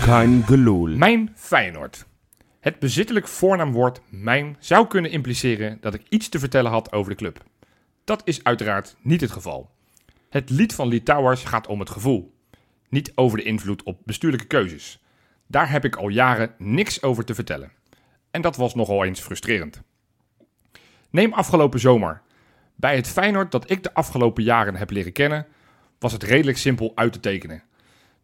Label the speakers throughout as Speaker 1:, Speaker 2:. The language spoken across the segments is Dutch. Speaker 1: Kein gelul.
Speaker 2: Mijn Feyenoord. Het bezittelijk voornaamwoord mijn zou kunnen impliceren dat ik iets te vertellen had over de club. Dat is uiteraard niet het geval. Het lied van Litouwers gaat om het gevoel, niet over de invloed op bestuurlijke keuzes. Daar heb ik al jaren niks over te vertellen. En dat was nogal eens frustrerend. Neem afgelopen zomer. Bij het Feyenoord dat ik de afgelopen jaren heb leren kennen, was het redelijk simpel uit te tekenen.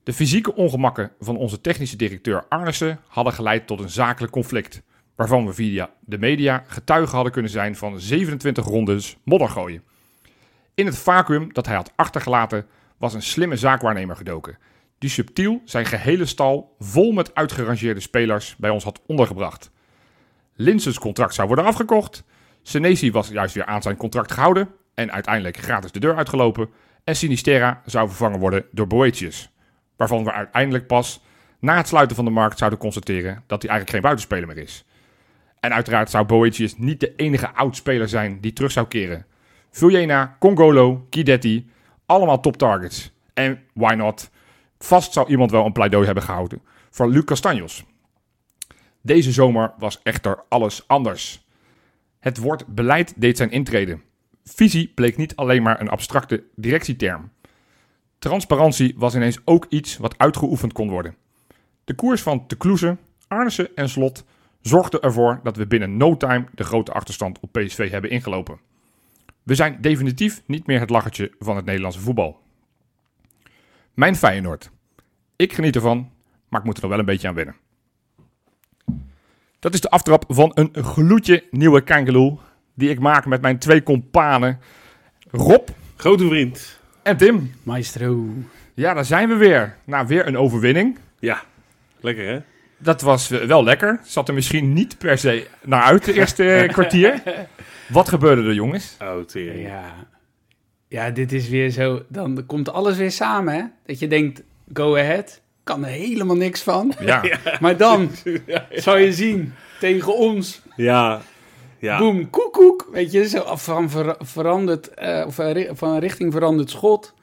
Speaker 2: De fysieke ongemakken van onze technische directeur Arnissen hadden geleid tot een zakelijk conflict, waarvan we via de media getuige hadden kunnen zijn van 27 rondes moddergooien. In het vacuüm dat hij had achtergelaten was een slimme zaakwaarnemer gedoken, die subtiel zijn gehele stal vol met uitgerangeerde spelers bij ons had ondergebracht. Linsens contract zou worden afgekocht, Senesi was juist weer aan zijn contract gehouden en uiteindelijk gratis de deur uitgelopen en Sinistera zou vervangen worden door Boetius waarvan we uiteindelijk pas na het sluiten van de markt zouden constateren dat hij eigenlijk geen buitenspeler meer is. En uiteraard zou Boetius niet de enige oudspeler zijn die terug zou keren. Vuljena, Congolo, Kidetti, allemaal top targets. En why not? Vast zou iemand wel een pleidooi hebben gehouden voor Luc Castanjos. Deze zomer was echter alles anders. Het woord beleid deed zijn intrede. Visie bleek niet alleen maar een abstracte directieterm. Transparantie was ineens ook iets wat uitgeoefend kon worden. De koers van Te Kloeze, Arnissen en Slot zorgde ervoor dat we binnen no time de grote achterstand op PSV hebben ingelopen. We zijn definitief niet meer het lachertje van het Nederlandse voetbal. Mijn Feyenoord. Ik geniet ervan, maar ik moet er nog wel een beetje aan wennen. Dat is de aftrap van een gloedje nieuwe kangeloel die ik maak met mijn twee companen Rob
Speaker 1: Grote vriend.
Speaker 2: en Tim.
Speaker 3: Maestro.
Speaker 2: Ja, daar zijn we weer. Nou, weer een overwinning.
Speaker 1: Ja. Lekker hè?
Speaker 2: Dat was eh, wel lekker. Zat er misschien niet per se naar uit de eerste eh, kwartier. Wat gebeurde er, jongens?
Speaker 1: Oh, tering.
Speaker 3: Ja. ja, dit is weer zo. Dan komt alles weer samen, hè? Dat je denkt, go ahead. Kan er helemaal niks van.
Speaker 2: Ja,
Speaker 3: Maar dan zou je zien, tegen ons,
Speaker 1: Ja. Ja.
Speaker 3: boem, koekoek. Weet je, zo af- van, ver- veranderd, eh, of eh, ri- van richting veranderd schot.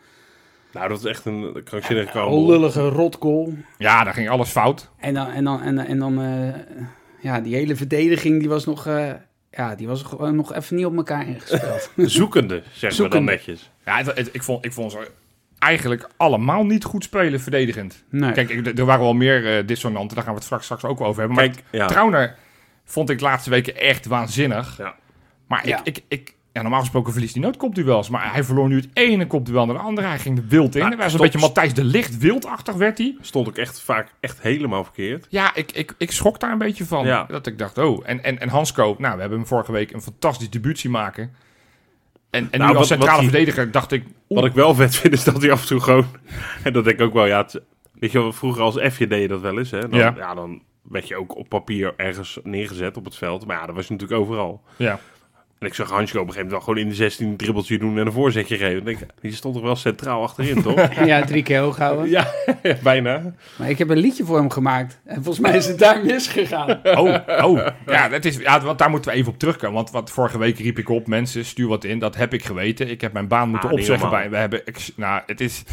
Speaker 1: Nou, dat is echt een krankzinnige
Speaker 3: Een
Speaker 1: kabel.
Speaker 3: lullige rotkool.
Speaker 2: ja daar ging alles fout.
Speaker 3: En dan, en dan, en, en dan eh, ja, die hele verdediging, die was nog, eh, ja, die was gewoon nog even niet op elkaar ingesteld.
Speaker 1: Zoekende, zeggen we dan
Speaker 3: Zoekende.
Speaker 1: netjes.
Speaker 2: Ja, het- het- ik, vond, ik vond ze eigenlijk allemaal niet goed spelen verdedigend.
Speaker 3: nee.
Speaker 2: Kijk, ik- er waren wel meer eh, dissonanten. Daar gaan we het straks, straks ook wel over hebben. Maar
Speaker 1: Kijk, ja.
Speaker 2: Trauner vond ik de laatste weken echt waanzinnig.
Speaker 1: Ja.
Speaker 2: Maar ik,
Speaker 3: Ja.
Speaker 2: ik, ik, ja, normaal gesproken verliest hij nooit kopduels. Maar hij verloor nu het ene kopduel naar de andere. Hij ging er wild in.
Speaker 1: Maar
Speaker 2: Hij was een
Speaker 1: stop-
Speaker 2: beetje Matthijs de Licht wildachtig werd hij.
Speaker 1: Stond ook echt vaak echt helemaal verkeerd.
Speaker 2: Ja, ik, ik, ik schrok daar een beetje van.
Speaker 1: Ja.
Speaker 2: Dat ik dacht, oh. En, en, en Hansco, nou, we hebben hem vorige week een fantastisch debuut zien maken. En, en
Speaker 1: Nou,
Speaker 2: nu als
Speaker 1: wat-
Speaker 2: centrale
Speaker 1: wat die-
Speaker 2: verdediger dacht ik...
Speaker 1: Wat ik wel vet vind, is dat hij af en toe gewoon... En dat denk ik ook wel, ja... het- weet je wel, vroeger als F'je deed je dat wel eens, hè? Dan,
Speaker 2: Ja.
Speaker 1: ja. dan werd je ook op papier ergens neergezet op het veld. Maar ja, dat was je natuurlijk overal.
Speaker 2: Ja.
Speaker 1: En ik zag Hansje op een gegeven moment wel gewoon in de 16 een dribbeltje doen en een voorzetje geven. Ik denk, die stond toch wel centraal achterin, toch?
Speaker 3: Ja, drie keer hoog houden.
Speaker 1: ja, bijna.
Speaker 3: Maar ik heb een liedje voor hem gemaakt. En volgens mij is het daar misgegaan.
Speaker 2: Oh, oh. Ja, dat is, ja, want daar moeten we even op terugkomen. Want wat vorige week riep ik op, mensen, stuur wat in. Dat heb ik geweten. Ik heb mijn baan moeten
Speaker 1: Ah, niet
Speaker 2: opzeggen.
Speaker 1: normaal.
Speaker 2: Bij, we hebben, ex- nou, het is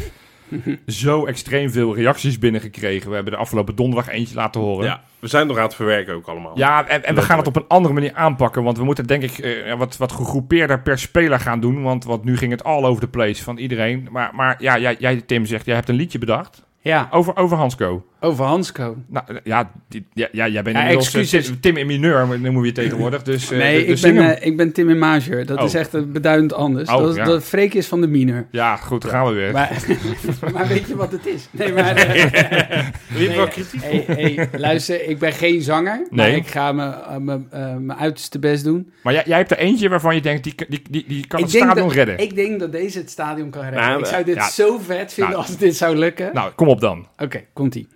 Speaker 2: zo extreem veel reacties binnengekregen. We hebben de afgelopen donderdag eentje laten horen.
Speaker 1: Ja, we zijn nog aan het verwerken ook allemaal.
Speaker 2: Ja, en, en we gaan het op een andere manier aanpakken. Want we moeten denk ik eh, wat, wat gegroepeerder per speler gaan doen. Want, want nu ging het all over the place van iedereen. Maar, maar ja, jij, jij, Tim zegt, jij hebt een liedje bedacht
Speaker 3: Ja,
Speaker 2: over, over Hansco.
Speaker 3: Over Hansko.
Speaker 2: Nou, ja, die- ja, ja jij bent
Speaker 3: Ja,
Speaker 2: inmiddels eh,
Speaker 3: excuses.
Speaker 2: Tim- Tim in mineur, maar noemen we je tegenwoordig. Dus, eh,
Speaker 3: Nee,
Speaker 2: dus
Speaker 3: ik, ben,
Speaker 2: zing hem.
Speaker 3: eh, ik ben Tim in major. Dat
Speaker 2: Oh.
Speaker 3: is echt eh, beduidend anders.
Speaker 2: Oh,
Speaker 3: dat, is-
Speaker 2: ja.
Speaker 3: dat Freek is van de minor.
Speaker 2: Ja, goed, gaan we weer.
Speaker 3: Maar, maar weet je wat het is? Nee, maar... eh,
Speaker 1: Wil je wel
Speaker 3: eh,
Speaker 1: kritiek?
Speaker 3: hey, hey, luister, ik ben geen zanger. Maar
Speaker 2: Nee.
Speaker 3: ik ga mijn- eh, mijn eh, mijn uiterste best doen.
Speaker 2: Maar jij, jij hebt er eentje waarvan je denkt, die, die, die, die kan
Speaker 3: Ik
Speaker 2: het
Speaker 3: denk
Speaker 2: stadion
Speaker 3: dat-
Speaker 2: redden. eh,
Speaker 3: Ik denk dat deze het stadion kan redden.
Speaker 1: Nou,
Speaker 3: ik zou dit
Speaker 2: ja.
Speaker 3: zo vet vinden
Speaker 2: Nou.
Speaker 3: als dit zou lukken.
Speaker 2: Nou, kom op dan.
Speaker 3: Oké, komt-ie.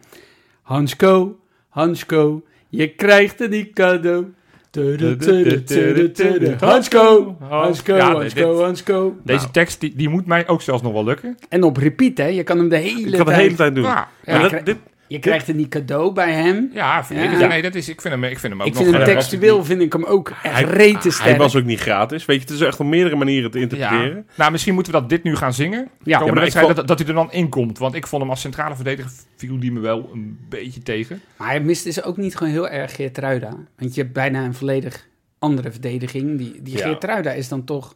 Speaker 3: Hansko, Hansko, je krijgt er niet cadeau. Tudu, tudu, tudu, tudu. Hansko, Hansko,
Speaker 2: Ja,
Speaker 3: Hansko,
Speaker 2: dit-
Speaker 3: Hansko.
Speaker 2: Deze
Speaker 1: Nou.
Speaker 2: tekst, die, die moet mij ook zelfs nog wel lukken.
Speaker 3: En op repeat, hè? Je kan hem de hele
Speaker 1: Ik kan de hele
Speaker 3: tijd...
Speaker 1: tijd doen.
Speaker 2: Ja,
Speaker 1: Maar
Speaker 2: ja,
Speaker 1: dat-
Speaker 3: krijg-
Speaker 1: dit,
Speaker 3: Je krijgt er niet cadeau bij hem.
Speaker 2: ja, vind
Speaker 3: Ja.
Speaker 2: ik- ja, nee, dat is, ik, vind hem, ik vind hem ook
Speaker 3: Ik
Speaker 2: nog...
Speaker 3: vind hem
Speaker 1: ja,
Speaker 2: eh,
Speaker 3: textueel vind ik hem ook echt
Speaker 1: Hij-
Speaker 3: rete
Speaker 1: hij
Speaker 3: sterk.
Speaker 1: was ook niet gratis. Weet je, het is echt op meerdere manieren te interpreteren.
Speaker 2: Ja. Nou, misschien moeten we dat dit nu gaan zingen. Ja,
Speaker 1: maar
Speaker 2: maar
Speaker 1: ik
Speaker 2: wedstrijd,
Speaker 1: vond-
Speaker 2: dat, dat hij er dan in komt. Want ik vond hem als centrale verdediger viel die me wel een beetje tegen.
Speaker 3: Maar hij mist dus ook niet gewoon heel erg Geertruida. Want je hebt bijna een volledig andere verdediging. Die, die
Speaker 1: Ja.
Speaker 3: Geertruida is dan toch...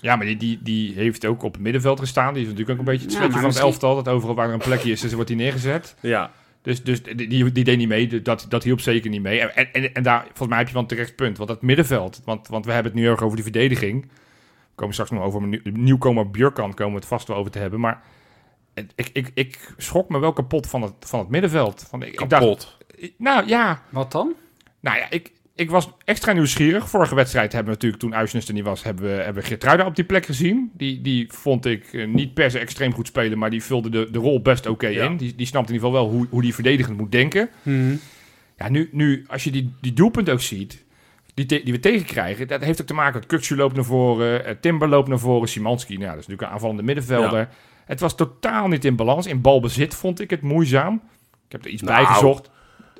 Speaker 2: Ja, maar die, die, die heeft ook op het middenveld gestaan. Die is natuurlijk ook een beetje het
Speaker 3: Ja,
Speaker 2: sletje
Speaker 3: maar
Speaker 2: van
Speaker 3: misschien-
Speaker 2: het elftal. Dat overal waar er een plekje is, dus wordt hij neergezet.
Speaker 1: Ja.
Speaker 2: Dus, dus die, die, die deed niet mee. Dat, dat hielp zeker niet mee. En, en, en daar, volgens mij heb je wel een terecht punt. Want dat middenveld, want, want we hebben het nu heel erg over die verdediging. We komen straks nog over een nieuw- nieuwkomer Björkan, komen we het vast wel over te hebben. Maar het- ik, ik, ik schrok me wel kapot van het, van het middenveld. Van, ik, ik dacht-
Speaker 1: Kapot.
Speaker 2: nou ja,
Speaker 3: Wat dan?
Speaker 2: nou ja, ik, ik was extra nieuwsgierig. Vorige wedstrijd hebben we natuurlijk, toen Uisnes er niet was, hebben we, hebben we Geertruida op die plek gezien. Die, die vond ik eh, niet per se extreem goed spelen, maar die vulde de, de rol best oké
Speaker 1: Ja.
Speaker 2: in. Die, die snapte in ieder geval wel hoe, hoe die verdedigend moet denken.
Speaker 1: Hmm.
Speaker 2: Ja, nu, nu als je die, die doelpunt ook ziet, die, te- die we tegenkrijgen, dat heeft ook te maken met Kukcu loopt naar voren, eh, Timber loopt naar voren, Simanski, nou, dat is natuurlijk een aanvallende middenvelder. Het was totaal niet in balans. In balbezit vond ik het moeizaam. Ik heb er iets
Speaker 1: Nou.
Speaker 2: bij gezocht.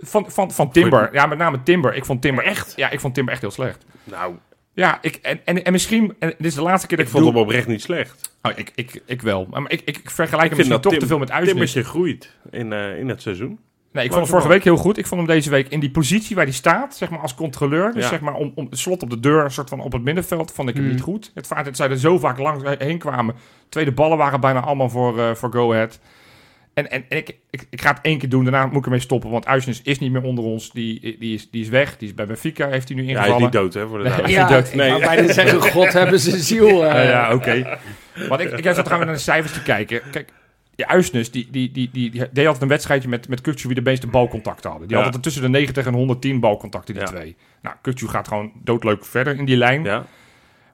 Speaker 2: Van, van, van Timber. Ja, met name Timber. Ik vond Timber echt, ja, ik vond Timber echt heel slecht.
Speaker 1: Nou,
Speaker 2: Ja, ik, en, en, en misschien, en dit is de laatste keer dat
Speaker 1: ik
Speaker 2: ik,
Speaker 1: vond
Speaker 2: doe-
Speaker 1: hem oprecht niet slecht.
Speaker 2: Oh, ik, ik, ik wel. Maar ik, ik, ik vergelijk
Speaker 1: Ik
Speaker 2: hem misschien toch
Speaker 1: Tim-
Speaker 2: te veel met Uisnes.
Speaker 1: Timmertje groeit in, eh, in het seizoen.
Speaker 2: Nee, ik
Speaker 1: Maar
Speaker 2: vond
Speaker 1: het
Speaker 2: hem vorige
Speaker 1: wel.
Speaker 2: week heel goed. Ik vond hem deze week in die positie waar hij staat, zeg maar als controleur. Dus
Speaker 1: Ja. Hmm.
Speaker 2: zeg maar om, om het slot op de deur, een soort van op het middenveld, vond ik hem
Speaker 3: Mm.
Speaker 2: niet goed. Het feit dat zij er zo vaak langs eh, heen kwamen. Tweede ballen waren bijna allemaal voor, eh, voor Go Ahead. En, en, en ik, ik, ik ga het één keer doen, daarna moet ik ermee stoppen. Want Uisnes is niet meer onder ons. Die, die, is, die is weg. Die is bij Benfica, heeft hij nu
Speaker 1: Ja, hij is
Speaker 2: ingevallen.
Speaker 1: niet dood, hè, voor de
Speaker 2: Nee.
Speaker 1: duidelijkheid.
Speaker 3: Ja,
Speaker 2: dat-
Speaker 3: ik
Speaker 1: nee.
Speaker 3: wou bijna zeggen, god hebben ze ziel. eh.
Speaker 1: Ah,
Speaker 2: Eh, ja, oké. Want ik, ik heb zat gaan we naar de cijfers te kijken. Kijk, die Uisnes, die, die, die, die, die deed altijd een wedstrijdje met, met Kukcu wie de meeste balcontacten hadden. Die
Speaker 1: Ja.
Speaker 2: hadden tussen de 90 en 110 balcontacten, die
Speaker 1: Ja.
Speaker 2: twee. Nou, Kukcu gaat gewoon doodleuk verder in die lijn.
Speaker 1: Ja.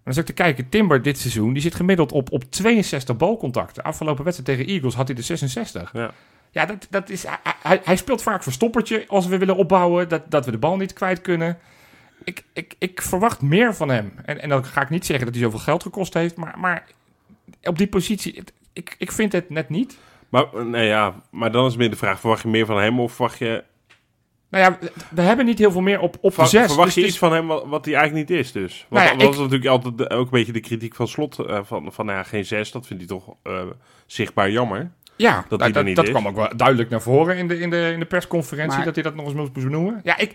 Speaker 2: Maar dan zat ik te kijken, Timber dit seizoen, die zit gemiddeld op, op 62 balcontacten. Afgelopen wedstrijd tegen Eagles had hij de 66.
Speaker 1: Ja.
Speaker 2: Ja, dat, dat is, hij- hij, hij speelt vaak verstoppertje als we willen opbouwen, dat, dat we de bal niet kwijt kunnen. Ik, ik, ik verwacht meer van hem. En, en dan ga ik niet zeggen dat hij zoveel geld gekost heeft, maar, maar op die positie, het- ik, ik vind het net niet.
Speaker 1: Maar, eh, nou ja, maar dan is meer de vraag, verwacht je meer van hem of verwacht je...
Speaker 2: Nou ja, we- we hebben niet heel veel meer op, op de
Speaker 1: Ver-
Speaker 2: zes.
Speaker 1: verwacht
Speaker 2: dus
Speaker 1: je
Speaker 2: het
Speaker 1: iets
Speaker 2: is-
Speaker 1: van hem wat, wat hij eigenlijk niet is dus? Want
Speaker 2: Nou ja,
Speaker 1: dat was
Speaker 2: ik-
Speaker 1: natuurlijk altijd de- ook een beetje de kritiek van Slot. eh, van, van nou ja, geen zes, dat vindt hij toch eh, zichtbaar jammer.
Speaker 2: Ja, dat,
Speaker 1: hij er
Speaker 2: dat,
Speaker 1: niet
Speaker 2: dat
Speaker 1: is.
Speaker 2: kwam ook wel duidelijk naar voren in de, in de, in de persconferentie,
Speaker 3: Maar-
Speaker 2: dat hij dat nog eens moest benoemen. Ja, ik,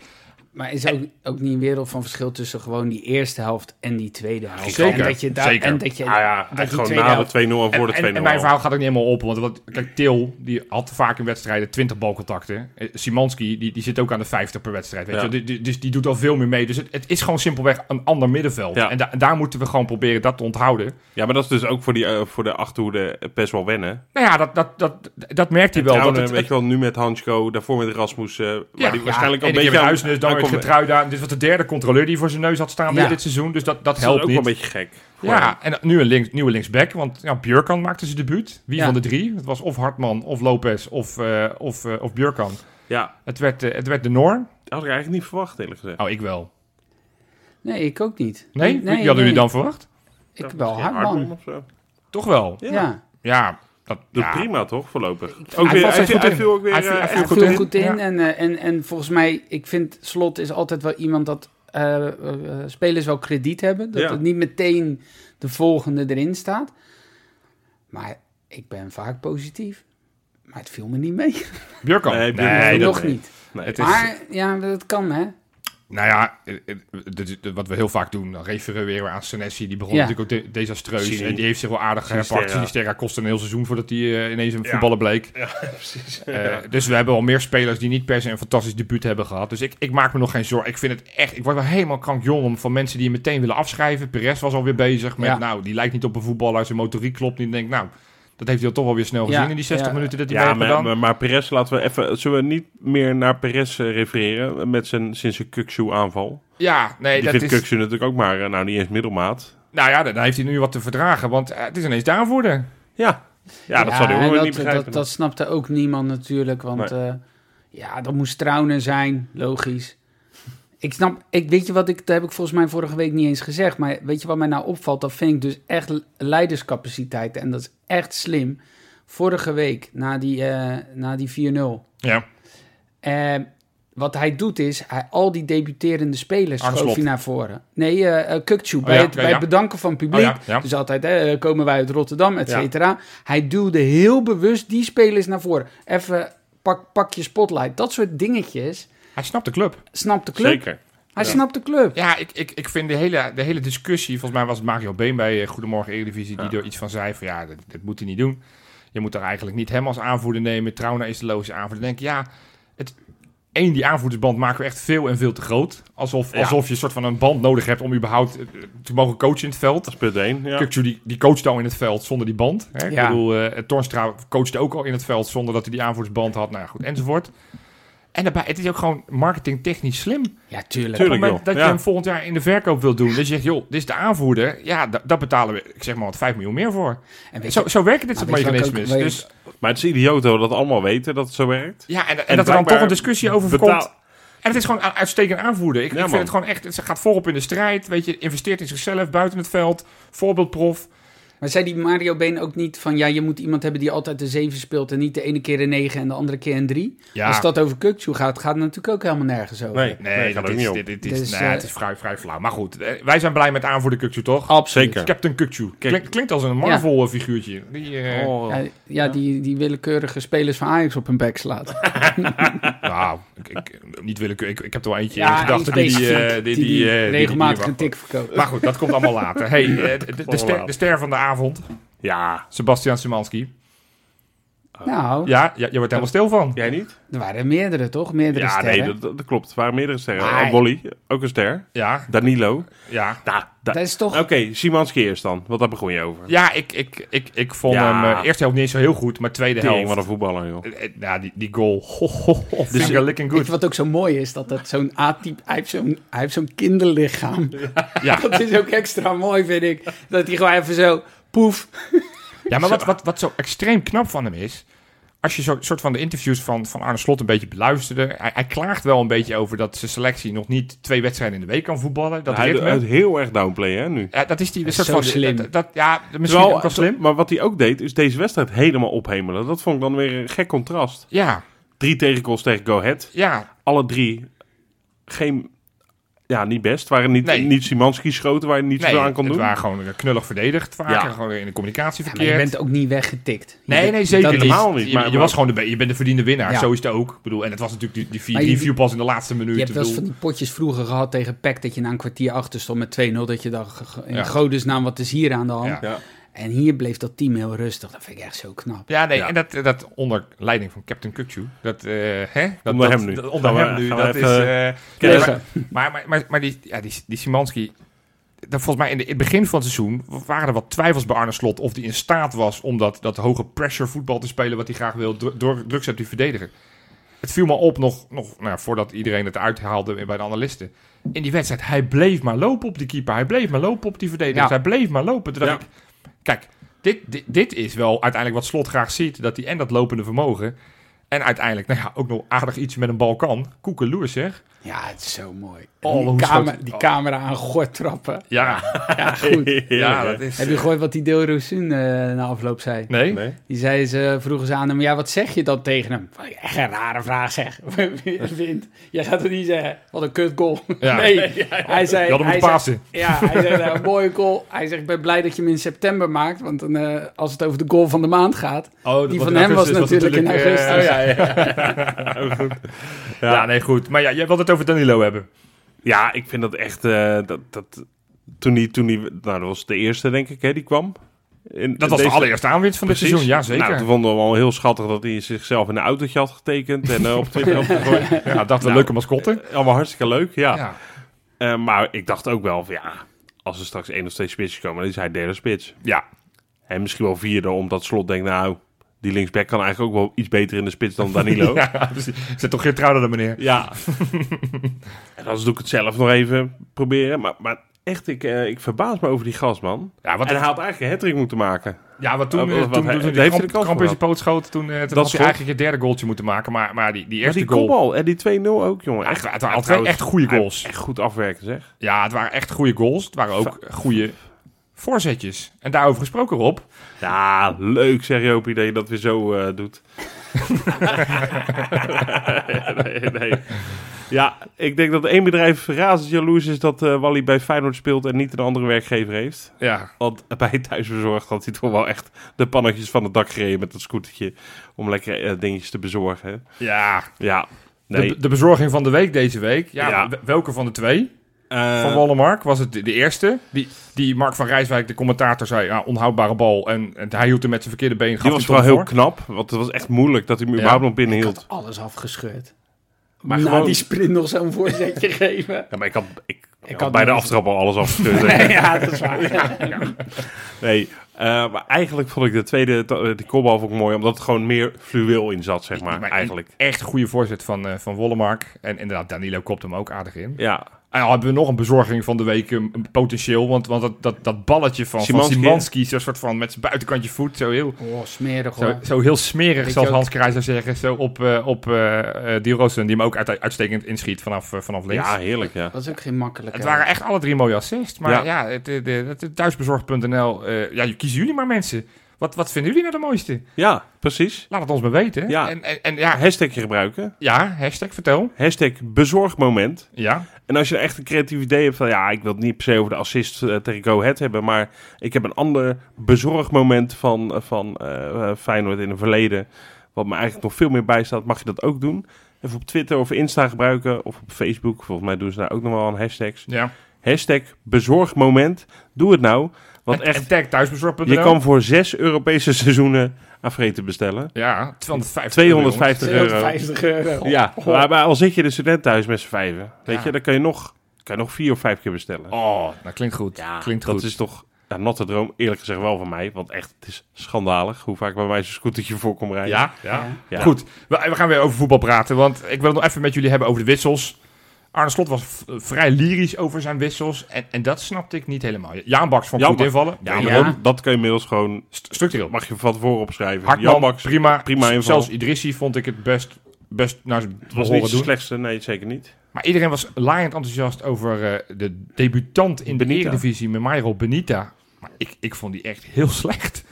Speaker 3: Maar is ook, ook niet een wereld van verschil tussen gewoon die eerste helft en die tweede helft.
Speaker 2: Zeker,
Speaker 3: En dat je daar,
Speaker 2: zeker.
Speaker 3: En dat je,
Speaker 1: Ah ja,
Speaker 3: dat
Speaker 1: echt
Speaker 3: die
Speaker 1: gewoon
Speaker 3: tweede
Speaker 1: na
Speaker 3: helft-
Speaker 1: de 2-0 en voor de 2-0.
Speaker 2: en, en mijn verhaal gaat ook niet helemaal op. Want wat, kijk, Til die had vaak in wedstrijden 20 balcontacten. Eh, Simanski die, die zit ook aan de 50 per wedstrijd. Weet
Speaker 1: Ja.
Speaker 2: je, wel. Die- die- dus die doet al veel meer mee. Dus het, het is gewoon simpelweg een ander middenveld.
Speaker 1: Ja.
Speaker 2: En, da- en daar moeten we gewoon proberen dat te onthouden.
Speaker 1: Ja, maar dat is dus ook voor, die, eh, voor de Achterhoede eh, best wel wennen.
Speaker 2: Nou ja, dat, dat, dat, dat merkt hij wel.
Speaker 1: Trouwen,
Speaker 2: Dat het,
Speaker 1: weet je wel, nu met Hansko, daarvoor met Rasmus. eh waar
Speaker 2: ja,
Speaker 1: die waarschijnlijk
Speaker 2: ja,
Speaker 1: al een
Speaker 2: ene keer
Speaker 1: beetje
Speaker 2: met
Speaker 1: aan-
Speaker 2: Huisnes, dan
Speaker 1: aan
Speaker 2: weer
Speaker 1: komt.
Speaker 2: Getruida. Dit was de derde controleur die voor zijn neus had staan
Speaker 3: Ja.
Speaker 2: weer dit seizoen. Dus dat, dat
Speaker 1: Dat is
Speaker 2: helpt
Speaker 1: ook wel
Speaker 2: niet.
Speaker 1: een beetje gek. voor hem.
Speaker 2: Ja, en nu een links, nieuwe linksback, want ja, Björkan maakte zijn debuut. Wie
Speaker 3: Ja.
Speaker 2: van de drie? Het was of Hartman, of Lopez, of, eh, of, eh, of Björkan.
Speaker 1: ja,
Speaker 2: Het werd, eh, het werd de Noor.
Speaker 1: dat had ik eigenlijk niet verwacht, eerlijk gezegd.
Speaker 2: Oh, ik wel.
Speaker 3: Nee, ik ook niet.
Speaker 2: Nee? Wie- Die hadden
Speaker 3: nee.
Speaker 2: jullie dan verwacht?
Speaker 3: Ik wel
Speaker 1: Misschien
Speaker 3: Hartman.
Speaker 1: of zo.
Speaker 2: Toch wel?
Speaker 1: Ja.
Speaker 3: Ja.
Speaker 2: Ja. Dat,
Speaker 1: Doet
Speaker 2: ja.
Speaker 1: prima toch, voorlopig.
Speaker 2: hij
Speaker 1: Ook weer,
Speaker 2: valt
Speaker 1: hij,
Speaker 2: echt
Speaker 1: viel,
Speaker 2: goed
Speaker 1: hij
Speaker 2: in.
Speaker 1: viel ook weer.
Speaker 2: Hij viel-
Speaker 1: eh,
Speaker 2: hij viel
Speaker 1: echt-
Speaker 3: Hij
Speaker 2: goed
Speaker 3: viel
Speaker 2: in.
Speaker 3: goed in.
Speaker 2: Ja.
Speaker 3: En, eh, en, en volgens mij, ik vind Slot is altijd wel iemand dat eh, eh, eh, spelers wel krediet hebben. Dat
Speaker 1: Ja.
Speaker 3: het niet meteen de volgende erin staat. Maar ik ben vaak positief. Maar het viel me niet mee.
Speaker 2: Björkan.
Speaker 1: Nee,
Speaker 2: Nee,
Speaker 1: Björkan.
Speaker 2: dat-
Speaker 3: Nog
Speaker 1: nee.
Speaker 3: niet.
Speaker 1: Nee.
Speaker 2: Het is-
Speaker 3: Maar ja, dat kan hè.
Speaker 2: Nou ja, eh, eh, dit- dit- wat we heel vaak doen, dan refereren we weer aan Senesi. Die begon
Speaker 3: Ja.
Speaker 2: natuurlijk ook de- desastreus.
Speaker 1: Sinis-
Speaker 2: En die heeft zich wel aardig
Speaker 1: Sinisterra.
Speaker 2: herpakt. Sinisterra kostte een heel seizoen voordat hij eh, ineens een
Speaker 1: Ja.
Speaker 2: voetballer bleek.
Speaker 1: Precies.
Speaker 2: Eh, Dus we hebben al meer spelers die niet per se een fantastisch debuut hebben gehad. Dus ik, ik maak me nog geen zorgen. Ik vind het echt, ik word wel helemaal krankjong van mensen die je meteen willen afschrijven. Perez was alweer bezig met,
Speaker 3: Ja.
Speaker 2: nou, die lijkt niet op een voetballer. Zijn motoriek klopt niet. Ik denk, nou, dat heeft hij toch wel weer snel
Speaker 3: Ja,
Speaker 2: gezien in die 60
Speaker 3: ja.
Speaker 2: minuten dat hij
Speaker 1: Ja,
Speaker 2: bij
Speaker 1: maar,
Speaker 2: Rotterdam-
Speaker 1: maar, maar Perez laten we even... Zullen we niet meer naar Perez eh, refereren met zijn, sinds zijn Kuksu aanval?
Speaker 2: Ja, nee,
Speaker 1: Die
Speaker 2: dat
Speaker 1: vindt
Speaker 2: is...
Speaker 1: Kuksu natuurlijk ook maar, eh, nou niet eens middelmaat.
Speaker 2: Nou ja, dan heeft hij nu wat te verdragen, want eh, het is ineens daarvoor.
Speaker 1: Ja, ja dat zal hij
Speaker 3: en
Speaker 1: ook wel
Speaker 3: dat-
Speaker 1: niet begrijpen.
Speaker 3: Dat, dat snapte ook niemand natuurlijk, want eh, ja, dat moest Trouwen zijn, logisch. Ik snap, ik, weet je wat, ik, dat heb ik volgens mij vorige week niet eens gezegd, maar weet je wat mij nou opvalt? Dat vind ik dus echt le- leiderscapaciteit en dat is echt slim. Vorige week, na die, eh, na die 4-0,
Speaker 2: Ja,
Speaker 3: eh, wat hij doet is, hij, al die debuterende spelers
Speaker 2: Arne
Speaker 3: schoof
Speaker 2: Slot.
Speaker 3: hij naar voren. Nee, eh eh, Kukçu, bij,
Speaker 2: Oh ja,
Speaker 3: het,
Speaker 2: ja,
Speaker 3: bij
Speaker 2: ja.
Speaker 3: het bedanken van publiek.
Speaker 2: Oh ja, ja.
Speaker 3: Dus altijd, hè, komen wij uit Rotterdam, et cetera. Hij duwde heel bewust die spelers naar voren. Even pak, pak je spotlight. Dat soort dingetjes.
Speaker 2: hij snapt de club.
Speaker 3: Snapt de club.
Speaker 1: Zeker.
Speaker 3: Hij snapt de club.
Speaker 2: Ja, ik, ik, ik vind de hele, de hele discussie, volgens mij was het Mario Been bij eh, Goedemorgen Eredivisie, die er iets van zei van ja, dat, dat moet hij niet doen. Je moet er eigenlijk niet hem als aanvoerder nemen. Trouwna is de logische aanvoerder. Dan denk ik, ja, het, één, die aanvoerdersband maken we echt veel en veel te groot. Alsof,
Speaker 1: Ja.
Speaker 2: alsof je een soort van een band nodig hebt om überhaupt eh, te mogen coachen in het veld.
Speaker 1: Dat is punt 1, ja.
Speaker 2: Kukçu, die, die coachte al in het veld zonder die band. Hè?
Speaker 3: Ja.
Speaker 2: Ik bedoel, eh Tornstra coachte ook al in het veld zonder dat hij die aanvoersband had. Nou ja, goed, enzovoort. En daarbij, het is ook gewoon marketingtechnisch slim.
Speaker 3: Ja, tuurlijk.
Speaker 1: Tuurlijk.
Speaker 2: Op het moment
Speaker 1: joh.
Speaker 2: dat
Speaker 1: Ja.
Speaker 2: je hem volgend jaar in de verkoop wilt doen. Dus je zegt, joh, dit is de aanvoerder. Ja, da- daar betalen we, ik zeg maar wat, 5 miljoen meer voor.
Speaker 3: En weet je-
Speaker 2: Zo, zo werken dit soort
Speaker 3: weet je wat ik ook
Speaker 2: mechanismes.
Speaker 3: weet?
Speaker 2: Dus,
Speaker 1: Maar het is idioot dat we dat allemaal weten, dat het zo werkt.
Speaker 2: ja, en, en dat er dan toch
Speaker 1: blijkbaar
Speaker 2: een discussie over
Speaker 1: betaal-
Speaker 2: voorkomt. En het is gewoon een uitstekend aanvoerder. Ik,
Speaker 1: Ja,
Speaker 2: ik
Speaker 1: man.
Speaker 2: vind het gewoon echt, het gaat voorop in de strijd. Weet je, investeert in zichzelf, buiten het veld. Voorbeeldprof.
Speaker 3: Maar zei die Mario Been ook niet van... Ja, je moet iemand hebben die altijd de 7 speelt... en niet de ene keer een 9 en de andere keer een 3?
Speaker 2: Ja.
Speaker 3: Als dat over Kukçu gaat, gaat het natuurlijk ook helemaal nergens over.
Speaker 1: Nee,
Speaker 2: Nee,
Speaker 1: nee,
Speaker 2: dat
Speaker 1: gaat ook
Speaker 2: is,
Speaker 1: niet op.
Speaker 2: dit, dit is,
Speaker 3: Dus,
Speaker 2: nee,
Speaker 3: eh,
Speaker 2: het is vrij, vrij flauw. Maar goed, eh, wij zijn blij met aanvoerder Kukçu, toch?
Speaker 3: Absoluut.
Speaker 1: Zeker.
Speaker 2: Captain Kukçu. Klink, klinkt als een Marvel eh, figuurtje. Die, eh,
Speaker 3: Ja, ja, Die, die willekeurige spelers van Ajax op hun bek slaat.
Speaker 2: Nou, ik, ik, niet willekeurig. Ik, ik heb er wel eentje
Speaker 3: Ja,
Speaker 2: in gedachten die, die,
Speaker 3: specifiek,
Speaker 2: eh, die, die, eh, die- die-
Speaker 3: regelmatig
Speaker 2: die-
Speaker 3: een tik verkoopt.
Speaker 2: Maar goed, dat komt allemaal later. Hey, eh, de- de,
Speaker 1: allemaal
Speaker 2: ster,
Speaker 1: later.
Speaker 2: de ster van de avond,
Speaker 1: Ja.
Speaker 2: Sebastian Simanski.
Speaker 3: Nou,
Speaker 2: Ja, ja, je wordt helemaal stil van.
Speaker 1: Jij niet?
Speaker 3: er waren meerdere, toch? Meerdere
Speaker 1: Ja,
Speaker 3: sterren.
Speaker 1: nee, dat, dat- dat klopt. Er waren meerdere sterren.
Speaker 3: Maar-
Speaker 1: Al Bolly, ook een ster.
Speaker 2: Ja,
Speaker 1: Danilo.
Speaker 2: ja.
Speaker 1: Nou, Da, da-
Speaker 3: Dat is toch...
Speaker 1: Oké, Simanski eerst dan, want daar begon je over.
Speaker 2: Ja, ik, ik, ik, ik vond
Speaker 1: Ja.
Speaker 2: hem eh, eerste helft niet zo heel goed, maar tweede
Speaker 1: Tering, wat
Speaker 2: helft...
Speaker 1: een Dus- voetballer, joh.
Speaker 2: eh, eh, Ja, die, die goal. Ho, ho, ho, finger licking
Speaker 3: Weet
Speaker 2: good.
Speaker 3: je wat ook zo mooi is? Dat dat zo'n A-type... Hij heeft zo'n, hij heeft zo'n kinderlichaam.
Speaker 2: Ja.
Speaker 3: Dat is ook extra mooi, vind ik. Dat hij gewoon even zo... Poef.
Speaker 2: Ja, maar wat, wat, wat zo extreem knap van hem is. Als je zo, soort van de interviews van, van Arne Slot een beetje beluisterde. Hij, hij klaagt wel een beetje over dat zijn selectie nog niet twee wedstrijden in de week kan voetballen. Dat
Speaker 1: Hij
Speaker 2: ritme.
Speaker 1: doet heel erg downplay, hè, nu.
Speaker 2: ja, dat is die een
Speaker 3: is
Speaker 2: soort
Speaker 3: zo
Speaker 2: van.
Speaker 3: slim.
Speaker 2: Dat, dat- ja, misschien
Speaker 1: Terwijl-
Speaker 2: ook wel slim.
Speaker 1: Maar wat hij ook deed, is deze wedstrijd helemaal ophemelen. Dat vond ik dan weer een gek contrast.
Speaker 2: Ja,
Speaker 1: Drie tegengoals tegen Go Ahead.
Speaker 2: ja.
Speaker 1: Alle drie geen... Ja, niet best. Het waren niet,
Speaker 2: Nee.
Speaker 1: niet Simanski schoten waar je niet
Speaker 2: Nee,
Speaker 1: zoveel aan kon
Speaker 2: het
Speaker 1: doen.
Speaker 2: waren gewoon eh, knullig verdedigd. Vaak
Speaker 1: Ja.
Speaker 2: en gewoon in de communicatie
Speaker 3: Ja, maar je
Speaker 2: verkeerd.
Speaker 3: bent ook niet weggetikt. Je
Speaker 2: Nee,
Speaker 3: bent-
Speaker 2: nee, zeker
Speaker 3: dat-
Speaker 2: niet.
Speaker 1: Helemaal niet,
Speaker 2: Je,
Speaker 1: maar-
Speaker 2: je
Speaker 1: maar-
Speaker 2: was gewoon de, be- je bent de verdiende winnaar.
Speaker 3: Ja.
Speaker 2: Zo is het ook. Ik bedoel, en het was natuurlijk die, die
Speaker 3: Maar je-
Speaker 2: 4 viel pas in de laatste minuut.
Speaker 3: Je hebt
Speaker 2: Ik
Speaker 3: wel eens van
Speaker 2: bedoel,
Speaker 3: die potjes vroeger gehad tegen PEC... dat je na een kwartier achter stond met 2-0... dat je dacht, ge- in
Speaker 2: Ja.
Speaker 3: godesnaam, wat is hier aan de hand?
Speaker 2: Ja.
Speaker 1: Ja.
Speaker 3: En hier bleef dat team heel rustig. Dat vind ik echt zo knap.
Speaker 2: Ja, nee,
Speaker 1: Ja.
Speaker 2: en dat, dat onder leiding van Captain Kukçu. Dat, eh hè? Dat,
Speaker 1: Onder
Speaker 2: dat-
Speaker 1: hem nu.
Speaker 2: dat- onder
Speaker 1: Gaan we-
Speaker 2: hem nu.
Speaker 1: gaan we
Speaker 2: Dat is,
Speaker 1: even-
Speaker 2: eh,
Speaker 1: Kennen.
Speaker 2: maar, maar, maar, maar, maar die, ja, die, die Simanski... Dat volgens mij in, de, in het begin van het seizoen waren er wat twijfels bij Arne Slot... of hij in staat was om dat, dat hoge pressure voetbal te spelen... wat hij graag wil, dru- door druk zet die verdediger. Het viel me op, nog, nog nou, ja, voordat iedereen het uithaalde bij de analisten... in die wedstrijd, hij bleef maar lopen op die keeper. Hij bleef maar lopen op die verdediger.
Speaker 3: Ja.
Speaker 2: Hij bleef maar lopen. Toen dacht
Speaker 1: Ja.
Speaker 2: ik, kijk, dit, dit, dit is wel uiteindelijk wat Slot graag ziet... dat hij en dat lopende vermogen... en uiteindelijk nou ja, ook nog aardig iets met een bal kan. Koekeloer zeg.
Speaker 3: Ja, het is zo mooi.
Speaker 2: Oh,
Speaker 3: die,
Speaker 2: hoe
Speaker 3: kamer-
Speaker 2: schoot-
Speaker 3: die
Speaker 2: oh.
Speaker 3: camera aan gort trappen.
Speaker 2: Ja,
Speaker 3: Ja, goed.
Speaker 2: ja, dat is...
Speaker 3: Heb je gehoord wat die Deel Rosun na afloop zei?
Speaker 2: Nee?
Speaker 1: Nee.
Speaker 3: Die zei ze, vroegen ze aan hem, ja, wat zeg je dan tegen hem? Vond ik Echt een rare vraag, zeg. Vind. Jij gaat het niet zeggen, wat een kut goal.
Speaker 2: Ja.
Speaker 3: Nee, hij zei...
Speaker 2: Je had hem moeten
Speaker 3: hij zei-
Speaker 2: pasen.
Speaker 3: Ja, hij zei, nou, mooie goal. Hij zegt, ik ben blij dat je hem in september maakt, want dan, eh, als het over de goal van de maand gaat...
Speaker 2: Oh,
Speaker 3: Die van hem was natuurlijk in augustus.
Speaker 2: eh, ja, ja, ja. ja, nee, goed. Maar ja, jij wilt het over Danilo hebben.
Speaker 1: Ja, ik vind dat echt... eh, dat, dat, toen die, toen die, nou, dat was de eerste, denk ik, hè, die kwam. In-
Speaker 2: Dat was
Speaker 1: deze-
Speaker 2: de allereerste aanwinst van dit
Speaker 1: Precies.
Speaker 2: seizoen, ja zeker.
Speaker 1: Nou, toen vonden we al heel schattig dat hij zichzelf in een autootje had getekend en eh, op Twitter opgegooid.
Speaker 2: ja, dat we
Speaker 1: Nou,
Speaker 2: leuke mascotten.
Speaker 1: Allemaal hartstikke leuk, ja.
Speaker 2: Ja.
Speaker 1: Eh, maar ik dacht ook wel van ja, als er straks één of twee spitsen komen, dan is hij derde spits.
Speaker 2: ja,
Speaker 1: En misschien wel vierde, omdat Slot denkt, nou, die linksback kan eigenlijk ook wel iets beter in de spits dan Danilo. ja.
Speaker 2: Ja, precies. Zet toch geen trouw dan meneer.
Speaker 1: en anders doe ik het zelf nog even proberen. Maar, maar echt, ik, eh, ik verbaas me over die gast, man.
Speaker 2: Ja,
Speaker 1: En
Speaker 2: want
Speaker 1: hij had eigenlijk een hattrick moeten maken.
Speaker 2: ja, want toen,
Speaker 1: Oh,
Speaker 2: eh,
Speaker 1: wat-
Speaker 2: toen,
Speaker 1: wat
Speaker 2: toen,
Speaker 1: hij-
Speaker 2: toen
Speaker 1: heeft
Speaker 2: die
Speaker 1: hij
Speaker 2: kramp,
Speaker 1: de kans
Speaker 2: kramp in zijn
Speaker 1: gehad?
Speaker 2: poot schoot, toen, eh,
Speaker 1: Dat
Speaker 2: toen had hij
Speaker 1: schot.
Speaker 2: eigenlijk je derde goaltje moeten maken. Maar, maar die, die eerste
Speaker 1: maar die
Speaker 2: goal...
Speaker 1: kopbal en die 2-0 ook, jongen.
Speaker 2: Ja,
Speaker 1: Echt,
Speaker 2: het waren
Speaker 1: ja,
Speaker 2: altijd
Speaker 1: trouwens,
Speaker 2: echt goede
Speaker 1: hij-
Speaker 2: goals.
Speaker 1: Echt goed afwerken, zeg.
Speaker 2: Ja, het waren echt goede goals. Het waren ook goede voorzetjes. En daarover gesproken, Rob.
Speaker 1: Ja, leuk zeg Jopie dat je dat weer zo eh, doet. nee, nee. Ja, ik denk dat één bedrijf razend jaloers is dat eh Wally bij Feyenoord speelt en niet een andere werkgever heeft.
Speaker 2: Ja,
Speaker 1: Want bij Thuisbezorgd had hij toch wel echt de pannetjes van het dak gereden met dat scootertje om lekker eh, dingetjes te bezorgen. hè.
Speaker 2: ja.
Speaker 1: Ja, nee.
Speaker 2: De, de bezorging van de week deze week. Ja,
Speaker 1: Ja.
Speaker 2: w- welke van de twee?
Speaker 1: Eh,
Speaker 2: van Wallenmark was het de, de eerste. Die, die Mark van Rijswijk, de commentator, zei ja, onhoudbare bal. En, en hij hield hem met zijn verkeerde been.
Speaker 1: die
Speaker 2: gaf
Speaker 1: was
Speaker 2: hem
Speaker 1: wel
Speaker 2: toch
Speaker 1: heel
Speaker 2: voor.
Speaker 1: knap, want het was echt moeilijk dat hij hem überhaupt nog binnenhield.
Speaker 3: Alles afgescheurd.
Speaker 1: Maar
Speaker 3: Maar Na
Speaker 1: gewoon-
Speaker 3: die sprint nog zo'n voorzetje geven.
Speaker 1: Ja, maar ik had, ik, ik had
Speaker 3: had
Speaker 1: bij de
Speaker 3: nog-
Speaker 1: aftrap al alles afgescheurd.
Speaker 3: Nee, ja, dat is waar.
Speaker 1: Nee, eh, maar eigenlijk vond ik de tweede, to- eh, die kopbal vond ik mooi, omdat het gewoon meer fluweel in zat, zeg maar,
Speaker 2: Maar
Speaker 1: eigenlijk.
Speaker 2: Echt goede voorzet van, eh van Wollemark. En inderdaad, Danilo kopt hem ook aardig in.
Speaker 1: Ja,
Speaker 2: En dan hebben we nog een bezorging van de week, een, een potentieel. Want, want dat, dat, dat balletje van Simanski,
Speaker 1: Szymanski,
Speaker 2: van Szymanski, zo'n soort van met zijn buitenkantje voet, zo heel,
Speaker 3: Oh, smerig
Speaker 2: zo,
Speaker 3: hoor.
Speaker 2: zo heel smerig,
Speaker 3: Weet
Speaker 2: zoals
Speaker 3: je
Speaker 2: Hans Kraaij zou zeggen. Zo op, eh op eh eh, Di Rosen, die hem ook uit, uitstekend inschiet vanaf, eh, vanaf links.
Speaker 1: ja heerlijk, ja.
Speaker 3: Dat is ook geen makkelijke.
Speaker 2: Het waren echt alle drie mooie assists. Maar ja,
Speaker 1: Ja.
Speaker 2: het, eh, de- het, het thuisbezorgd.nl, eh, ja, kiezen jullie maar mensen. Wat, wat vinden jullie nou de mooiste?
Speaker 1: Ja, precies.
Speaker 2: Laat het ons maar weten.
Speaker 1: Ja.
Speaker 2: En, en, en ja, ha-
Speaker 1: Hashtagje gebruiken.
Speaker 2: ja, hashtag vertel.
Speaker 1: Hashtag bezorgmoment.
Speaker 2: Ja,
Speaker 1: En als je echt een creatief idee hebt van, ja, ik wil het niet per se over de assist eh, tegen Go Ahead hebben, maar ik heb een ander bezorgmoment van, eh, van eh, eh, Feyenoord in het verleden, wat me eigenlijk nog veel meer bijstaat, mag je dat ook doen. Even op Twitter of Insta gebruiken, of op Facebook. Volgens mij doen ze daar ook nog wel aan hashtags.
Speaker 2: ja.
Speaker 1: Hashtag bezorgmoment. Doe het nou. Want
Speaker 2: en, en
Speaker 1: echt,
Speaker 2: tag thuisbezorgd.nl.
Speaker 1: je kan voor zes Europese seizoenen aan vreten bestellen.
Speaker 2: Ja, 250
Speaker 1: 250 euro.
Speaker 3: 250 euro.
Speaker 1: Ja, maar, maar al zit je de student thuis met z'n vijven, weet
Speaker 2: Oh. Ja.
Speaker 1: je, dan kan je, nog, kan je nog vier of vijf keer bestellen.
Speaker 2: Oh, dat klinkt goed. klinkt
Speaker 1: dat
Speaker 2: goed.
Speaker 1: is toch een natte droom, eerlijk gezegd wel van mij. Want echt, het is schandalig hoe vaak bij mij zo'n scootertje voor komt rijden.
Speaker 2: Ja, ja.
Speaker 1: Ja.
Speaker 2: Goed, we, we gaan weer over voetbal praten, want ik wil het nog even met jullie hebben over de wissels. Arne Slot was v- vrij lyrisch over zijn wissels en, en dat snapte ik niet helemaal. Jaan Baks vond
Speaker 1: Jan
Speaker 2: goed
Speaker 1: Baks.
Speaker 2: invallen.
Speaker 1: Ja,
Speaker 3: Ja.
Speaker 1: maar dat- dat kan je inmiddels gewoon,
Speaker 2: St- structureel.
Speaker 1: mag je van tevoren opschrijven.
Speaker 2: Hartman,
Speaker 1: Jan Baks,
Speaker 2: prima.
Speaker 1: prima
Speaker 2: S-
Speaker 1: inval.
Speaker 2: Zelfs Idrissi vond ik het best, best naar zijn
Speaker 1: was
Speaker 2: behoren
Speaker 1: niet de
Speaker 2: doen.
Speaker 1: slechtste, nee, zeker niet.
Speaker 2: Maar iedereen was laaiend enthousiast over eh, de debutant in de
Speaker 1: Benita.
Speaker 2: Eredivisie, Memairo Benita. Maar ik, ik vond die echt heel slecht.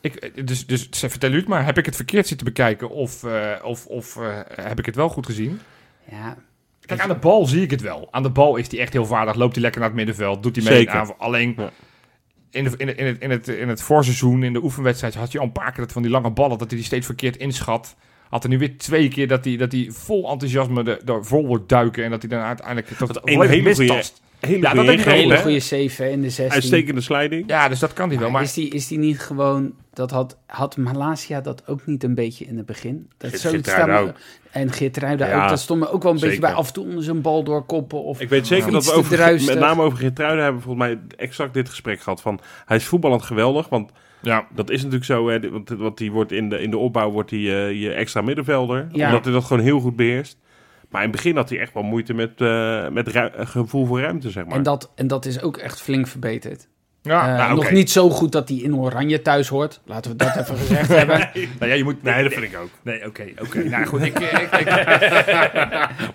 Speaker 2: Ik, eh, dus, dus ze- vertel u het maar, heb ik het verkeerd zitten bekijken of, eh, of, of eh, heb ik het wel goed gezien?
Speaker 3: Ja.
Speaker 2: Kijk, aan de bal zie ik het wel. Aan de bal is hij echt heel vaardig, loopt hij lekker naar het middenveld, doet hij mee
Speaker 1: Zeker.
Speaker 2: in de aanval. Alleen
Speaker 1: Ja.
Speaker 2: in, de, in, de- in, het, in, het, in het voorseizoen, in de oefenwedstrijd, had hij al een paar keer dat van die lange ballen, dat hij die steeds verkeerd inschat. Had er nu weer twee keer dat hij, dat hij vol enthousiasme de- daar vol wordt duiken en dat hij dan uiteindelijk toch
Speaker 1: Dat
Speaker 2: volledig
Speaker 1: een hele goede-
Speaker 2: mistast.
Speaker 1: Hele
Speaker 2: Ja, dat
Speaker 1: goede
Speaker 2: denk ik
Speaker 3: Een
Speaker 1: ingreep,
Speaker 3: hele
Speaker 1: hè?
Speaker 3: goede 7 in de 16.
Speaker 1: Uitstekende sliding.
Speaker 2: Ja, dus dat kan hij wel. Maar
Speaker 3: Is, die, is die niet gewoon... Dat had, had Malasia dat ook niet een beetje in het begin? Dat
Speaker 1: Geert-
Speaker 3: zoiets
Speaker 1: Geertruida
Speaker 3: staan we- En Geertruida
Speaker 1: Ja.
Speaker 3: ook. Dat stond me ook wel een
Speaker 1: Zeker.
Speaker 3: beetje bij af en toe onder zijn bal doorkoppen. Of,
Speaker 1: Ik weet zeker dat
Speaker 3: Iets
Speaker 1: we
Speaker 3: te
Speaker 1: over,
Speaker 3: druistig.
Speaker 1: met name over Geertruiden hebben we volgens mij exact dit gesprek gehad. Van, hij is voetballend geweldig, want
Speaker 2: ja,
Speaker 1: dat is natuurlijk zo. Hè, want, want die wordt in, de, in de opbouw wordt hij eh, je extra middenvelder.
Speaker 3: Ja.
Speaker 1: Omdat hij dat gewoon heel goed beheerst. Maar in het begin had hij echt wel moeite met, eh, met ru- eh, gevoel voor ruimte, zeg maar.
Speaker 3: en, dat, en dat is ook echt flink verbeterd.
Speaker 2: ja
Speaker 3: Eh,
Speaker 2: nou, oké.
Speaker 3: Nog niet zo goed dat hij in Oranje thuis hoort. Laten we dat even gezegd hebben.
Speaker 2: Nou ja, je moet...
Speaker 1: Nee, dat vind ik ook.
Speaker 2: Nee, oké, oké. Nou goed, ik, ik, ik-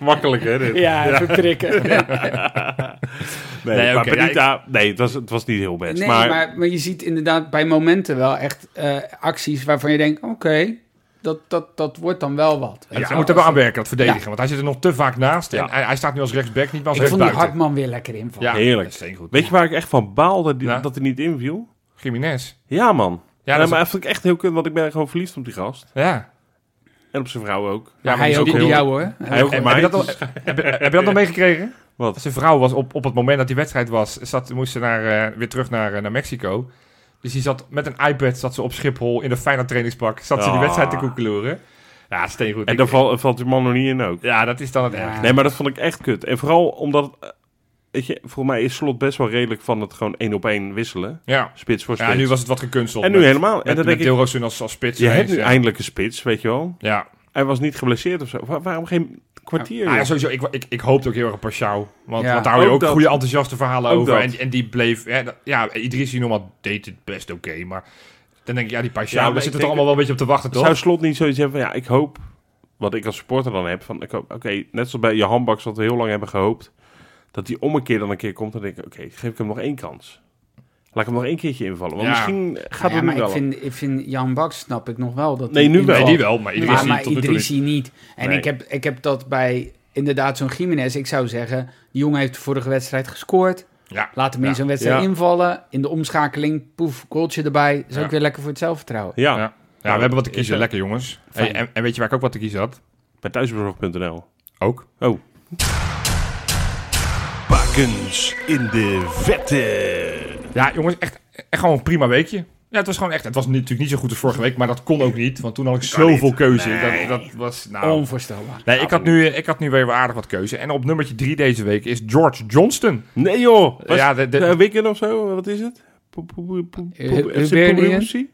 Speaker 1: Makkelijk, hè? dit?
Speaker 3: Ja, even prikken.
Speaker 1: Nee,
Speaker 2: Nee,
Speaker 1: maar
Speaker 2: oké, ja,
Speaker 1: Benita, nee het, was, het was niet heel best.
Speaker 3: Nee,
Speaker 1: maar,
Speaker 3: maar... Maar, je ziet inderdaad bij momenten wel echt eh, acties waarvan je denkt... Oké, dat, dat, dat wordt dan wel wat.
Speaker 2: Ja,
Speaker 3: weet je
Speaker 2: hij moet er
Speaker 3: wel.
Speaker 2: wel aan werken, dat verdedigen.
Speaker 3: Ja.
Speaker 2: Want hij zit er nog te vaak naast. En
Speaker 1: Ja.
Speaker 2: hij, hij staat nu als rechtsback, niet meer als
Speaker 3: Ik vond die
Speaker 2: rechtsbuiten.
Speaker 3: Hartman weer lekker invallen.
Speaker 2: Ja,
Speaker 1: Heerlijk.
Speaker 2: Dat is goed.
Speaker 1: Weet je waar ik echt van baalde die-
Speaker 2: Ja.
Speaker 1: dat hij niet inviel?
Speaker 2: Jiménez.
Speaker 1: Ja, man.
Speaker 2: Ja,
Speaker 1: Ja,
Speaker 2: dat is-
Speaker 1: maar dat vond ik echt heel kut, want ik ben gewoon verliefd op die gast.
Speaker 2: Ja.
Speaker 1: En op zijn vrouw ook.
Speaker 2: Ja,
Speaker 3: Hij ook op
Speaker 1: heel-
Speaker 3: jou hoor.
Speaker 1: Hij ook op
Speaker 2: Heb, heb
Speaker 1: mij.
Speaker 2: je dat al, heb, je- heb je dat nog meegekregen?
Speaker 1: Wat?
Speaker 2: Zijn vrouw was op, op het moment dat die wedstrijd was, zat, moest ze naar, eh, weer terug naar, eh, naar Mexico. Dus die zat met een iPad zat ze op Schiphol in een fijne trainingspak. Zat ze die
Speaker 1: Ah.
Speaker 2: wedstrijd te koekeloeren. Ja, steengoed.
Speaker 1: En
Speaker 2: Ik-
Speaker 1: daar val- valt die man nog niet in ook.
Speaker 2: Ja, dat is dan het
Speaker 3: Ja.
Speaker 2: ergste.
Speaker 1: Nee, maar dat vond ik echt kut. En vooral omdat, eh, weet je, volgens mij is Slot best wel redelijk van het gewoon één op één wisselen.
Speaker 2: Ja.
Speaker 1: Spits voor spits.
Speaker 2: ja, nu was het wat gekunsteld.
Speaker 1: En nu
Speaker 2: met-
Speaker 1: helemaal. en
Speaker 2: Met,
Speaker 1: dan
Speaker 2: met
Speaker 1: denk ik,
Speaker 2: Deelroosun als, als spits.
Speaker 1: je hebt
Speaker 2: ineens,
Speaker 1: nu
Speaker 2: ja.
Speaker 1: eindelijk een spits, weet je wel.
Speaker 2: Ja.
Speaker 1: Hij was niet geblesseerd of zo. Wa- waarom geen kwartier?
Speaker 2: Ah, ja,
Speaker 1: joh?
Speaker 2: sowieso, ik, ik, ik hoopte ook heel erg op Pashao. Want,
Speaker 3: Ja.
Speaker 2: want daar hou je
Speaker 1: Ook
Speaker 2: ook
Speaker 1: dat.
Speaker 2: goede enthousiaste verhalen
Speaker 1: Ook
Speaker 2: over.
Speaker 1: dat.
Speaker 2: En, en die bleef... Ja, dat- ja Idrissi normaal deed het best oké. maar dan denk ik, ja, die Pashao,
Speaker 1: Ja, maar
Speaker 2: daar
Speaker 1: ik
Speaker 2: zitten toch
Speaker 1: denk-
Speaker 2: allemaal wel een beetje op te wachten, toch?
Speaker 1: Zou Slot niet zoiets hebben van, ja, ik hoop, wat ik als supporter dan heb, van, ik hoop, oké, net zoals bij Johan Baks, wat we heel lang hebben gehoopt, dat die om een keer dan een keer komt, dan denk ik, oké, geef ik hem nog één kans. Laat ik hem nog één keertje invallen, want
Speaker 2: Ja.
Speaker 1: misschien gaat
Speaker 3: ja,
Speaker 1: het nu
Speaker 3: maar
Speaker 1: wel.
Speaker 3: ik vind, ik vind Jan Baks snap ik nog wel. Dat
Speaker 1: Nee,
Speaker 3: hij
Speaker 1: nu
Speaker 2: Nee,
Speaker 3: invalt.
Speaker 2: die wel, maar Idrissi
Speaker 3: maar, maar
Speaker 2: tot nu toe niet.
Speaker 3: Idrissi niet. En
Speaker 1: Nee.
Speaker 3: ik, heb, ik heb dat bij inderdaad zo'n Jiménez. Ik zou zeggen, die jongen heeft de vorige wedstrijd gescoord.
Speaker 2: Ja.
Speaker 3: Laat hem
Speaker 2: Ja.
Speaker 3: in zo'n wedstrijd
Speaker 1: Ja.
Speaker 3: invallen. In de omschakeling, poef, goaltje erbij. Dat is
Speaker 2: Ja.
Speaker 3: ook weer lekker voor het zelfvertrouwen.
Speaker 1: Ja,
Speaker 2: Ja. Ja, we hebben wat te
Speaker 1: Is
Speaker 2: kiezen.
Speaker 1: dat-
Speaker 2: Lekker, jongens.
Speaker 3: Fijn.
Speaker 2: Hey, en, en weet je waar ik ook wat te kiezen had?
Speaker 1: bij thuisbezorg.nl.
Speaker 2: Ook.
Speaker 1: Oh,
Speaker 4: Bakens in de vette.
Speaker 2: Ja, jongens, echt, echt gewoon een prima weekje. Ja, het was gewoon echt... Het was niet- natuurlijk niet zo goed als vorige week, maar dat kon ook niet. Want toen had ik zoveel keuze. Dat, dat was... Nou,
Speaker 3: Onvoorstelbaar.
Speaker 2: Nee, ik had, nu, ik had nu weer aardig wat keuze. En op nummertje 3 deze week is George Johnston.
Speaker 1: nee joh! Was
Speaker 2: ja, de, de-
Speaker 1: het, eh, weekend of zo, wat is het? Poe- poe- poe- poe-
Speaker 3: Eh,
Speaker 1: poe- FC
Speaker 3: Hibernian?
Speaker 1: Pobrinci?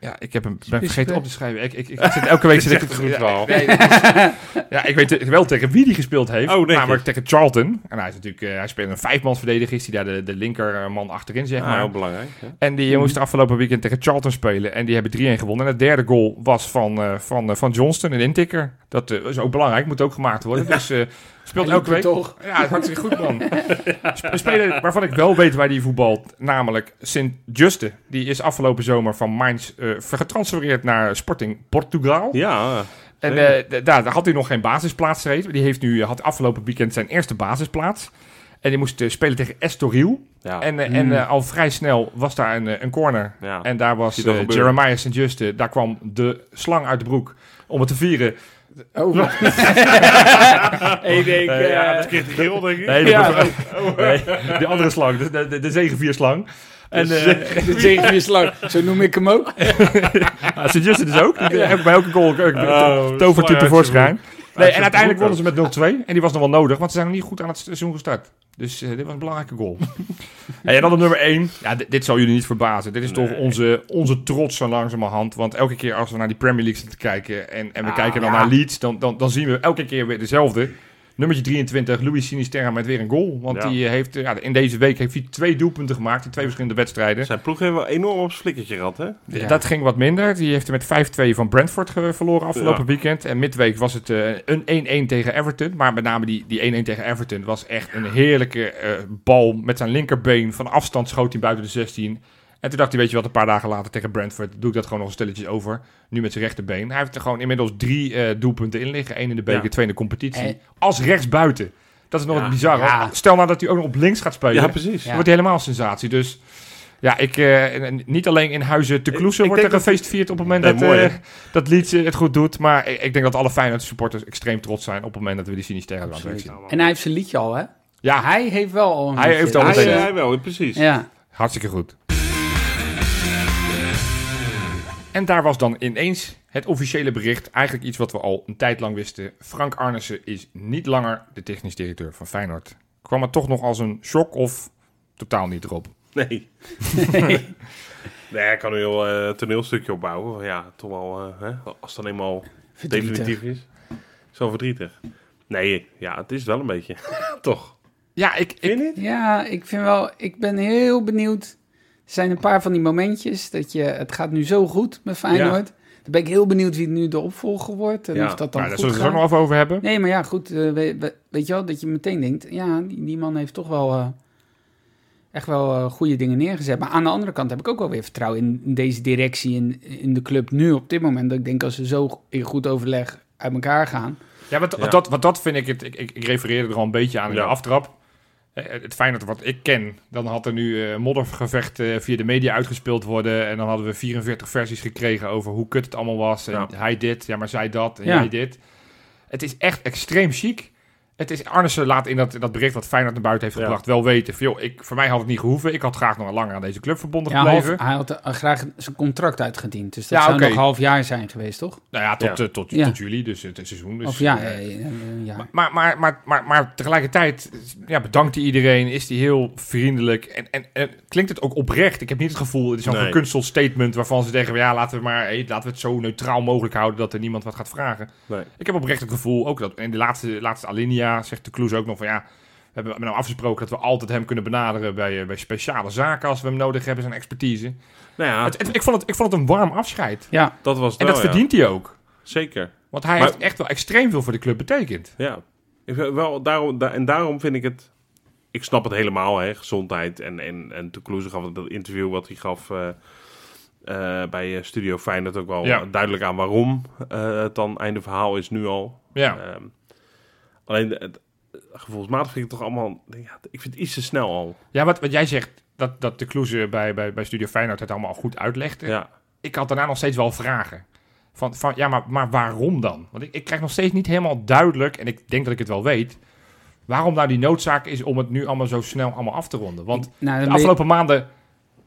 Speaker 2: ja ik heb hem ben vergeten
Speaker 3: Spits-
Speaker 1: eh,
Speaker 2: op te schrijven. Ik, ik, ik, ik zit, elke week zit ik het goed verhaal. Ja, ik weet wel tegen wie die gespeeld heeft.
Speaker 1: Oh, denk je.
Speaker 2: namelijk tegen Charlton. En hij is natuurlijk, eh, hij speelt een vijfmansverdediger. Is hij daar de, de linkerman achterin, zeg
Speaker 1: Ah,
Speaker 2: maar.
Speaker 1: heel belangrijk. hè?
Speaker 2: En die eh, moest afgelopen weekend tegen Charlton spelen. En die hebben 3-1 gewonnen. En het derde goal was van, eh, van, eh, van Johnston, een intikker. Dat eh, is ook belangrijk, moet ook gemaakt worden. Dus eh, speelt
Speaker 3: Hij liep
Speaker 2: elke week.
Speaker 3: er toch.
Speaker 2: Ja, hartstikke goed man. Sp- Een speler waarvan ik wel weet waar die voetbalt. Namelijk Sint Juste. Die is afgelopen zomer van Mainz eh, getransfereerd naar Sporting Portugal.
Speaker 1: Ja,
Speaker 2: En
Speaker 1: Zeker.
Speaker 2: eh, d- daar daar had hij nog geen basisplaats gereden. Die heeft nu, eh, had afgelopen weekend zijn eerste basisplaats. En die moest eh, spelen tegen Estoril.
Speaker 1: ja.
Speaker 2: En, eh, en eh, al vrij snel was daar een, eh, een corner.
Speaker 1: Ja.
Speaker 2: En daar was
Speaker 1: Zie je dat
Speaker 2: eh,
Speaker 1: gebeuren.
Speaker 2: Jeremiah St. Juste. Daar kwam de slang uit de broek om het te vieren.
Speaker 3: Oh, ik denk...
Speaker 2: Eh, ja,
Speaker 3: eh,
Speaker 2: dat
Speaker 1: kreeg de geel, denk ik.
Speaker 2: Nee, de,
Speaker 3: Ja.
Speaker 2: nee, die andere slang. De, de, de, de zegevierslang. En eh
Speaker 3: De zegenvierslang, zo noem ik hem ook.
Speaker 2: St. Juste dus ook. Die heb ik bij elke goal.
Speaker 1: Oh,
Speaker 2: Uh,
Speaker 1: slang uit
Speaker 2: tovertype
Speaker 1: zijn
Speaker 2: voorschijn. Nee, en
Speaker 1: zijn
Speaker 2: uiteindelijk
Speaker 1: broek
Speaker 2: wonnen ze met 0-2. En die was nog wel nodig, want ze zijn nog niet goed aan het seizoen gestart. Dus eh, dit was een belangrijke goal. Hey, en dan op nummer 1. Ja, dit, dit zal jullie niet verbazen. Dit is toch onze, onze trots zo langzamerhand. Want elke keer als we naar die Premier League zitten te kijken... en,
Speaker 1: Ah,
Speaker 2: en we kijken dan
Speaker 3: ja.
Speaker 2: naar Leeds... Dan, dan, dan zien we elke keer weer dezelfde. Nummertje 23, Luis Sinisterra met weer een goal. Want
Speaker 1: Ja.
Speaker 2: die heeft, eh, ja, in deze week heeft hij twee doelpunten gemaakt... in twee verschillende wedstrijden.
Speaker 1: Zijn ploeg heeft wel enorm op zijn flikkertje gehad,
Speaker 2: Oh,
Speaker 1: hè?
Speaker 3: Ja.
Speaker 2: Dat ging wat minder. Die heeft er met 5-2 van Brentford ge- verloren afgelopen
Speaker 1: Ja.
Speaker 2: weekend. En midweek was het eh, een 1-1 tegen Everton. Maar met name die, die 1-1 tegen Everton was echt een heerlijke eh, bal met zijn linkerbeen. Van afstand schoot hij buiten de 16. En toen dacht hij, weet je wat, een paar dagen later tegen Brentford doe ik dat gewoon nog een stilletjes over. Nu met zijn rechterbeen. Hij heeft er gewoon inmiddels drie eh, doelpunten in liggen. Eén in de beker,
Speaker 1: Ja.
Speaker 2: twee in de competitie.
Speaker 3: En-
Speaker 2: Als rechtsbuiten. Dat is nog
Speaker 1: Ja.
Speaker 2: het bizarre.
Speaker 3: Ja.
Speaker 2: Stel nou dat hij ook nog op links gaat spelen.
Speaker 1: Ja, precies.
Speaker 3: Ja.
Speaker 2: Dan wordt hij helemaal een sensatie. Dus ja, ik, eh, en- en niet alleen in Huizen te Kloesen
Speaker 1: ik
Speaker 2: wordt er
Speaker 1: denk dat-
Speaker 2: gefeest vierd op het moment
Speaker 1: Nee,
Speaker 2: dat,
Speaker 1: mooi,
Speaker 2: eh,
Speaker 1: hè?
Speaker 2: dat Leeds eh, het goed doet. Maar ik, ik denk dat alle Feyenoord supporters extreem trots zijn op het moment dat we die Sinisterra aan het werk zien.
Speaker 3: En hij heeft zijn liedje al, hè?
Speaker 2: Ja,
Speaker 3: Hij heeft wel al een
Speaker 2: Hij
Speaker 3: liedje.
Speaker 2: heeft al
Speaker 1: Hij,
Speaker 2: meteen.
Speaker 1: hij wel, precies.
Speaker 3: Ja.
Speaker 2: hartstikke goed. En daar was dan ineens het officiële bericht. Eigenlijk iets wat we al een tijd lang wisten. Frank Arnesen is niet langer de technisch directeur van Feyenoord. Kwam het toch nog als een shock of totaal niet erop?
Speaker 1: Nee. nee, hij kan een heel eh, toneelstukje opbouwen. Van Ja, toch wel, eh, hè, als het dan eenmaal
Speaker 3: Verdrietig.
Speaker 1: definitief is. Zo verdrietig. Nee, ja, het is wel een beetje. toch?
Speaker 2: Ja, ik, ik,
Speaker 1: Vind je niet?
Speaker 3: Ja, ik vind wel, ik ben heel benieuwd. Er zijn een paar van die momentjes dat je, het gaat nu zo goed met Feyenoord. Dan ben ik heel benieuwd wie nu de opvolger wordt en
Speaker 1: Ja,
Speaker 3: of dat dan
Speaker 2: nou, daar zullen
Speaker 3: goed
Speaker 2: we het ook nog
Speaker 3: gaat.
Speaker 2: even over hebben.
Speaker 3: Nee, maar ja, goed, eh, we- we- weet je wel, dat je meteen denkt, ja, die, die man heeft toch wel eh, echt wel eh, goede dingen neergezet. Maar aan de andere kant heb ik ook wel weer vertrouwen in, in deze directie, in, in de club nu op dit moment. Dat ik denk, als ze zo in goed overleg uit elkaar gaan,
Speaker 2: Ja, want,
Speaker 1: Ja.
Speaker 2: Dat, want dat vind ik het. Ik, ik, ik refereerde er al een beetje aan in
Speaker 1: Ja.
Speaker 2: de aftrap. Eh, Het Feyenoord wat ik ken, dan had er nu eh, moddergevecht eh, via de media uitgespeeld worden. En dan hadden we 44 versies gekregen over hoe kut het allemaal was. En
Speaker 1: Ja.
Speaker 2: hij dit, ja maar zij dat en
Speaker 3: Ja.
Speaker 2: jij dit. Het is echt extreem chic. Het is Arnissen laat in dat, dat bericht wat Feyenoord naar buiten heeft
Speaker 1: Ja.
Speaker 2: gebracht wel weten. Van, joh, ik, voor mij had het niet gehoeven. Ik had graag nog langer aan deze club verbonden
Speaker 3: Ja, half,
Speaker 2: gebleven.
Speaker 3: hij had eh, graag zijn contract uitgediend. Dus dat
Speaker 2: Ja,
Speaker 3: zou
Speaker 2: oké.
Speaker 3: nog een half jaar zijn geweest, toch?
Speaker 2: Nou ja, tot,
Speaker 1: Ja.
Speaker 2: eh, tot,
Speaker 3: Ja.
Speaker 2: tot juli, dus het seizoen. Dus,
Speaker 3: of ja,
Speaker 2: eh,
Speaker 3: ja, ja, ja, ja.
Speaker 2: Maar, maar, maar, maar, maar tegelijkertijd ja, bedankt hij iedereen. Is hij heel vriendelijk. En, en, en klinkt het ook oprecht. Ik heb niet het gevoel, het is zo'n
Speaker 1: Nee.
Speaker 2: gekunsteld statement... waarvan ze zeggen, ja, laten we, maar, hé, laten we het zo neutraal mogelijk houden... dat er niemand wat gaat vragen.
Speaker 1: Nee.
Speaker 2: Ik heb oprecht het gevoel, ook dat in de laatste, laatste alinea zegt de Kloes ook nog van... ja, we hebben nou afgesproken dat we altijd hem kunnen benaderen... bij, eh, bij speciale zaken als we hem nodig hebben, zijn expertise.
Speaker 1: Nou ja,
Speaker 2: Het, het- ik, vond het, ik vond het een warm afscheid.
Speaker 3: ja,
Speaker 1: dat was het
Speaker 2: En
Speaker 1: wel,
Speaker 2: dat
Speaker 1: ja.
Speaker 2: verdient hij ook.
Speaker 1: Zeker,
Speaker 2: Want hij
Speaker 1: Maar-
Speaker 2: heeft echt wel extreem veel voor de club betekend.
Speaker 1: ja. Ik vind wel, daarom, da- en daarom vind ik het... Ik snap het helemaal, hè, gezondheid. En, en, en Toulouse gaf dat interview wat hij gaf eh, eh, bij eh, Studio Feyenoord ook wel
Speaker 2: Ja.
Speaker 1: duidelijk aan waarom eh, het dan einde verhaal is nu al.
Speaker 2: Ja.
Speaker 1: Ehm, alleen, het, gevoelsmatig vind ik het toch allemaal... Ja, ik vind het iets te snel al.
Speaker 2: Ja, wat, wat jij zegt, dat, dat de Kloeze bij, bij, bij Studio Feyenoord het allemaal goed uitlegde.
Speaker 1: Ja.
Speaker 2: Ik had daarna nog steeds wel vragen. Van, van ja, maar, maar waarom dan? Want ik, ik krijg nog steeds niet helemaal duidelijk, en ik denk dat ik het wel weet, waarom nou die noodzaak is om het nu allemaal zo snel allemaal af te ronden. Want
Speaker 3: nou,
Speaker 2: de
Speaker 3: dan ben je-
Speaker 2: afgelopen maanden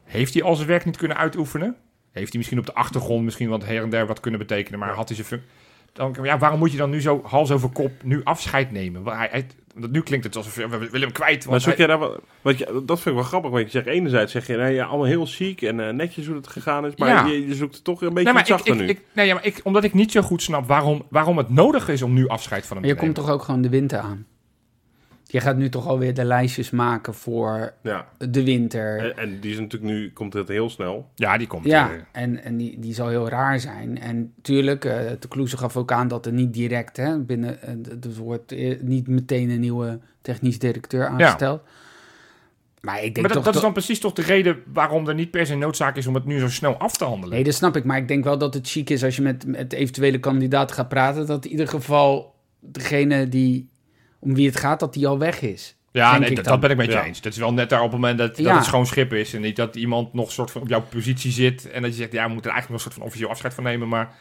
Speaker 2: heeft hij al zijn werk niet kunnen uitoefenen. Heeft hij misschien op de achtergrond misschien wat her en der wat kunnen betekenen, maar had hij zijn functie... Dan, ja, waarom moet je dan nu zo hals over kop nu afscheid nemen? Want Hij, hij, want nu klinkt het alsof ja, we willen hem kwijt.
Speaker 1: Maar
Speaker 2: Want
Speaker 1: zoek
Speaker 2: hij-
Speaker 1: jij daar wat, wat je, dat vind ik wel grappig, want je zegt enerzijds zeg je, nee, ja, allemaal heel ziek en eh, netjes hoe het gegaan is, maar
Speaker 2: Ja.
Speaker 1: je, je zoekt het toch een beetje
Speaker 2: Nee,
Speaker 1: iets
Speaker 2: maar ik,
Speaker 1: zachter
Speaker 2: ik,
Speaker 1: nu.
Speaker 2: ik- nee, ja, maar ik, omdat ik niet zo goed snap waarom, waarom het nodig is om nu afscheid van hem
Speaker 3: Maar je
Speaker 2: te
Speaker 3: komt
Speaker 2: nemen.
Speaker 3: toch ook gewoon de winter aan? Je gaat nu toch alweer de lijstjes maken voor
Speaker 1: ja.
Speaker 3: de winter.
Speaker 1: en, en die is natuurlijk nu, komt het heel snel.
Speaker 2: Ja, die komt.
Speaker 3: Ja,
Speaker 2: eh,
Speaker 3: en, en die, die zal heel raar zijn. En tuurlijk, eh de Kloeze gaf ook aan dat er niet direct, hè, binnen, eh, d- dus er wordt eh, niet meteen een nieuwe technisch directeur aangesteld. Maar ik denk
Speaker 2: maar dat,
Speaker 3: toch...
Speaker 2: dat is
Speaker 3: dat-
Speaker 2: dan precies toch de reden waarom er niet per se noodzaak is om het nu zo snel af te handelen.
Speaker 3: Nee, dat snap ik. Maar ik denk wel dat het chic is als je met, met eventuele kandidaat gaat praten, dat in ieder geval degene die, om wie het gaat, dat die al weg is.
Speaker 2: ja,
Speaker 3: denk
Speaker 2: nee,
Speaker 3: ik
Speaker 2: dat,
Speaker 3: dan.
Speaker 2: dat ben ik met je
Speaker 1: Ja.
Speaker 2: eens. Dat is wel net daar op het moment dat, dat
Speaker 3: Ja.
Speaker 2: het schoon schip is. En niet dat iemand nog soort van op jouw positie zit. En dat je zegt, ja, we moeten er eigenlijk nog een soort van officieel afscheid van nemen. Maar...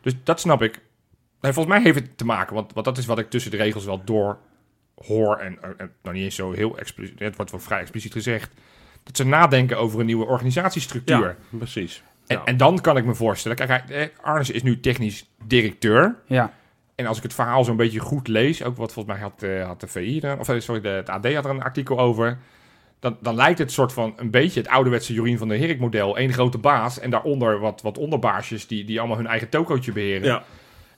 Speaker 2: Dus dat snap ik. Nee, volgens mij heeft het te maken, want, want dat is wat ik tussen de regels wel door hoor. En, en, en nou niet eens zo heel expliciet, het wordt wel vrij expliciet gezegd. Dat ze nadenken over een nieuwe organisatiestructuur.
Speaker 1: Ja, precies.
Speaker 2: En,
Speaker 1: Ja.
Speaker 2: en dan kan ik me voorstellen. Kijk, hij- eh, Arnes is nu technisch directeur.
Speaker 3: Ja.
Speaker 2: En als ik het verhaal zo'n beetje goed lees, ook wat volgens mij had, eh, had de VI, er- of eh, sorry, de, het AD had er een artikel over. Dan, dan lijkt het soort van een beetje het ouderwetse Jorien van der Herik model. Eén grote baas en daaronder wat, wat onderbaasjes die, die allemaal hun eigen tokootje beheren.
Speaker 1: Ja,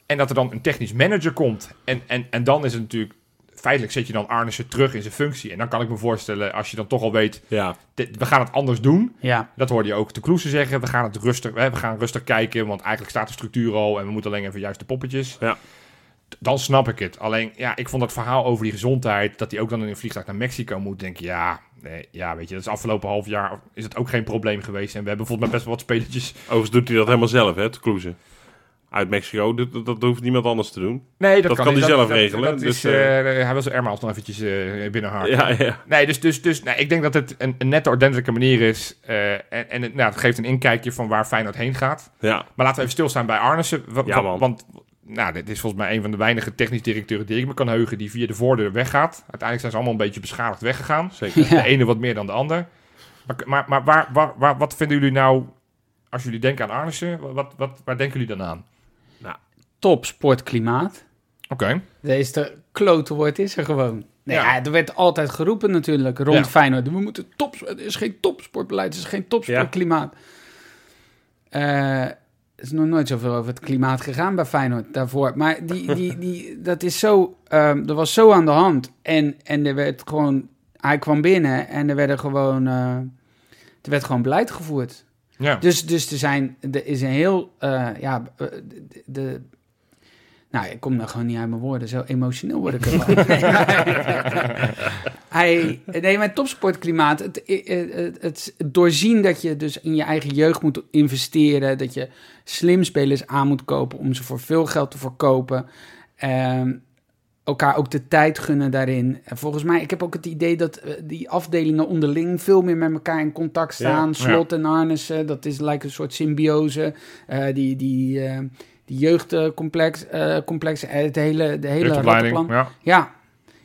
Speaker 2: En dat er dan een technisch manager komt. En, en, en dan is het natuurlijk, feitelijk zet je dan Arnissen terug in zijn functie. En dan kan ik me voorstellen, als je dan toch al weet,
Speaker 1: ja.
Speaker 2: dit- we gaan het anders doen.
Speaker 3: Ja,
Speaker 2: Dat hoorde je ook de Kloesen zeggen. We gaan het rustig, hè, we gaan rustig kijken, want eigenlijk staat de structuur al en we moeten alleen even juist de poppetjes.
Speaker 1: Ja.
Speaker 2: D- Dan snap ik het. Alleen, ja, ik vond dat verhaal over die gezondheid, dat hij ook dan in een vliegtuig naar Mexico moet. Denk ik, ja, nee, ja, weet je, dat is afgelopen half jaar is het ook geen probleem geweest. En we hebben bijvoorbeeld met best wel wat spelertjes.
Speaker 1: Overigens doet hij dat helemaal zelf, hè, te kloezen. Uit Mexico, dat, dat, dat hoeft niemand anders te doen.
Speaker 2: Nee, dat,
Speaker 1: kan hij
Speaker 2: niet.
Speaker 1: zelf regelen,
Speaker 2: Dat, is,
Speaker 1: dus, eh,
Speaker 2: eh, hij wil zijn Erma nog eventjes eh binnenhaken.
Speaker 1: Ja, ja.
Speaker 2: Nee, dus, dus, dus nee, ik denk dat het een, een nette, ordentelijke manier is. eh, en en het, nou, het geeft een inkijkje van waar Feyenoord heen gaat.
Speaker 1: ja.
Speaker 2: Maar laten we even stilstaan bij Arnissen. Wa-
Speaker 1: Ja,
Speaker 2: wa-
Speaker 1: man.
Speaker 2: Want nou, dit is volgens mij een van de weinige technisch directeuren die ik me kan heugen die via de voordeur weggaat. Uiteindelijk zijn ze allemaal een beetje beschadigd weggegaan.
Speaker 1: Zeker.
Speaker 2: De ene wat meer dan de ander. Maar, maar, maar waar, waar, waar- wat vinden jullie nou, als jullie denken aan Arnissen, wa- wat, wat, waar denken jullie dan aan?
Speaker 3: top sportklimaat.
Speaker 2: Oké.
Speaker 3: Deze de klote woord is er gewoon. Nee,
Speaker 2: Ja.
Speaker 3: ja, er werd altijd geroepen natuurlijk rond
Speaker 2: Ja.
Speaker 3: Feyenoord. We moeten top, het is geen topsportbeleid, het is geen topsportklimaat. Eh, er is nog nooit zoveel over het klimaat gegaan bij Feyenoord daarvoor. Maar die, die, die, dat is zo, ehm er was zo aan de hand. En, en er werd gewoon, hij kwam binnen en er, werden gewoon, eh, er werd gewoon beleid gevoerd.
Speaker 2: Ja.
Speaker 3: Dus, dus er, zijn, er is een heel. eh, ja, eh, de, de- nou, ik kom daar gewoon niet uit mijn woorden. Zo emotioneel word ik ervan. Nee, maar- Hij, nee, mijn topsportklimaat. Het, eh, eh, het, het doorzien dat je dus in je eigen jeugd moet investeren. Dat je slim spelers aan moet kopen om ze voor veel geld te verkopen. Ehm, elkaar ook de tijd gunnen daarin. En volgens mij, ik heb ook het idee dat eh, die afdelingen onderling veel meer met elkaar in contact staan. Slot en harnessen, dat is lijkt een soort symbiose. Eh, die die, eh, die jeugdcomplex, eh complex, eh, het hele, de hele
Speaker 2: Jeugdopleiding,
Speaker 3: rattenplan.
Speaker 2: Ja.
Speaker 3: Ja,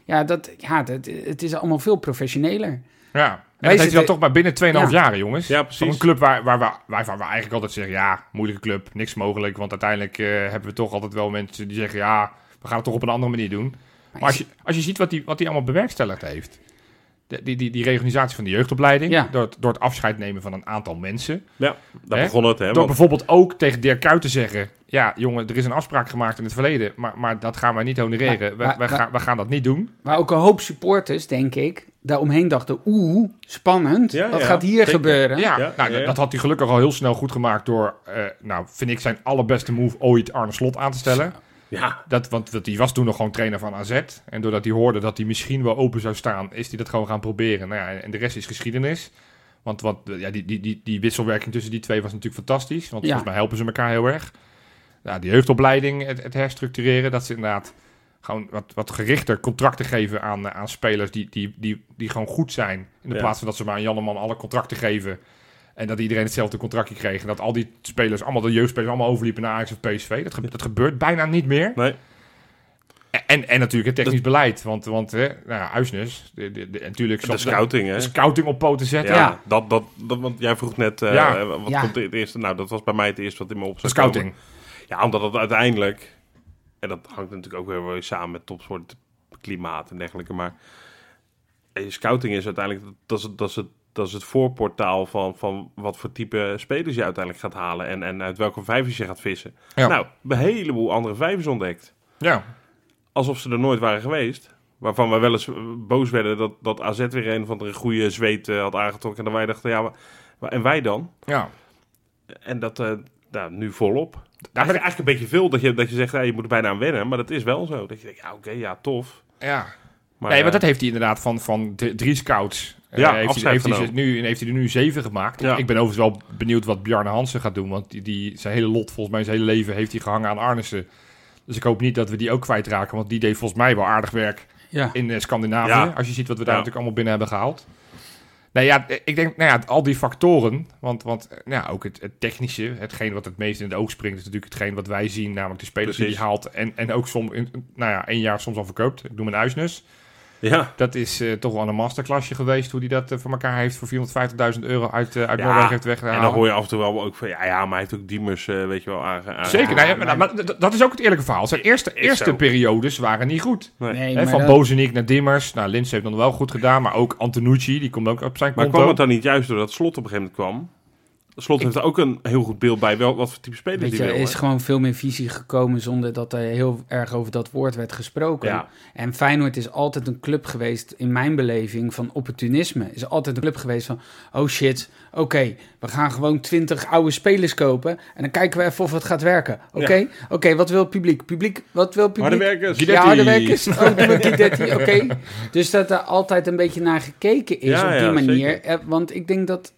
Speaker 3: Ja, dat, ja dat, het is allemaal veel professioneler.
Speaker 2: Ja. En
Speaker 3: Wij
Speaker 2: dat heeft hij dan
Speaker 3: zitten-
Speaker 2: toch maar binnen 2,5
Speaker 3: Ja.
Speaker 2: jaar, jongens.
Speaker 1: Ja, precies.
Speaker 2: Van een club waar, waar, we- waarvan we eigenlijk altijd zeggen, ja, moeilijke club, niks mogelijk. Want uiteindelijk eh, hebben we toch altijd wel mensen die zeggen, ja, we gaan het toch op een andere manier doen. Maar als je, als je ziet wat hij wat die allemaal bewerkstelligd heeft. De- die, die, die reorganisatie van de jeugdopleiding,
Speaker 3: Ja.
Speaker 2: door, het, door het afscheid nemen van een aantal mensen.
Speaker 1: Ja, daar
Speaker 2: Hè?
Speaker 1: begon het, hè?
Speaker 2: Door
Speaker 1: want-
Speaker 2: bijvoorbeeld ook tegen Dirk Kuyt te zeggen... Ja, jongen, er is een afspraak gemaakt in het verleden... maar, maar dat gaan wij niet honoreren.
Speaker 3: Maar-
Speaker 2: we,
Speaker 3: maar-
Speaker 2: we,
Speaker 3: maar-
Speaker 2: gaan, we gaan dat niet doen.
Speaker 3: Waar ook een hoop supporters, denk ik, daaromheen dachten... Oeh, spannend.
Speaker 1: Ja,
Speaker 3: Wat
Speaker 1: ja,
Speaker 3: gaat hier
Speaker 1: zeker.
Speaker 3: gebeuren?
Speaker 2: Ja,
Speaker 1: Ja,
Speaker 2: nou,
Speaker 1: ja, ja.
Speaker 2: dat had hij gelukkig al heel snel goed gemaakt... door, eh, nou, vind ik zijn allerbeste move ooit Arne Slot aan te stellen.
Speaker 1: Ja,
Speaker 2: Dat, want dat, die was toen nog gewoon trainer van AZ. En doordat hij hoorde dat hij misschien wel open zou staan... is hij dat gewoon gaan proberen. Nou ja, en de rest is geschiedenis. Want wat, ja, die, die, die, die wisselwerking tussen die twee was natuurlijk fantastisch. Want
Speaker 3: Ja.
Speaker 2: volgens mij helpen ze elkaar heel erg. Ja, die jeugdopleiding, het, het herstructureren. Dat ze inderdaad gewoon wat, wat gerichter contracten geven aan, eh, aan spelers... Die, die, die, die gewoon goed zijn. In de
Speaker 1: Ja.
Speaker 2: plaats van dat ze maar aan Janneman alle contracten geven... En dat iedereen hetzelfde contractje kreeg. En dat al die spelers, allemaal de jeugdspelers, allemaal overliepen naar Ajax of PSV. Dat, ge- dat gebeurt bijna niet meer.
Speaker 1: nee.
Speaker 2: En, en natuurlijk het technisch beleid. Want, want hè, nou ja, Uisnes, de, de, de- en natuurlijk...
Speaker 1: De scouting, hè? Dus-
Speaker 2: de scouting op poten zetten.
Speaker 1: Ja,
Speaker 3: Ja.
Speaker 1: Dat, dat, dat, want jij vroeg net, eh,
Speaker 2: Ja.
Speaker 1: wat
Speaker 3: Ja.
Speaker 1: komt er het eerste? Nou, dat was bij mij het eerste wat in me
Speaker 2: De
Speaker 1: opzet.
Speaker 2: scouting.
Speaker 1: Ja, omdat het uiteindelijk, en dat hangt natuurlijk ook weer wel samen met topsport, klimaat en dergelijke, maar eh, scouting is uiteindelijk, dat is, het- dat is het, dat is het voorportaal van, van wat voor type spelers je uiteindelijk gaat halen en, en uit welke vijvers je gaat vissen.
Speaker 2: Ja.
Speaker 1: Nou, een heleboel andere vijvers ontdekt.
Speaker 2: Ja.
Speaker 1: Alsof ze er nooit waren geweest. Waarvan we wel eens eh, boos werden dat, dat AZ weer een van de goede zweet eh, had aangetrokken. En wij dachten, ja, maar- maar, en wij dan?
Speaker 2: ja.
Speaker 1: En dat eh, nou, nu volop. Daar ben
Speaker 2: Daar ben
Speaker 1: ik eigenlijk een beetje veel dat je, dat je zegt, ja, je moet er bijna aan wennen. Maar dat is wel zo. Dat je denkt, ja, oké, ja, tof.
Speaker 2: ja.
Speaker 1: Maar,
Speaker 2: nee, want
Speaker 1: eh,
Speaker 2: dat heeft hij inderdaad van, van d- drie scouts. Eh,
Speaker 1: Ja,
Speaker 2: heeft hij,
Speaker 1: afscheid
Speaker 2: heeft, hij ze
Speaker 1: genomen.
Speaker 2: nu, en heeft hij er nu zeven gemaakt.
Speaker 1: Ja.
Speaker 2: Ik ben overigens wel benieuwd wat Bjarne Hansen gaat doen. Want die, die, zijn hele lot, volgens mij zijn hele leven, heeft hij gehangen aan Arnissen. Dus ik hoop niet dat we die ook kwijtraken. Want die deed volgens mij wel aardig werk
Speaker 3: Ja.
Speaker 2: in eh, Scandinavië.
Speaker 1: Ja.
Speaker 2: Als je ziet wat we daar
Speaker 1: Ja.
Speaker 2: natuurlijk allemaal binnen hebben gehaald. Nou ja, eh, ik denk, nou ja, al die factoren. Want, want eh, nou ja, ook het, het technische, hetgeen wat het meest in het oog springt, is natuurlijk hetgeen wat wij zien, namelijk de spelers die
Speaker 1: Precies.
Speaker 2: hij haalt. En, en ook soms, in- nou ja, één jaar soms al verkoopt. Ik noem een Uisnes.
Speaker 1: Ja,
Speaker 2: Dat is eh, toch wel een masterclassje geweest, hoe hij dat eh, voor elkaar heeft voor 450.000 euro uit, eh uit
Speaker 1: Ja,
Speaker 2: Noorwegen heeft
Speaker 1: en
Speaker 2: weggehaald.
Speaker 1: dan hoor je af en toe wel ook van, ja, ja maar hij heeft ook Diemers, eh, weet je wel, aange- aange-
Speaker 2: Zeker, nou ja, maar, maar d- dat is ook het eerlijke verhaal. Zijn eerste, eerste
Speaker 1: zo.
Speaker 2: periodes waren niet goed.
Speaker 3: Nee,
Speaker 2: Hè,
Speaker 3: maar
Speaker 2: van
Speaker 3: dat-
Speaker 2: Bozenik naar Dimmers. Nou, Lins heeft dan wel goed gedaan, maar ook Antonucci, die komt ook op zijn
Speaker 1: Maar
Speaker 2: konto.
Speaker 1: kwam het dan niet juist doordat Slot op een gegeven moment kwam? Slot heeft er ook een heel goed beeld bij wel, wat voor type speler
Speaker 3: Weet
Speaker 1: die
Speaker 3: je,
Speaker 1: wil.
Speaker 3: er is
Speaker 1: hè?
Speaker 3: gewoon veel meer visie gekomen zonder dat er heel erg over dat woord werd gesproken.
Speaker 1: Ja.
Speaker 3: En Feyenoord is altijd een club geweest, in mijn beleving, van opportunisme. Is altijd een club geweest van, oh shit, oké, we gaan gewoon twintig oude spelers kopen. En dan kijken we even of het gaat werken. Oké, oké, wat wil het publiek? Publiek, wat wil het
Speaker 1: Harde
Speaker 3: publiek?
Speaker 1: werkers.
Speaker 3: Ja, harde werkers. Oh, doe maar Guidetti, oké. Dus dat er altijd een beetje naar gekeken is
Speaker 1: Ja,
Speaker 3: op die
Speaker 1: ja,
Speaker 3: manier.
Speaker 1: zeker.
Speaker 3: Eh, Want ik denk dat,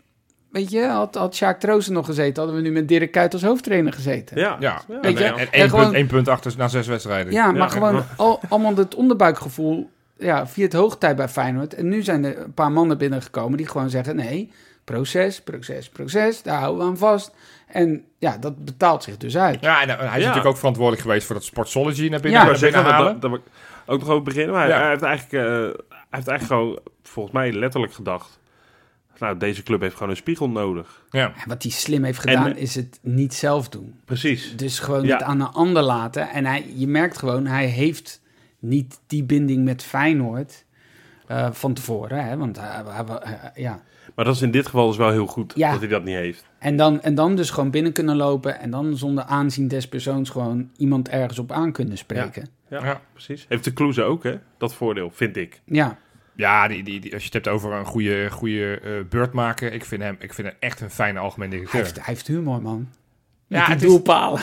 Speaker 3: weet je, had, had Sjaak Troosten nog gezeten, hadden we nu met Dirk Kuyt als hoofdtrainer gezeten.
Speaker 1: Ja,
Speaker 2: Ja,
Speaker 1: Ja,
Speaker 3: Weet je,
Speaker 1: nou
Speaker 2: en
Speaker 1: ja.
Speaker 2: één punt,
Speaker 3: gewoon-
Speaker 2: één punt achter na zes wedstrijden.
Speaker 3: Ja, maar
Speaker 1: Ja.
Speaker 3: gewoon al, allemaal het onderbuikgevoel ja, via het hoogtij bij Feyenoord. En nu zijn er een paar mannen binnengekomen die gewoon zeggen... nee, proces, proces, proces, daar houden we aan vast. En ja, dat betaalt zich dus uit.
Speaker 2: Ja, en eh, hij is
Speaker 1: Ja.
Speaker 2: natuurlijk ook verantwoordelijk geweest voor dat Sportsology naar binnen,
Speaker 3: Ja.
Speaker 1: Ik wou
Speaker 2: naar binnen
Speaker 1: zeggen, dat-
Speaker 2: halen.
Speaker 1: dat- dat we ook nog over beginnen. Maar hij,
Speaker 2: Ja.
Speaker 1: hij heeft eigenlijk, eh, hij heeft eigenlijk gewoon, volgens mij, letterlijk gedacht. Nou, deze club heeft gewoon een spiegel nodig.
Speaker 2: Ja.
Speaker 3: En wat hij slim heeft gedaan,
Speaker 1: En-
Speaker 3: is het niet zelf doen.
Speaker 1: Precies.
Speaker 3: Dus gewoon
Speaker 1: Ja.
Speaker 3: het aan een ander laten. En hij, je merkt gewoon, hij heeft niet die binding met Feyenoord... eh, van tevoren, hè? want hij- hij- hij- ja,
Speaker 1: Maar dat is in dit geval dus wel heel goed
Speaker 3: Ja.
Speaker 1: dat hij dat niet heeft.
Speaker 3: En dan, en dan dus gewoon binnen kunnen lopen en dan zonder aanzien des persoons gewoon iemand ergens op aan kunnen spreken.
Speaker 1: Ja.
Speaker 2: Ja.
Speaker 1: Precies. Heeft de Kloeze ook, hè? Dat voordeel, vind ik.
Speaker 3: Ja,
Speaker 2: Ja, die, die, die- als je het hebt over een goede, goede eh, beurt maken, ik vind, hem, ik vind hem echt een fijne algemeen
Speaker 3: Hij,
Speaker 2: directeur.
Speaker 3: heeft, hij heeft humor, man. Met
Speaker 2: Ja,
Speaker 3: die
Speaker 2: het is-
Speaker 3: doelpalen.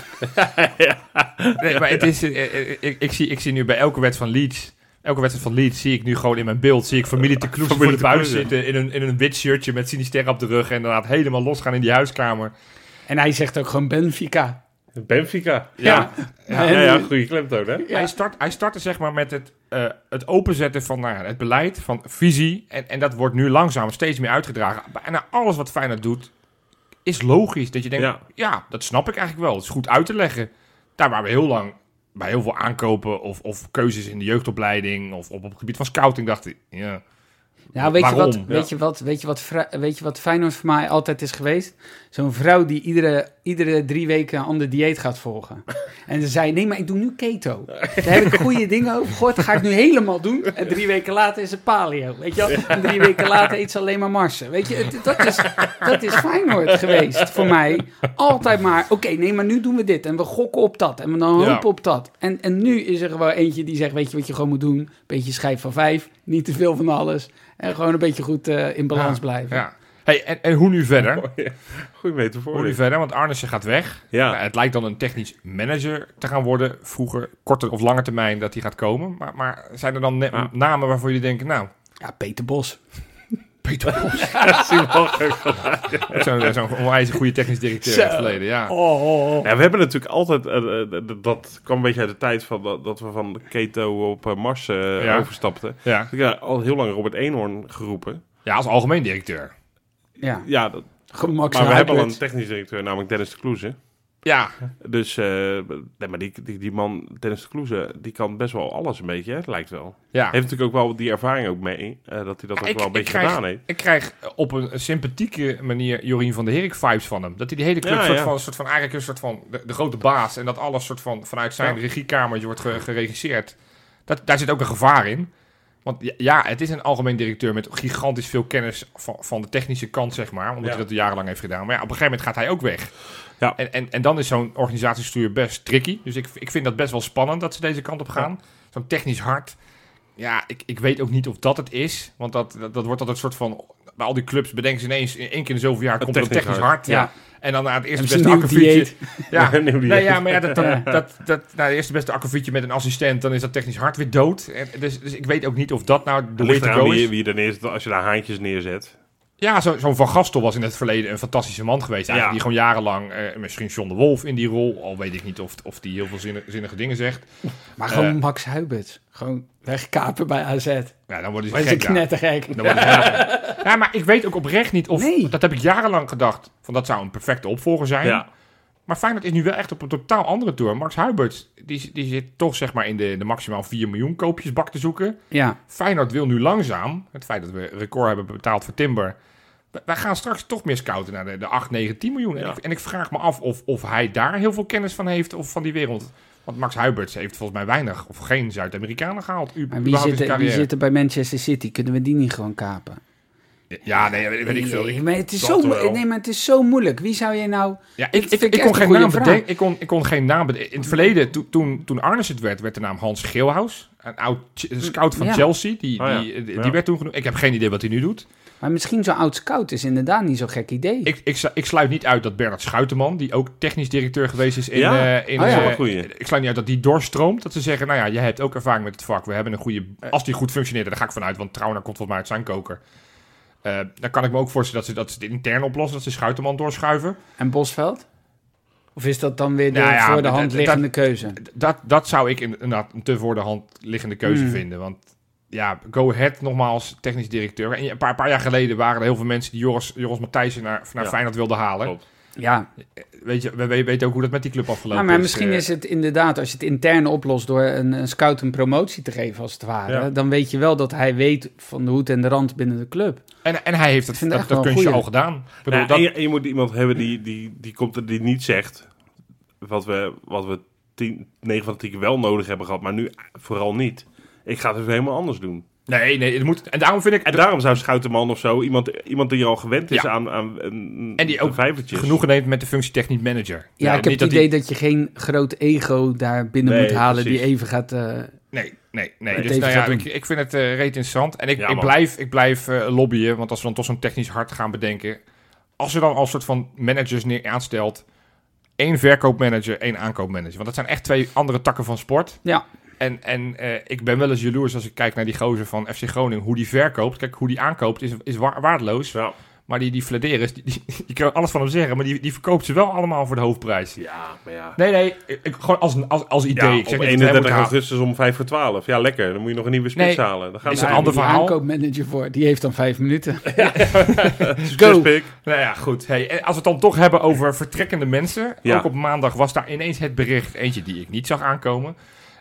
Speaker 2: Nee, maar het is, eh, eh, ik, ik, zie, ik zie nu bij elke wedstrijd van Leeds, elke wedstrijd van Leeds zie ik nu gewoon in mijn beeld, zie ik familie te kloes voor
Speaker 1: Familie
Speaker 2: de
Speaker 1: Te
Speaker 2: buis
Speaker 1: Kloeze.
Speaker 2: zitten in een, in een wit shirtje met Sinister op de rug en inderdaad helemaal losgaan in die huiskamer.
Speaker 3: En hij zegt ook gewoon Benfica.
Speaker 1: Benfica.
Speaker 3: Ja.
Speaker 1: Ja, ja, ja, goede klemtoon, hè?
Speaker 2: Hij, start, hij startte zeg maar met het, eh, het openzetten van nou ja, het beleid, van visie. En, en dat wordt nu langzaam steeds meer uitgedragen. Bijna alles wat Feyenoord doet, is logisch. Dat je denkt,
Speaker 1: Ja.
Speaker 2: ja, dat snap ik eigenlijk wel. Het is goed uit te leggen. Daar waar we heel lang bij heel veel aankopen of, of keuzes in de jeugdopleiding of op, op het gebied van scouting dacht ik, ja,
Speaker 3: Nou, weet,
Speaker 2: Waarom?
Speaker 3: Je wat,
Speaker 2: Ja.
Speaker 3: weet, je wat, weet, je wat, vrou- weet je wat Feyenoord voor mij altijd is geweest? Zo'n vrouw die iedere, iedere drie weken een ander dieet gaat volgen. En ze zei, nee, maar ik doe nu keto. Daar heb ik goede dingen over gehoord, dat ga ik nu helemaal doen. En drie weken later is het paleo, weet je wel? En drie weken later eet ze alleen maar marsen. Weet je, het- dat is, dat is Feyenoord geweest voor mij. Altijd maar, oké, nee, maar nu doen we dit. En we gokken op dat. En we dan hopen
Speaker 2: Ja.
Speaker 3: op dat. En, en nu is er gewoon eentje die zegt, weet je wat je gewoon moet doen? Beetje schijf van vijf, niet te veel van alles. En gewoon een beetje goed eh, in balans blijven.
Speaker 2: ja. Hey, en, en hoe nu verder?
Speaker 1: Goed weten voor
Speaker 2: Hoe nu
Speaker 1: dit.
Speaker 2: verder? Want Arnissen gaat weg.
Speaker 1: Ja.
Speaker 2: Nou, het lijkt dan een technisch manager te gaan worden. Vroeger, korte of lange termijn, dat die gaat komen. Maar, maar zijn er dan ne-
Speaker 1: Ja.
Speaker 2: namen waarvoor jullie denken, nou,
Speaker 3: Ja, Peter Bos.
Speaker 2: Peter Bos.
Speaker 1: Simon heeft
Speaker 2: Zo'n zo'n onwijs goede technisch directeur in het
Speaker 3: Zo.
Speaker 2: verleden, ja.
Speaker 3: Oh, oh, oh.
Speaker 1: Ja, we hebben natuurlijk altijd, eh, eh, d- dat kwam een beetje uit de tijd van dat, dat we van keto op eh, Mars eh,
Speaker 2: Ja.
Speaker 1: overstapten.
Speaker 2: ja.
Speaker 1: Ik heb al heel lang Robert Eenhoorn geroepen.
Speaker 2: Ja, als algemeen directeur.
Speaker 3: Ja,
Speaker 1: Ja, dat,
Speaker 3: gemak
Speaker 1: maar we hebben al een technisch directeur, namelijk Dennis de Kloeze.
Speaker 2: Ja,
Speaker 1: Dus, eh, nee, maar die, die, die man, Dennis de Kloeze, die kan best wel alles een beetje, hè, het lijkt wel.
Speaker 2: ja.
Speaker 1: Heeft natuurlijk ook wel die ervaring ook mee, eh, dat hij dat ook wel een beetje
Speaker 2: krijg,
Speaker 1: gedaan heeft.
Speaker 2: Ik krijg op een sympathieke manier Jorien van der Herik vibes van hem. Dat hij die hele club
Speaker 1: Ja,
Speaker 2: soort,
Speaker 1: ja.
Speaker 2: Van, soort van eigenlijk een soort van de, de grote baas. En dat alles soort van vanuit zijn
Speaker 1: Ja.
Speaker 2: regiekamertje wordt ge- geregisseerd. Dat, daar zit ook een gevaar in. Want ja, ja, het is een algemeen directeur met gigantisch veel kennis van, van de technische kant, zeg maar. Omdat
Speaker 1: Ja.
Speaker 2: hij dat jarenlang heeft gedaan. Maar ja, op een gegeven moment gaat hij ook weg.
Speaker 1: Ja.
Speaker 2: En, en, en dan is zo'n organisatiestuur best tricky. Dus ik, ik vind dat best wel spannend dat ze deze kant op gaan. Zo'n technisch hart. Ja, ik, ik weet ook niet of dat het is. Want dat, dat, dat wordt altijd een soort van... Bij al die clubs bedenken ze ineens... In één keer in zoveel jaar komt er een
Speaker 1: technisch
Speaker 2: technisch hart.
Speaker 3: Ja.
Speaker 2: ja. En dan na het eerste
Speaker 3: Hebben ze
Speaker 2: beste
Speaker 3: een nieuw
Speaker 2: akkefietje...
Speaker 3: dieet?
Speaker 2: Ja,
Speaker 1: Een nieuw
Speaker 2: nou
Speaker 1: dieet.
Speaker 2: ja, maar ja, dat, dat,
Speaker 3: Ja.
Speaker 2: dat, dat, na het eerste beste akkefietje met een assistent... dan is dat technisch hart weer dood. En, dus, dus ik weet ook niet of dat nou de way
Speaker 1: Ligt
Speaker 2: to
Speaker 1: eraan
Speaker 2: go
Speaker 1: wie,
Speaker 2: is.
Speaker 1: wie je er neerzet, als je daar haantjes neerzet.
Speaker 2: Ja, zo- zo'n Van Gastel was in het verleden een fantastische man geweest. eigenlijk,
Speaker 1: Ja.
Speaker 2: Die gewoon jarenlang... eh, misschien John de Wolf in die rol. Al weet ik niet of, of die heel veel zinnige, zinnige dingen zegt.
Speaker 3: Maar gewoon
Speaker 2: Eh.
Speaker 3: Max Huibert. Gewoon wegkapen bij AZ.
Speaker 2: Ja, dan worden ze
Speaker 3: Maar is een
Speaker 2: gek daar.
Speaker 3: knettergek.
Speaker 2: Dan wordt het helemaal- ja, maar ik weet ook oprecht niet of...
Speaker 3: Nee.
Speaker 2: Dat heb ik jarenlang gedacht. Van dat zou een perfecte opvolger zijn.
Speaker 1: Ja.
Speaker 2: Maar Feyenoord is nu wel echt op een totaal andere tour. Max Huibert, die, die zit toch zeg maar in de, de maximaal 4 miljoen koopjesbak te zoeken.
Speaker 3: Ja,
Speaker 2: Feyenoord wil nu langzaam... Het feit dat we record hebben betaald voor Timber... wij- Wij gaan straks toch meer scouten naar de, de 8, 9, 10 miljoen. En,
Speaker 1: Ja.
Speaker 2: ik, en ik vraag me af of, of hij daar heel veel kennis van heeft of van die wereld. Want Max Huiberts heeft volgens mij weinig of geen Zuid-Amerikanen gehaald. u-
Speaker 3: maar wie
Speaker 2: überhaupt in
Speaker 3: zit,
Speaker 2: zijn
Speaker 3: er, wie
Speaker 2: carrière.
Speaker 3: zit er bij Manchester City? Kunnen we die niet gewoon kapen?
Speaker 2: Ja, nee, weet, weet ik veel. Ik-
Speaker 3: Nee, maar het is
Speaker 1: dacht
Speaker 3: zo, mo-
Speaker 1: wel.
Speaker 3: nee, maar het is zo moeilijk. Wie zou je nou...
Speaker 2: Ja,
Speaker 3: Dat
Speaker 2: ik, ik,
Speaker 3: vind
Speaker 2: ik,
Speaker 3: ik echt
Speaker 2: kon
Speaker 3: een
Speaker 2: geen
Speaker 3: goede
Speaker 2: naam
Speaker 3: vraag.
Speaker 2: bedenken. Ik kon, ik kon geen naam bedenken. In het verleden, toen toen, toen Arnes het werd, werd de naam Hans Geelhuis. Een oud ch- een scout van
Speaker 3: Mm, Ja.
Speaker 2: Chelsea. Die,
Speaker 1: Oh ja.
Speaker 2: die, die,
Speaker 1: Ja.
Speaker 2: werd toen genoemd. Ik heb geen idee wat hij nu doet.
Speaker 3: Maar misschien zo'n oud scout is inderdaad niet zo'n gek idee.
Speaker 2: Ik, ik, slu- ik sluit niet uit dat Bernard Schuiteman, die ook technisch directeur geweest is in...
Speaker 1: Ja?
Speaker 2: eh, in
Speaker 1: Oh ja.
Speaker 2: eh,
Speaker 1: Wel een goeie.
Speaker 2: ik sluit niet uit dat die doorstroomt. Dat ze zeggen, nou ja, jij hebt ook ervaring met het vak. We hebben een goede... Als die goed functioneert, daar ga ik vanuit. Want Trauner komt volgens mij uit zijn koker. Eh, dan kan ik me ook voorstellen dat ze, dat ze het intern oplossen. Dat ze Schuiteman doorschuiven.
Speaker 3: En Bosveld? Of is dat dan weer de
Speaker 2: Nou ja,
Speaker 3: voor de
Speaker 2: maar
Speaker 3: hand
Speaker 2: dat-
Speaker 3: liggende keuze?
Speaker 2: Dat, dat zou ik inderdaad een te voor de hand liggende keuze
Speaker 3: Hmm.
Speaker 2: vinden. Want ja, go ahead nogmaals, technisch directeur. En een paar, paar jaar geleden waren er heel veel mensen die Joris, Joris Matthijssen naar, naar
Speaker 1: Ja.
Speaker 2: Feyenoord wilden halen.
Speaker 1: Klopt.
Speaker 3: Ja,
Speaker 2: Weet je, we, we weten ook hoe dat met die club afgelopen
Speaker 3: Ja,
Speaker 2: is.
Speaker 3: maar misschien
Speaker 2: Eh,
Speaker 3: is het inderdaad, als je het intern oplost door een, een scout een promotie te geven, als het ware,
Speaker 1: Ja.
Speaker 3: dan weet je wel dat hij weet van de hoed en de rand binnen de club.
Speaker 2: En, en hij heeft
Speaker 3: Ik
Speaker 2: het,
Speaker 3: vind
Speaker 2: dat,
Speaker 3: het
Speaker 2: dat
Speaker 3: echt wel
Speaker 2: kunstje
Speaker 3: een
Speaker 2: al gedaan. Ik bedoel,
Speaker 1: Nou,
Speaker 2: dat,
Speaker 1: en, je, en je moet iemand hebben die, die, die, komt er, die niet zegt wat we, wat we tien, 9 van de 10 keer wel nodig hebben gehad, maar nu vooral niet. Ik ga het even helemaal anders doen.
Speaker 2: nee, nee, het moet... En daarom vind ik...
Speaker 1: En daarom zou Schouterman of zo, iemand, iemand die er al gewend is
Speaker 2: Ja.
Speaker 1: aan, aan eh, een,
Speaker 2: En die ook
Speaker 1: vijvertjes.
Speaker 2: genoegen neemt met de functie technisch manager.
Speaker 3: Ja, ik heb
Speaker 2: niet
Speaker 3: het
Speaker 2: dat
Speaker 3: idee
Speaker 2: die-
Speaker 3: dat je geen groot ego daar binnen
Speaker 1: Nee,
Speaker 3: moet halen
Speaker 1: precies.
Speaker 3: die even gaat. eh,
Speaker 2: Nee, nee, nee.
Speaker 3: het
Speaker 2: Dus
Speaker 3: even
Speaker 2: nou ja,
Speaker 3: gaat doen.
Speaker 2: ik, ik vind het eh reet interessant. En ik,
Speaker 1: Ja,
Speaker 2: ik
Speaker 1: man.
Speaker 2: blijf, ik blijf eh, lobbyen, want als we dan toch zo'n technisch hart gaan bedenken... Als je dan als soort van managers neer aanstelt... één verkoopmanager, één aankoopmanager. Want dat zijn echt twee andere takken van sport.
Speaker 3: Ja.
Speaker 2: En, en eh, ik ben wel eens jaloers als ik kijk naar die gozer van FC Groningen, hoe die verkoopt. Kijk, hoe die aankoopt is, is wa- waardeloos.
Speaker 1: Ja.
Speaker 2: Maar die, die Fladeris, die, die, die kan alles van hem zeggen, maar die, die verkoopt ze wel allemaal voor de hoofdprijs.
Speaker 1: Ja, maar ja.
Speaker 2: Nee, nee, ik, ik- gewoon als, een- als, als idee.
Speaker 1: Ja,
Speaker 2: ik zeg
Speaker 1: op
Speaker 2: niet dat hij moet
Speaker 1: 31
Speaker 2: halen.
Speaker 1: augustus om 5 voor 12. Ja, lekker. Dan moet je nog een nieuwe spits
Speaker 2: Nee,
Speaker 1: halen. Dan gaat
Speaker 2: is
Speaker 1: het
Speaker 2: een ander
Speaker 3: die
Speaker 2: verhaal.
Speaker 3: aankoopmanager voor, die heeft dan vijf minuten.
Speaker 1: Succes, Pik.
Speaker 2: Nou ja, goed. Hey, en als we het dan toch hebben over vertrekkende mensen.
Speaker 1: Ja.
Speaker 2: Ook op maandag was daar ineens het bericht, eentje die ik niet zag aankomen.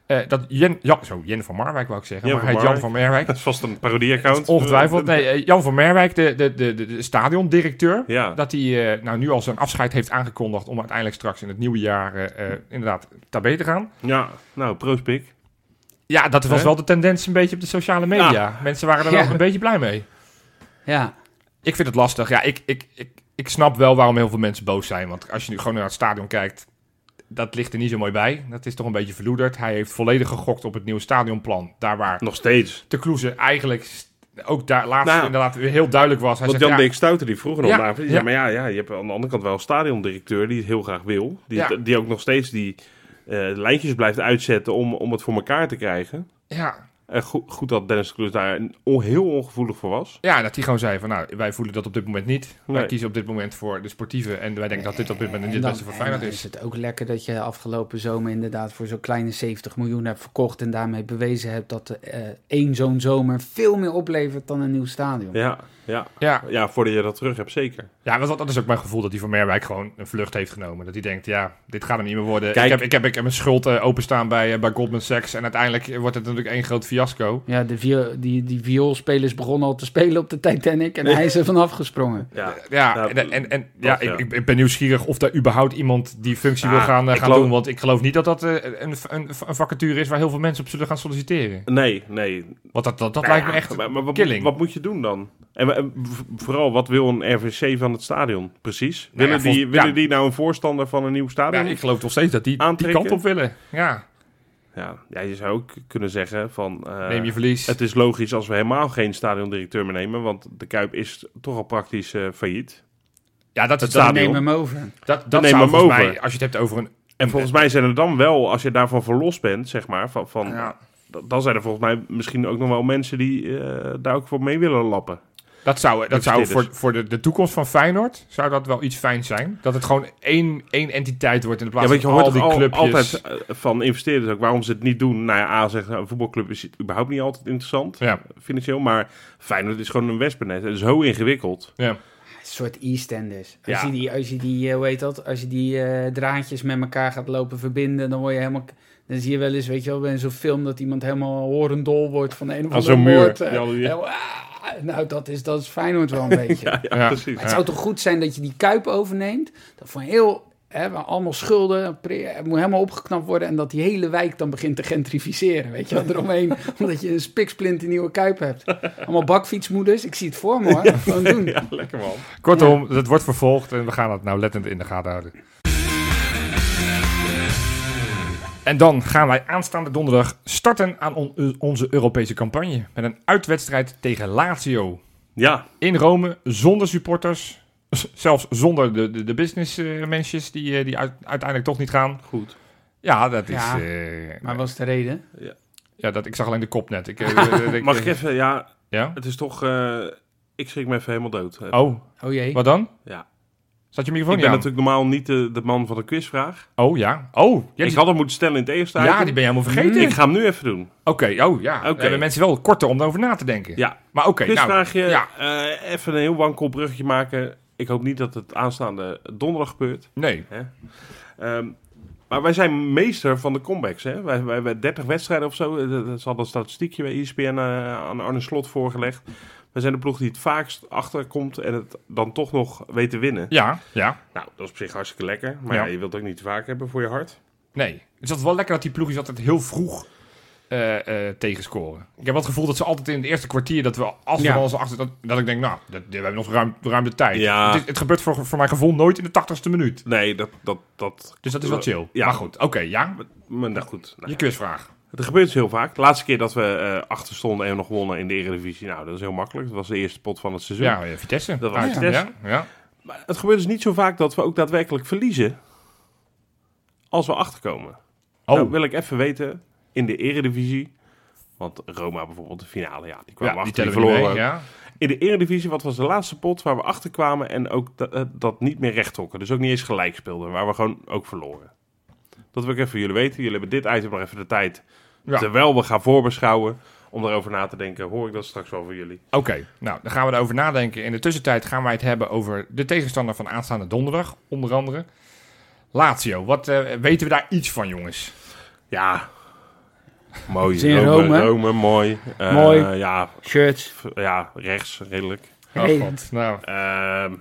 Speaker 2: eh, dat Jen, Jan, zo, Jen van Marwijk wou ik zeggen,
Speaker 1: Jan
Speaker 2: maar
Speaker 1: van
Speaker 2: hij heet Jan van
Speaker 1: Marwijk.
Speaker 2: Merwijk.
Speaker 1: Dat is vast een parodie-account.
Speaker 2: Ongetwijfeld. Nee, eh, Jan van Merwijk, de, de, de, de, de stadiondirecteur.
Speaker 1: Ja.
Speaker 2: Dat hij eh, nou, nu al zijn afscheid heeft aangekondigd om uiteindelijk straks in het nieuwe jaar eh, eh, inderdaad tabé te gaan.
Speaker 1: Ja, nou, proost, Pik.
Speaker 2: Ja, dat was
Speaker 1: Hè?
Speaker 2: wel de tendens een beetje op de sociale media. Mensen waren er
Speaker 3: Ja.
Speaker 2: wel een beetje blij mee.
Speaker 3: Ja,
Speaker 2: Ik vind het lastig. Ja, ik, ik, ik, ik snap wel waarom heel veel mensen boos zijn. Want als je nu gewoon naar het stadion kijkt, dat ligt er niet zo mooi bij. Dat is toch een beetje verloederd. Hij heeft volledig gegokt op het nieuwe stadionplan. Daar waar
Speaker 1: Nog steeds.
Speaker 2: de Kloeze eigenlijk st- ook daar laatst
Speaker 1: Nou,
Speaker 2: inderdaad weer heel duidelijk was. Hij
Speaker 1: Want
Speaker 2: zegt,
Speaker 1: Jan
Speaker 2: ja,
Speaker 1: Dirk Stouter die vroeger nog
Speaker 2: Ja,
Speaker 1: naar- ja,
Speaker 2: ja.
Speaker 1: maar ja, ja, je hebt aan de andere kant wel een stadiondirecteur die het heel graag wil. Die,
Speaker 2: Ja.
Speaker 1: die ook nog steeds die eh, lijntjes blijft uitzetten om, om het voor elkaar te krijgen.
Speaker 2: ja,
Speaker 1: En goed, goed dat Dennis Kloes daar on- heel ongevoelig voor was.
Speaker 2: ja, dat hij gewoon zei van, nou, wij voelen dat op dit moment niet.
Speaker 1: Nee.
Speaker 2: Wij kiezen op dit moment voor de sportieve. En wij denken dat dit op dit moment
Speaker 3: En
Speaker 2: het
Speaker 3: dan-
Speaker 2: beste voor
Speaker 3: en dan
Speaker 2: Feyenoord
Speaker 3: is
Speaker 2: is.
Speaker 3: het ook lekker dat je afgelopen zomer inderdaad voor zo'n kleine 70 miljoen hebt verkocht. En daarmee bewezen hebt dat eh één zo'n zomer veel meer oplevert dan een nieuw stadion.
Speaker 1: Ja, ja.
Speaker 2: Ja,
Speaker 1: ja, voordat je dat terug hebt, zeker.
Speaker 2: ja want dat- dat is ook mijn gevoel dat hij van Merwijk gewoon een vlucht heeft genomen. Dat hij denkt, ja, dit gaat hem niet meer worden.
Speaker 1: Kijk.
Speaker 2: Ik, heb, ik, heb, ik heb een schuld eh, openstaan bij, eh, bij Goldman Sachs. En uiteindelijk wordt het natuurlijk één groot fiasco.
Speaker 3: Ja, de vi die, die vioolspelers begonnen al te spelen op de Titanic en hij is er vanaf gesprongen.
Speaker 1: Ja.
Speaker 2: Ja,
Speaker 1: Nou,
Speaker 2: en, en, en
Speaker 1: dat,
Speaker 2: ja,
Speaker 1: ja.
Speaker 2: Ik, ik- ik ben nieuwsgierig of daar überhaupt iemand die functie
Speaker 1: Ah,
Speaker 2: wil gaan, eh,
Speaker 1: ik
Speaker 2: gaan
Speaker 1: geloof-
Speaker 2: doen. Want ik geloof niet dat dat eh, een, een, een vacature is waar heel veel mensen op zullen gaan solliciteren.
Speaker 1: Nee, nee.
Speaker 2: Want dat, dat, dat
Speaker 1: Nou
Speaker 2: lijkt me
Speaker 1: ja,
Speaker 2: echt
Speaker 1: maar, maar wat,
Speaker 2: killing.
Speaker 1: Wat moet je doen dan? En, wa- en v- vooral, wat wil een RVC van het stadion? Precies. Willen,
Speaker 2: Nou ja, vol-
Speaker 1: die, willen
Speaker 2: ja.
Speaker 1: die nou een voorstander van een nieuw
Speaker 2: Ja,
Speaker 1: stadion? Ja,
Speaker 2: ik geloof nog steeds dat die, die
Speaker 1: Aantrekken.
Speaker 2: kant op willen. Ja,
Speaker 1: ja, je zou ook kunnen zeggen van... eh,
Speaker 2: neem je verlies.
Speaker 1: Het is logisch als we helemaal geen stadiondirecteur meer nemen, want de Kuip is toch al praktisch eh, failliet.
Speaker 2: ja, dat,
Speaker 1: het staat-
Speaker 2: dat, dat,
Speaker 1: Stadion.
Speaker 3: Neem hem over.
Speaker 2: dat
Speaker 1: neem
Speaker 2: zou
Speaker 1: hem
Speaker 2: volgens
Speaker 1: over.
Speaker 2: mij, als je het hebt over een...
Speaker 1: En volgens mij zijn er dan wel, als je daarvan verlost bent, zeg maar, van, van,
Speaker 2: Ja,
Speaker 1: d- dan zijn er volgens mij misschien ook nog wel mensen die eh, daar ook voor mee willen lappen.
Speaker 2: dat zou, dat zou
Speaker 1: Investeerders.
Speaker 2: voor, voor de, de toekomst van Feyenoord zou dat wel iets fijn zijn. Dat het gewoon één, één entiteit wordt in de
Speaker 1: Ja,
Speaker 2: plaats
Speaker 1: want je
Speaker 2: van al
Speaker 1: hoort
Speaker 2: die
Speaker 1: al-
Speaker 2: clubjes.
Speaker 1: altijd eh, van investeerders ook waarom ze het niet doen. Nou ja, A zegt, nou, een voetbalclub is überhaupt niet altijd interessant,
Speaker 2: Ja,
Speaker 1: financieel. Maar Feyenoord is gewoon een wespennet. Het is zo ingewikkeld.
Speaker 2: ja.
Speaker 3: Een soort EastEnders. Als,
Speaker 1: Ja.
Speaker 3: je die, als je die, eh, hoe heet dat, als je die eh, draadjes met elkaar gaat lopen verbinden, dan word je helemaal... Dan zie je wel eens, weet je wel, bij zo'n film dat iemand helemaal horendol wordt van de een of
Speaker 1: Als
Speaker 3: andere
Speaker 1: een muur.
Speaker 3: moord, eh,
Speaker 1: Ja, die-
Speaker 3: helemaal, ah, nou, dat is, dat is Feyenoord wel een beetje.
Speaker 1: Ja,
Speaker 2: Ja.
Speaker 1: precies.
Speaker 3: Maar het zou toch goed zijn dat je die kuip overneemt? Dat van heel, hè, waar allemaal schulden, pre- het moet helemaal opgeknapt worden. En dat die hele wijk dan begint te gentrificeren. Weet je wel, eromheen. omdat je een spiksplinter nieuwe kuip hebt. Allemaal bakfietsmoeders, ik zie het voor me hoor. Gewoon doen.
Speaker 1: Ja, lekker man.
Speaker 2: Kortom, het wordt vervolgd en we gaan het nou lettend in de gaten houden. En dan gaan wij aanstaande donderdag starten aan on- onze Europese campagne. Met een uitwedstrijd tegen Lazio.
Speaker 1: Ja,
Speaker 2: In Rome, zonder supporters. Z- Zelfs zonder de, de, de businessmensjes die, eh, die uit- uiteindelijk toch niet gaan.
Speaker 1: goed.
Speaker 2: Ja, dat is...
Speaker 3: Ja,
Speaker 2: eh,
Speaker 3: Maar wat is de reden?
Speaker 2: ja, dat, ik zag alleen de kop net. Ik, eh,
Speaker 1: Mag ik even, ja,
Speaker 2: Ja?
Speaker 1: het is toch... eh, ik schrik me even helemaal dood. Eh,
Speaker 2: Oh,
Speaker 3: Oh jee.
Speaker 2: wat dan?
Speaker 1: Ja.
Speaker 2: Zat je
Speaker 1: Ik
Speaker 2: microfoon
Speaker 1: ben
Speaker 2: niet aan?
Speaker 1: natuurlijk normaal niet de, de man van de quizvraag.
Speaker 2: Oh, ja. Oh, jij
Speaker 1: ik had hem moeten stellen in het eerste
Speaker 2: Ja,
Speaker 1: item.
Speaker 2: die ben je helemaal vergeten.
Speaker 1: Ik ga hem nu even doen.
Speaker 2: Oké, oh ja.
Speaker 1: Oké.
Speaker 2: Dan hebben mensen wel korter om erover na te denken.
Speaker 1: Ja,
Speaker 2: Maar oké, nou.
Speaker 1: quizvraagje.
Speaker 2: ja.
Speaker 1: eh, even een heel wankel bruggetje maken. Ik hoop niet dat het aanstaande donderdag gebeurt.
Speaker 2: Nee.
Speaker 1: Ehm, maar wij zijn meester van de comebacks. Hè? Wij, wij hebben 30 wedstrijden of zo. Eh, Dat is al dat statistiekje bij ESPN eh, aan Arne Slot voorgelegd. Wij zijn de ploeg die het vaakst achterkomt en het dan toch nog weet te winnen.
Speaker 2: Ja, ja.
Speaker 1: Nou, dat is op zich hartstikke lekker. Maar
Speaker 2: Ja.
Speaker 1: ja, je wilt het ook niet te vaak hebben voor je hart.
Speaker 2: Nee. Het is altijd wel lekker dat die ploegjes altijd heel vroeg eh, eh, tegenscoren. Ik heb wel het gevoel dat ze altijd in het eerste kwartier, dat we als
Speaker 3: Ja.
Speaker 2: we wel eens achter, dat, dat ik denk, nou, dat, we hebben nog ruim, ruim de tijd.
Speaker 1: Ja.
Speaker 2: Het, is- het gebeurt voor, voor mijn gevoel nooit in de tachtigste minuut.
Speaker 1: Nee, dat, dat, dat
Speaker 2: Dus dat is wel chill.
Speaker 1: Eh, Ja.
Speaker 2: Maar goed, oké, ja.
Speaker 1: Maar nou goed, nou,
Speaker 2: Je quizvraag.
Speaker 1: het gebeurt dus heel vaak. De laatste keer dat we eh, achter stonden en we nog wonnen in de Eredivisie, nou, dat is heel makkelijk. Dat was de eerste pot van het seizoen.
Speaker 2: Ja, eh, Vitesse.
Speaker 1: Dat was
Speaker 2: Uit.
Speaker 1: Vitesse.
Speaker 2: Ja, ja.
Speaker 1: Maar het gebeurt dus niet zo vaak dat we ook daadwerkelijk verliezen als we achterkomen.
Speaker 2: Oh,
Speaker 1: Nou wil ik even weten, in de Eredivisie, want Roma bijvoorbeeld, de finale, ja, die kwam
Speaker 2: ja, die
Speaker 1: achter, die
Speaker 2: tellen we niet
Speaker 1: verloren.
Speaker 2: mee, ja.
Speaker 1: in de Eredivisie, wat was de laatste pot waar we achter kwamen en ook da- eh, dat niet meer recht trokken. Dus ook niet eens gelijk speelden, waar we gewoon ook verloren. Dat wil ik even voor jullie weten. Jullie hebben dit item nog even de tijd,
Speaker 2: Ja.
Speaker 1: terwijl we gaan voorbeschouwen, om erover na te denken. Hoor ik dat straks wel van jullie.
Speaker 2: Oké, nou, dan gaan we erover nadenken. In de tussentijd gaan wij het hebben over de tegenstander van aanstaande donderdag, onder andere. Lazio, wat eh, weten we daar iets van, jongens?
Speaker 1: Ja, mooi.
Speaker 3: Zin in Rome.
Speaker 1: Rome, mooi. Eh,
Speaker 3: Mooi.
Speaker 1: Ja,
Speaker 3: Shirts.
Speaker 1: f- ja, rechts, redelijk.
Speaker 3: Hey.
Speaker 2: god, nou,
Speaker 1: Ehm,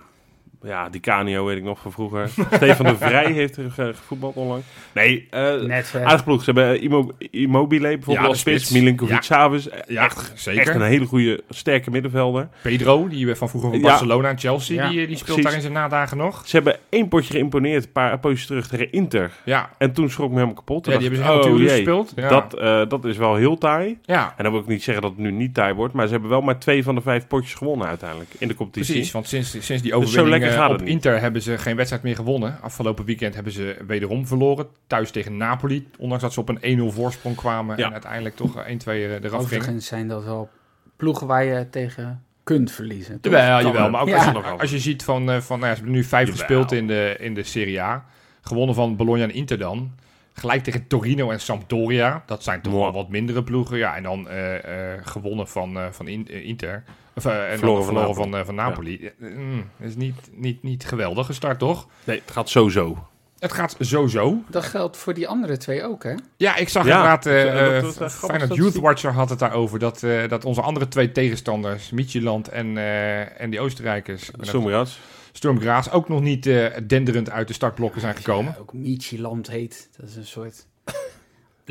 Speaker 1: ja, die Canio weet ik nog van vroeger. Stefan de Vrij heeft er ge- gevoetbald onlangs. Nee, eh
Speaker 3: Net vet.
Speaker 1: aardig ploeg. Ze hebben Immo- Immobile bijvoorbeeld
Speaker 2: Ja, de
Speaker 1: als spits.
Speaker 2: spits. Ja.
Speaker 1: Milinkovic Savic. Eh,
Speaker 2: ja,
Speaker 1: Echt,
Speaker 2: zeker.
Speaker 1: echt een hele goede, sterke middenvelder.
Speaker 2: Pedro, die we van vroeger van
Speaker 1: Ja.
Speaker 2: Barcelona en Chelsea,
Speaker 3: Ja,
Speaker 2: die, eh, die speelt
Speaker 1: precies.
Speaker 2: daar in zijn nadagen nog.
Speaker 1: Ze hebben één potje geïmponeerd, een paar potjes terug tegen Inter.
Speaker 2: Ja,
Speaker 1: En toen schrok me helemaal kapot. Toen
Speaker 2: ja die hebben ze
Speaker 1: dacht ik,
Speaker 2: heel
Speaker 1: oh,
Speaker 2: natuurlijk
Speaker 1: jee,
Speaker 2: gespeeld. Ja.
Speaker 1: Dat, eh, dat is wel heel taai.
Speaker 2: ja,
Speaker 1: En dan wil ik niet zeggen dat het nu niet taai wordt. Maar ze hebben wel maar twee van de vijf potjes gewonnen uiteindelijk in de competitie.
Speaker 2: precies, want sinds, sinds die
Speaker 1: Dus zo
Speaker 2: overwinning
Speaker 1: lekker
Speaker 2: eh,
Speaker 1: gaat
Speaker 2: op
Speaker 1: het niet.
Speaker 2: Inter hebben ze geen wedstrijd meer gewonnen. Afgelopen weekend hebben ze wederom verloren, thuis tegen Napoli. Ondanks dat ze op een 1-0 voorsprong kwamen
Speaker 1: Ja.
Speaker 2: en uiteindelijk toch eh, 1-2 er- eraf gingen.
Speaker 3: Overigens zijn dat wel ploegen waar je tegen kunt verliezen. toch?
Speaker 2: Jawel,
Speaker 1: Kan
Speaker 2: jawel.
Speaker 1: wel.
Speaker 2: Maar ook
Speaker 3: Ja.
Speaker 2: als,
Speaker 1: Kan
Speaker 2: je,
Speaker 1: wel.
Speaker 2: als je ziet van, eh, van nou ja, ze hebben nu vijf
Speaker 1: Jawel.
Speaker 2: gespeeld in de, in de Serie A. Gewonnen van Bologna en Inter dan. Gelijk tegen Torino en Sampdoria. Dat zijn toch
Speaker 1: Mwah.
Speaker 2: wel wat mindere ploegen. Ja, en dan eh, eh, gewonnen van, eh, van In- eh, Inter. Of, eh, en dan
Speaker 1: Verloren van
Speaker 2: verloren
Speaker 1: Napoli.
Speaker 2: van, eh, van Napoli. Eh, mm, dat is niet, niet, niet geweldig gestart, toch?
Speaker 1: Nee, het gaat sowieso.
Speaker 2: Het gaat sowieso.
Speaker 3: Dat geldt voor die andere twee ook, hè?
Speaker 2: Ja, ik zag
Speaker 1: Ja,
Speaker 2: inderdaad, eh
Speaker 1: dat- dat- dat-
Speaker 2: eh,
Speaker 1: dat- dat-
Speaker 2: Feyenoord
Speaker 1: dat-
Speaker 2: Youth Watcher had het daarover, dat, eh, dat onze andere twee tegenstanders, Michieland en, eh, en die Oostenrijkers, ik ben even
Speaker 1: Sommias.
Speaker 2: Storm Graas ook nog niet eh, denderend uit de startblokken zijn gekomen.
Speaker 3: Ook Michieland heet. Dat is een soort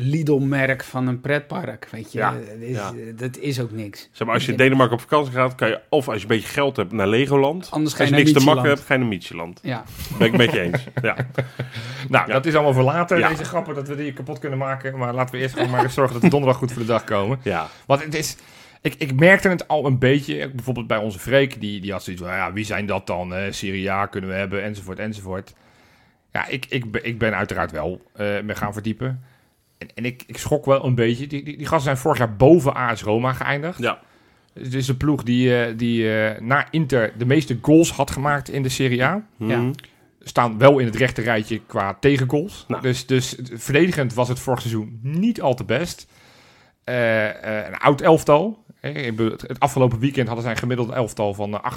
Speaker 3: Lidl-merk van een pretpark, weet je.
Speaker 1: Ja,
Speaker 3: dat, is, eh,
Speaker 1: ja.
Speaker 3: dat is ook niks.
Speaker 1: Zeg maar, als je in
Speaker 3: Ja.
Speaker 1: Denemarken op vakantie gaat, kan je of als je een beetje geld hebt naar Legoland.
Speaker 3: Anders ga
Speaker 1: als
Speaker 3: je
Speaker 1: je
Speaker 3: naar
Speaker 1: niks te
Speaker 3: Michieland.
Speaker 1: makken hebt, ga je naar Michieland.
Speaker 3: Ja,
Speaker 1: Ben ik met je eens. Ja.
Speaker 2: Nou,
Speaker 1: Ja.
Speaker 2: dat is allemaal voor later.
Speaker 1: Ja.
Speaker 2: Deze grappen dat we die kapot kunnen maken. Maar laten we eerst gewoon maar eens zorgen dat we donderdag goed voor de dag komen.
Speaker 1: ja.
Speaker 2: Want het is. Ik, ik merkte het al een beetje. eh, Bijvoorbeeld bij onze Freek. Die, die had zoiets van: ja, wie zijn dat dan? eh Serie A kunnen we hebben, enzovoort, enzovoort. Ja, ik, ik, ben- ik ben uiteraard wel eh me gaan verdiepen. En, en ik, ik schrok wel een beetje. Die, die, die gasten zijn vorig jaar boven AS Roma geëindigd.
Speaker 1: Ja.
Speaker 2: Het is de ploeg die, eh, die eh, na Inter de meeste goals had gemaakt in de Serie A.
Speaker 1: Mhm.
Speaker 2: Staan wel in het rechte rijtje qua tegengoals.
Speaker 1: Nou.
Speaker 2: Dus, dus het- verdedigend was het vorig seizoen niet al te best. Eh, eh, een oud elftal. Eh, ik bedoel, Het het afgelopen weekend hadden zij een gemiddeld elftal van eh,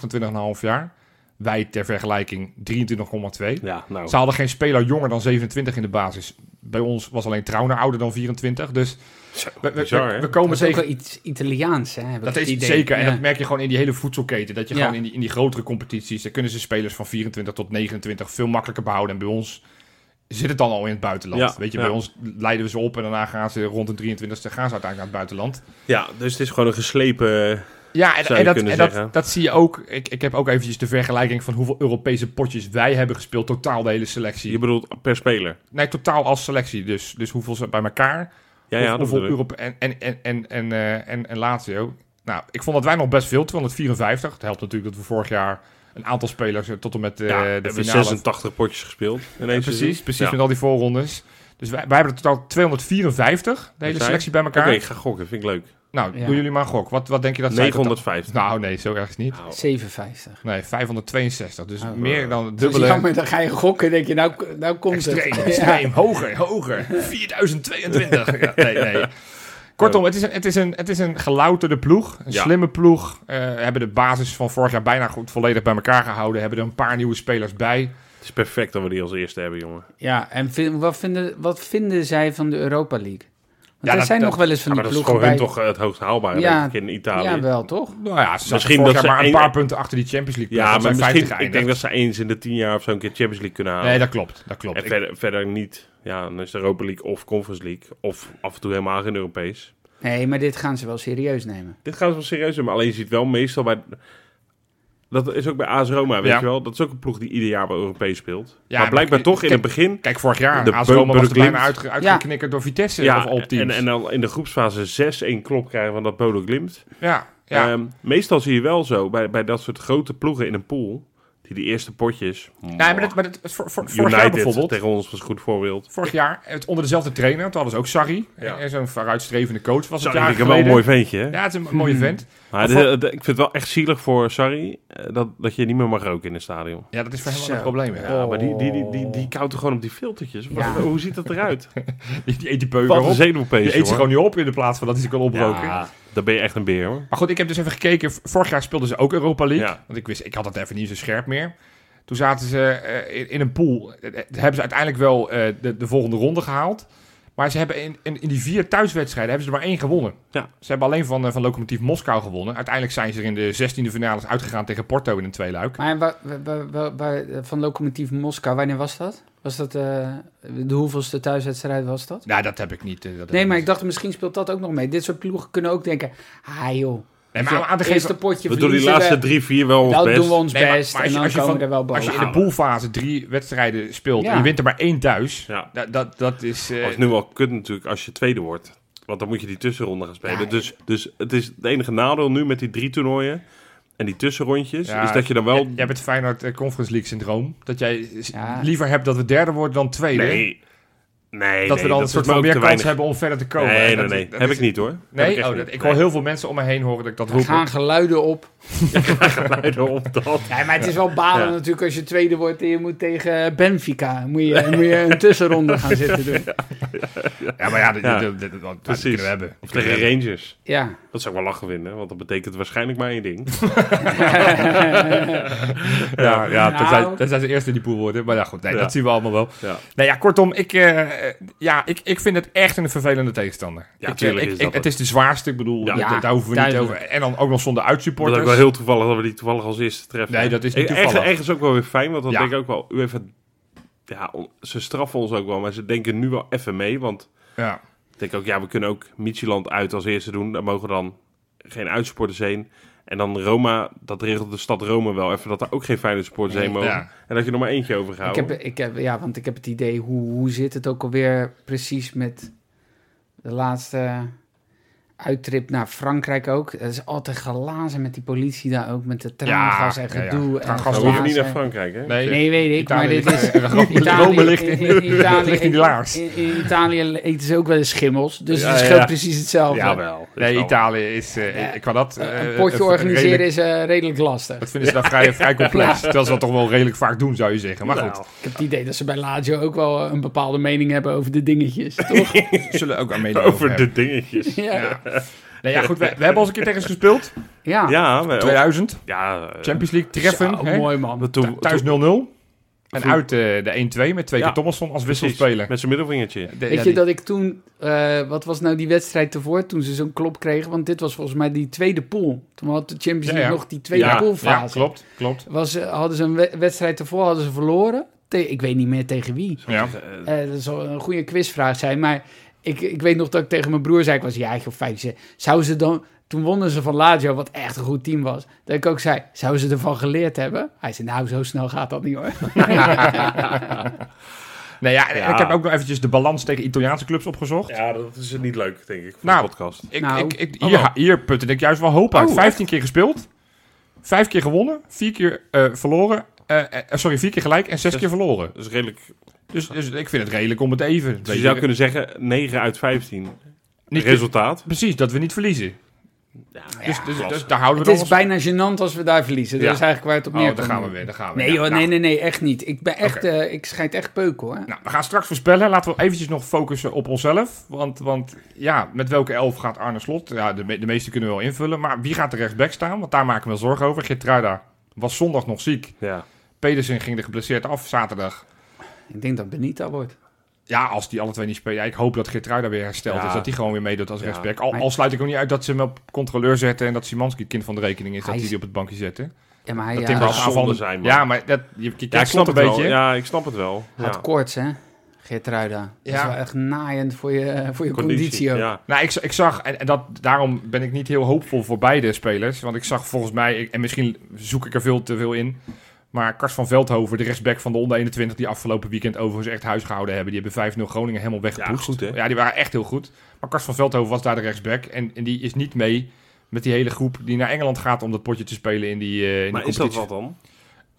Speaker 2: 28,5 jaar. Wij ter vergelijking 23,2.
Speaker 1: ja, nou.
Speaker 2: Ze hadden geen speler jonger dan 27 in de basis. Bij ons was alleen Trauner ouder dan 24. Dus we, we-
Speaker 1: bizar,
Speaker 2: we,
Speaker 1: hè?
Speaker 2: we komen
Speaker 3: dat is ook
Speaker 2: tegen...
Speaker 3: wel iets Italiaans, hè? heb ik
Speaker 2: Dat
Speaker 3: het
Speaker 2: is
Speaker 3: idee.
Speaker 2: zeker. En
Speaker 3: Ja.
Speaker 2: dat merk je gewoon in die hele voedselketen. Dat je
Speaker 3: Ja.
Speaker 2: gewoon in die, in die grotere competities. Daar kunnen ze spelers van 24 tot 29 veel makkelijker behouden. En bij ons zit het dan al in het buitenland.
Speaker 1: Ja,
Speaker 2: Weet je,
Speaker 1: ja.
Speaker 2: bij ons leiden we ze op. En daarna gaan ze rond de 23 gaan ze uiteindelijk naar het buitenland.
Speaker 1: ja, dus het is gewoon een
Speaker 2: eh,
Speaker 1: geslepen...
Speaker 2: Ja, en,
Speaker 1: Zou je
Speaker 2: en dat,
Speaker 1: kunnen
Speaker 2: en dat,
Speaker 1: zeggen.
Speaker 2: dat zie je ook. Ik, ik heb ook eventjes de vergelijking van hoeveel Europese potjes wij hebben gespeeld. Totaal de hele selectie.
Speaker 1: Je bedoelt per speler.
Speaker 2: Nee, totaal als selectie. Dus, dus hoeveel ze bij elkaar.
Speaker 1: Ja, ja,
Speaker 2: of,
Speaker 1: dat
Speaker 2: of op
Speaker 1: bedoel ik.
Speaker 2: Europa en, en, en, en, en, eh, en, en Lazio. Nou, ik vond dat wij nog best veel, 254. Het helpt natuurlijk dat we vorig jaar een aantal spelers eh, tot en met eh,
Speaker 1: ja, we
Speaker 2: de
Speaker 1: hebben
Speaker 2: finale...
Speaker 1: 86 potjes gespeeld. In één
Speaker 2: precies,
Speaker 1: seizoen.
Speaker 2: precies
Speaker 1: Ja.
Speaker 2: met al die voorrondes. Dus wij, wij hebben er totaal 254, de hele
Speaker 1: Zij?
Speaker 2: selectie bij
Speaker 1: Oké,
Speaker 2: elkaar.
Speaker 1: ik ga gokken. Vind ik leuk.
Speaker 2: Nou,
Speaker 3: Ja.
Speaker 2: doen jullie maar een gok. Wat, wat denk je dat zij...
Speaker 1: 950.
Speaker 2: Nou nee, zo erg is het niet.
Speaker 1: Nou, eh,
Speaker 3: 57.
Speaker 2: Nee, 562. Dus
Speaker 3: Oh.
Speaker 2: meer dan het
Speaker 3: Dus
Speaker 2: dubbele.
Speaker 3: jammer, dan ga je gokken denk je, nou, nou komt
Speaker 2: Extreem,
Speaker 3: het.
Speaker 2: extreem, hoger, hoger. 4022. Ja, nee, nee. Kortom, het is, een, het, is een, het is een gelouterde ploeg. Een
Speaker 1: Ja.
Speaker 2: slimme ploeg. Eh, hebben de basis van vorig jaar bijna goed volledig bij elkaar gehouden. Hebben er een paar nieuwe spelers bij.
Speaker 1: het is perfect dat we die als eerste hebben, jongen.
Speaker 3: Ja, en vin- wat, vinden, wat vinden zij van de Europa League? Want
Speaker 2: Ja,
Speaker 3: er
Speaker 2: dat-
Speaker 3: zijn
Speaker 2: dat-
Speaker 3: nog wel eens
Speaker 1: Ja,
Speaker 3: van
Speaker 1: maar
Speaker 3: die
Speaker 1: dat is
Speaker 3: ploegen
Speaker 1: voor
Speaker 3: bij...
Speaker 1: hun toch eh, het hoogst haalbare,
Speaker 3: Ja.
Speaker 1: denk ik, in Italië.
Speaker 3: Ja, wel toch?
Speaker 2: Nou ja, ze
Speaker 1: Misschien
Speaker 2: Misschien vorig
Speaker 1: dat
Speaker 2: jaar
Speaker 1: ze
Speaker 2: maar een
Speaker 1: één-
Speaker 2: paar punten achter die Champions League.
Speaker 1: Ja, maar misschien, ik
Speaker 2: geëindigd.
Speaker 1: denk dat ze eens in de 10 jaar of zo een keer Champions League kunnen halen.
Speaker 2: Nee, dat klopt. Dat klopt.
Speaker 1: En
Speaker 2: Ik-
Speaker 1: verder, verder niet. Ja, dan is de Europa League of Conference League. Of af en toe helemaal geen Europees.
Speaker 3: Nee, maar dit gaan ze wel serieus nemen.
Speaker 1: Dit gaan ze wel serieus doen. Maar alleen je ziet wel meestal bij... Dat is ook bij AS Roma, weet
Speaker 2: Ja.
Speaker 1: je wel. Dat is ook een ploeg die ieder jaar wel Europees speelt.
Speaker 2: Ja,
Speaker 1: maar blijkbaar
Speaker 2: maar-
Speaker 1: toch in
Speaker 2: kijk-
Speaker 1: het begin...
Speaker 2: Kijk, vorig jaar,
Speaker 1: De
Speaker 2: AS Roma was er
Speaker 1: Beukelint.
Speaker 2: bijna uitge, uitgeknikkerd door Vitesse
Speaker 1: Ja,
Speaker 2: of op
Speaker 1: en, en dan in de groepsfase 6-1 klop krijgen van dat Bodo Glimt.
Speaker 2: ja, ja.
Speaker 1: Ehm, meestal zie je wel zo, bij, bij dat soort grote ploegen in een pool... Die Die, die eerste potjes. Nee,
Speaker 2: Nee, maar, dat, maar dat, voor, voor, vorig jaar
Speaker 1: United
Speaker 2: bijvoorbeeld.
Speaker 1: tegen ons was een goed voorbeeld.
Speaker 2: Vorig jaar, het, onder dezelfde trainer, toen hadden ze ook Sarri.
Speaker 1: Ja.
Speaker 2: Eh, Zo'n vooruitstrevende coach was
Speaker 1: Sorry,
Speaker 2: het jaar
Speaker 1: ik heb wel een
Speaker 2: geleden.
Speaker 1: mooi Hmm. ventje. hè?
Speaker 2: Ja, het is een mooie vent.
Speaker 1: Maar de- de- ik vind het wel echt zielig voor Sarri eh, dat, dat je niet meer mag roken in het stadion.
Speaker 2: Ja, dat is voor hem wel
Speaker 3: Zo.
Speaker 2: een probleem. hè.
Speaker 1: Ja, maar die, die, die, die, die koudt er gewoon op die filtertjes. Wat-
Speaker 3: Ja.
Speaker 1: Hoe ziet dat eruit?
Speaker 2: Die, die eet die peuken
Speaker 1: Wat een
Speaker 2: op. Die
Speaker 1: zenuwpees,
Speaker 2: eet ze
Speaker 1: hoor.
Speaker 2: gewoon niet op in de plaats van dat hij ze kan oproken.
Speaker 1: Ja, dan ben je echt een beer, hoor.
Speaker 2: Maar goed, ik heb dus even gekeken. V- Vorig jaar speelden ze ook Europa League.
Speaker 1: Ja.
Speaker 2: Want ik wist, ik had het even niet zo scherp meer. Toen zaten ze eh, in, in een pool. Eh, eh, hebben ze uiteindelijk wel eh, de, de volgende ronde gehaald. Maar ze hebben in, in, in die vier thuiswedstrijden hebben ze er maar één gewonnen.
Speaker 1: Ja.
Speaker 2: Ze hebben alleen van, eh, van Lokomotief Moskou gewonnen. Uiteindelijk zijn ze er in de 16e finales uitgegaan tegen Porto in een tweeluik.
Speaker 3: Maar wa- wa- wa- wa- wa- van Lokomotief Moskou, wanneer was dat? Was dat eh, de hoeveelste thuiswedstrijd was dat?
Speaker 2: Nou, dat heb ik niet. eh, dat heb
Speaker 3: Nee, maar
Speaker 2: niet.
Speaker 3: ik dacht, misschien speelt dat ook nog mee. Dit soort ploegen kunnen ook denken, ah joh,
Speaker 2: Nee, maar aan te geven-
Speaker 3: eerste
Speaker 1: We
Speaker 3: potje
Speaker 1: doen die
Speaker 3: verliezen
Speaker 1: laatste drie, vier wel ons
Speaker 3: Nou
Speaker 1: best.
Speaker 3: doen we ons
Speaker 2: Nee, maar-
Speaker 3: best
Speaker 2: maar als
Speaker 3: en
Speaker 2: je-
Speaker 3: dan
Speaker 2: als je
Speaker 3: komen we
Speaker 2: van-
Speaker 3: er wel boven.
Speaker 2: Als je in de poolfase drie wedstrijden speelt
Speaker 3: Ja.
Speaker 2: en je wint er maar één thuis.
Speaker 1: Ja.
Speaker 2: Dat, dat, dat is... eh,
Speaker 1: Dat is nu wel kut natuurlijk als je tweede wordt. Want dan moet je die tussenronde gaan spelen.
Speaker 3: Ja,
Speaker 1: dus, dus het is het enige nadeel nu met die drie toernooien en die tussenrondjes...
Speaker 2: Ja,
Speaker 1: Dus is dat je dan wel...
Speaker 2: Jij, jij hebt het Feyenoord eh, Conference League syndroom. Dat jij s-
Speaker 3: Ja.
Speaker 2: liever hebt dat we derde worden dan tweede.
Speaker 1: nee, nee,
Speaker 2: dat
Speaker 1: nee,
Speaker 2: we dan een
Speaker 1: is
Speaker 2: soort
Speaker 1: me
Speaker 2: van
Speaker 1: ook
Speaker 2: meer
Speaker 1: te
Speaker 2: kans
Speaker 1: weinig.
Speaker 2: hebben om verder te komen.
Speaker 1: Nee,
Speaker 2: En
Speaker 1: nee,
Speaker 2: dat-
Speaker 1: nee.
Speaker 2: dat
Speaker 1: heb
Speaker 2: is-
Speaker 1: ik niet, hoor.
Speaker 2: Nee,
Speaker 1: Heb echt
Speaker 2: oh, dat,
Speaker 1: niet.
Speaker 2: ik hoor heel veel mensen om me heen horen dat ik dat roep.
Speaker 3: gaan geluiden op.
Speaker 1: geluiden op dat.
Speaker 3: Ja, maar het is wel balen
Speaker 1: Ja.
Speaker 3: natuurlijk als je tweede wordt en je moet tegen Benfica. Moet je, moet je een tussenronde gaan zitten doen.
Speaker 2: Ja, maar ja, dat,
Speaker 1: Ja.
Speaker 2: dat, dat, dat- dat- dat
Speaker 1: Precies.
Speaker 2: kunnen we hebben.
Speaker 1: Of tegen Rangers.
Speaker 3: Ja.
Speaker 1: Dat zou ik wel lachen vinden, want dat betekent waarschijnlijk maar één ding.
Speaker 2: Ja, ja dat,
Speaker 3: Nou.
Speaker 2: zijn, dat zijn ze eerst in die pool worden. Maar ja, goed, nee,
Speaker 1: Ja.
Speaker 2: dat zien we allemaal wel.
Speaker 1: Ja.
Speaker 2: Nou ja, kortom, ik, eh, eh, ja, ik, ik vind het echt een vervelende tegenstander.
Speaker 1: Ja,
Speaker 2: ik, eh,
Speaker 1: tuurlijk
Speaker 2: ik-
Speaker 1: is
Speaker 2: ik-
Speaker 1: dat
Speaker 2: het is de zwaarste, ik bedoel,
Speaker 1: Ja.
Speaker 2: dat- dat- daar hoeven we niet
Speaker 3: Duidelijk.
Speaker 2: over. En dan ook nog zonder
Speaker 1: Dat is
Speaker 2: uitsupporters.
Speaker 1: ook wel heel toevallig dat we die toevallig als eerste treffen.
Speaker 2: Nee, dat is niet
Speaker 1: Echt-
Speaker 2: toevallig.
Speaker 1: Echt, echt is ook wel weer fijn, want dan
Speaker 2: Ja.
Speaker 1: denk ik ook wel... UEFA, ja, on- ze straffen ons ook wel, maar ze denken nu wel even mee. Want
Speaker 2: Ja.
Speaker 1: ik denk ook, ja, we kunnen ook Michieland uit als eerste doen. Daar mogen dan geen uitsupporters heen. En dan Roma, dat regelt de stad Rome wel even... dat er ook geen fijne supporters heen mogen.
Speaker 2: Ja.
Speaker 1: En dat je nog maar eentje Nou, overgaat.
Speaker 3: Ik heb, ik heb, ja, want ik heb het idee, hoe, hoe zit het ook alweer precies met de laatste uittrip naar Frankrijk ook? Het is altijd glazen met die politie daar ook, met de traangas en
Speaker 2: ja, ja.
Speaker 3: gedoe. En
Speaker 2: Traangas
Speaker 1: we
Speaker 2: hoeven
Speaker 1: hoeven niet
Speaker 3: glazen.
Speaker 1: naar Frankrijk, hè?
Speaker 2: Nee.
Speaker 3: Nee, weet ik, maar dit is...
Speaker 2: Italië, Rome ligt in,
Speaker 3: Italië-
Speaker 2: ligt in die laars.
Speaker 3: In, in Italië eten ze ook wel eens schimmels, dus
Speaker 2: Ja,
Speaker 3: het
Speaker 2: ja,
Speaker 3: scheelt
Speaker 2: ja.
Speaker 3: precies hetzelfde.
Speaker 1: Jawel.
Speaker 2: Nee,
Speaker 1: Is wel-
Speaker 2: Italië is... eh, ik- ik kan dat... eh,
Speaker 3: een potje
Speaker 2: eh,
Speaker 3: organiseren
Speaker 2: redelijk-
Speaker 3: is eh, redelijk lastig.
Speaker 2: Dat vinden ze daar vrij, vrij complex. Terwijl ze dat toch wel redelijk vaak doen, zou je zeggen. Maar
Speaker 1: Nou,
Speaker 2: goed,
Speaker 3: Ik heb het idee dat ze bij Lazio ook wel eh, een bepaalde mening hebben over de dingetjes, toch?
Speaker 2: we zullen ook aan meedoen
Speaker 1: Over de dingetjes.
Speaker 3: ja.
Speaker 2: Nee, Nou ja, goed, we, we hebben al eens een keer tegen ze gespeeld.
Speaker 3: Ja.
Speaker 1: Ja, we-
Speaker 2: 2000,
Speaker 1: ja eh,
Speaker 2: Champions League, treffen.
Speaker 3: Zo,
Speaker 2: hè?
Speaker 3: mooi man.
Speaker 1: toen, toen-
Speaker 2: Thuis 0-0. En
Speaker 1: Toen-
Speaker 2: uit eh, de 1-2 met twee
Speaker 1: Ja,
Speaker 2: keer Thomasson als
Speaker 1: precies,
Speaker 2: wisselspeler.
Speaker 1: Met zijn middelvingertje.
Speaker 2: De-
Speaker 3: Weet
Speaker 2: ja,
Speaker 3: je
Speaker 2: die-
Speaker 3: dat ik toen, eh, wat was nou die wedstrijd ervoor, toen ze zo'n klop kregen? Want dit was volgens mij die tweede pool. Toen had de Champions
Speaker 2: Ja,
Speaker 3: League
Speaker 2: ja.
Speaker 3: nog die tweede
Speaker 1: Ja,
Speaker 2: Ja,
Speaker 3: poolfase.
Speaker 2: klopt, klopt.
Speaker 3: Was, eh, hadden ze een we- wedstrijd ervoor, hadden ze verloren. Te- ik weet niet meer tegen wie.
Speaker 2: Ja.
Speaker 1: Eh,
Speaker 3: Eh, dat zal een goede quizvraag zijn, maar ik, ik weet nog dat ik tegen mijn broer zei, ik was een jaartje of vijf, ik zei, zou ze dan, toen wonnen ze van Lazio, wat echt een goed team was, dat ik ook zei, zou ze ervan geleerd hebben? Hij zei, nou, zo snel gaat dat niet hoor.
Speaker 2: Nee, ja, Nou en
Speaker 1: Ja.
Speaker 2: Ik heb ook nog eventjes de balans tegen Italiaanse clubs opgezocht.
Speaker 1: Ja, dat is niet leuk, denk ik, voor
Speaker 2: Nou,
Speaker 1: de podcast.
Speaker 2: Ik,
Speaker 3: Nou,
Speaker 2: ik, ik,
Speaker 3: oh
Speaker 2: hier,
Speaker 3: wel.
Speaker 2: hier putte ik juist wel hoop uit.
Speaker 3: Oh,
Speaker 2: 15 keer gespeeld. 5 keer gewonnen. 4 keer eh, verloren. Eh, eh, sorry, 4 keer gelijk en 6
Speaker 1: Zes.
Speaker 2: keer verloren.
Speaker 1: Dat is redelijk...
Speaker 2: Dus, dus ik vind het redelijk om het even.
Speaker 1: Dus
Speaker 2: Weet
Speaker 1: je
Speaker 2: je,
Speaker 1: zou kunnen zeggen, 9 uit 15.
Speaker 2: niet-
Speaker 1: Resultaat.
Speaker 2: Precies, dat we niet verliezen. dus, dus, dus daar houden
Speaker 3: Het
Speaker 2: we
Speaker 3: is
Speaker 2: ons
Speaker 3: bijna gênant als we daar verliezen, dat
Speaker 1: Ja.
Speaker 3: is eigenlijk waar het op
Speaker 2: Oh,
Speaker 3: neerkomt.
Speaker 2: daar gaan we weer. Daar gaan we.
Speaker 3: Nee
Speaker 2: Ja,
Speaker 3: hoor,
Speaker 2: nou,
Speaker 3: nee, nee, nee, echt niet. Ik ben echt, eh, ik schijt echt peuken hoor.
Speaker 2: Nou, we gaan straks voorspellen. Laten we eventjes nog focussen op onszelf. Want, want ja, met welke elf gaat Arne Slot? Ja, de, me- de meeste kunnen we wel invullen. Maar wie gaat er rechtsback staan? Want daar maken we wel zorgen over. Gertruida was zondag nog ziek.
Speaker 1: Ja.
Speaker 2: Pedersen ging er geblesseerd af zaterdag.
Speaker 3: Ik denk dat Benita wordt.
Speaker 2: Ja, als die alle twee niet spelen. Ja, ik hoop dat Geertruida weer hersteld
Speaker 1: Ja.
Speaker 2: is. Dat hij gewoon weer meedoet als
Speaker 1: Ja.
Speaker 2: rechtsback. Al,
Speaker 3: Maar-
Speaker 2: al sluit ik ook niet uit dat ze hem op controleur zetten... en dat Simanski het kind van de rekening is.
Speaker 3: Hij
Speaker 2: Dat hij
Speaker 3: is-
Speaker 2: die op het bankje zetten.
Speaker 3: Ja, maar hij
Speaker 2: Dat
Speaker 3: eh,
Speaker 2: Timber
Speaker 1: zou
Speaker 2: als
Speaker 3: had,
Speaker 1: zonde
Speaker 2: aanvallende...
Speaker 1: zijn, man.
Speaker 2: ja, maar dat, je, je kent
Speaker 1: ik snap
Speaker 2: Slot een
Speaker 1: het wel.
Speaker 2: beetje.
Speaker 1: Ja, ik snap het wel.
Speaker 3: had
Speaker 1: Ja.
Speaker 3: koorts hè, Geertruida. Dat
Speaker 2: Ja.
Speaker 3: is wel echt naaiend voor je, eh, voor je conditie, ook.
Speaker 1: Ja.
Speaker 2: Nou, ik, z- ik zag, en, en dat, daarom ben ik niet heel hoopvol voor beide spelers. Want ik zag volgens mij, ik- en misschien zoek ik er veel te veel in. Maar Kars van Veldhoven, de rechtsback van de onder 21, die afgelopen weekend overigens echt huisgehouden hebben. Die hebben 5-0 Groningen helemaal weggepoetst.
Speaker 1: Ja, goed, hè?
Speaker 2: die waren echt heel goed. Maar Kars van Veldhoven was daar de rechtsback. En, en die is niet mee met die hele groep die naar Engeland gaat om dat potje te spelen in die, eh in
Speaker 1: Maar
Speaker 2: die
Speaker 1: is dat
Speaker 2: competitie.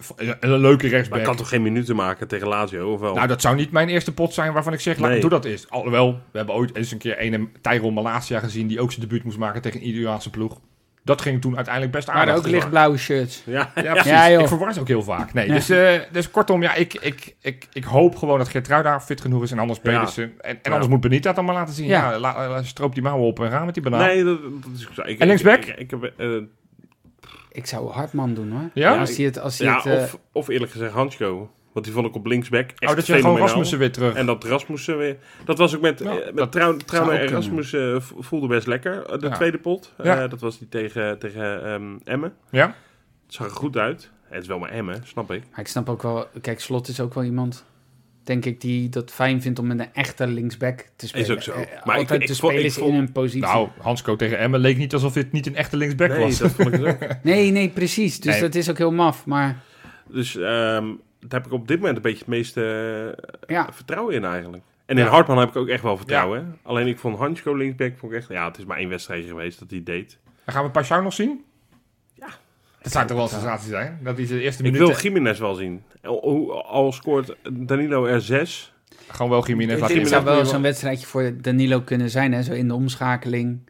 Speaker 1: wat dan?
Speaker 2: Een een leuke
Speaker 1: Maar
Speaker 2: rechtsback.
Speaker 1: ik kan toch geen minuten maken tegen Lazio, of wel?
Speaker 2: Nou, dat zou niet mijn eerste pot zijn waarvan ik zeg, laat
Speaker 1: Oh. Nee.
Speaker 2: doe dat eens. Alhoewel, we hebben ooit eens een keer een Tyron Malasia gezien die ook zijn debuut moest maken tegen een Italiaanse ploeg. Dat ging toen uiteindelijk best aardig.
Speaker 3: Maar ook lichtblauwe shirts.
Speaker 1: ja.
Speaker 2: Ja, precies.
Speaker 3: Ja, joh.
Speaker 2: ik verwar het ook heel vaak. Nee, dus, eh, dus kortom, ja, ik, ik, ik, ik hoop gewoon dat Gertruida fit genoeg is en anders
Speaker 1: Ja.
Speaker 2: Pedersen. En, en
Speaker 1: Ja.
Speaker 2: anders moet Benita dan maar laten zien. Ja,
Speaker 3: Ja.
Speaker 2: la- la- stroop die mouwen op en ga met die banaan.
Speaker 1: Nee, dat, dat is zo. Ik,
Speaker 2: nou. En linksback?
Speaker 1: Ik, ik, ik heb, eh,
Speaker 3: Ik zou Hartman doen hoor.
Speaker 2: Ja? Oh,
Speaker 3: Als hij het... Als hij
Speaker 1: ja,
Speaker 3: het eh,
Speaker 1: of, of eerlijk gezegd Hansko. Want die vond ik op linksback echt
Speaker 2: oh, dat je gewoon
Speaker 1: fenomenaal.
Speaker 2: Rasmussen weer terug.
Speaker 1: En dat Rasmussen weer... Dat was ook met,
Speaker 2: Ja,
Speaker 1: eh,
Speaker 2: dat
Speaker 1: met Trau- Trauner
Speaker 2: ook
Speaker 1: en
Speaker 2: kunnen.
Speaker 1: Rasmussen eh, vo- voelde best lekker. eh, De
Speaker 2: Ja.
Speaker 1: tweede pot. Eh,
Speaker 2: Ja.
Speaker 1: dat was die tegen, tegen ehm, Emmen.
Speaker 2: Ja?
Speaker 1: Het zag er goed uit. Het is wel maar Emmen, snap ik.
Speaker 3: Maar ik snap ook wel... Kijk, Slot is ook wel iemand... Denk ik die dat fijn vindt om met een echte linksback te spelen.
Speaker 1: ook zo.
Speaker 3: Eh,
Speaker 1: Maar ik-
Speaker 3: Altijd
Speaker 1: ik
Speaker 3: de
Speaker 1: vond- ik
Speaker 3: spelers
Speaker 1: vond-
Speaker 3: in hun positie.
Speaker 2: Nou, Hansco tegen Emmen leek niet alsof dit niet een echte linksback
Speaker 1: Nee,
Speaker 2: was.
Speaker 1: dat vond ik dus ook.
Speaker 3: Nee, nee, precies. Dus
Speaker 2: Nee.
Speaker 3: dat is ook heel maf. Maar
Speaker 1: Dus ehm daar heb ik op dit moment een beetje het meeste eh,
Speaker 3: ja,
Speaker 1: vertrouwen in eigenlijk. En in
Speaker 2: Ja.
Speaker 1: Hartman heb ik ook echt wel vertrouwen. hè. Alleen ik vond Hansko linksback vond ik echt... Ja, het is maar één wedstrijd geweest dat hij deed.
Speaker 2: En gaan we Pashao nog zien?
Speaker 1: Ja.
Speaker 2: Dat zou toch wel een sensatie zijn? Dat hij de eerste
Speaker 1: Ik
Speaker 2: minuten
Speaker 1: wil Jiménez wel zien. Al, al- al scoort Danilo er 6.
Speaker 2: gewoon wel Jiménez
Speaker 3: Ik
Speaker 2: laten
Speaker 3: denk,
Speaker 1: Jiménez
Speaker 3: het zou
Speaker 2: invallen.
Speaker 3: wel zo'n wedstrijdje voor Danilo kunnen zijn, hè? zo in de omschakeling.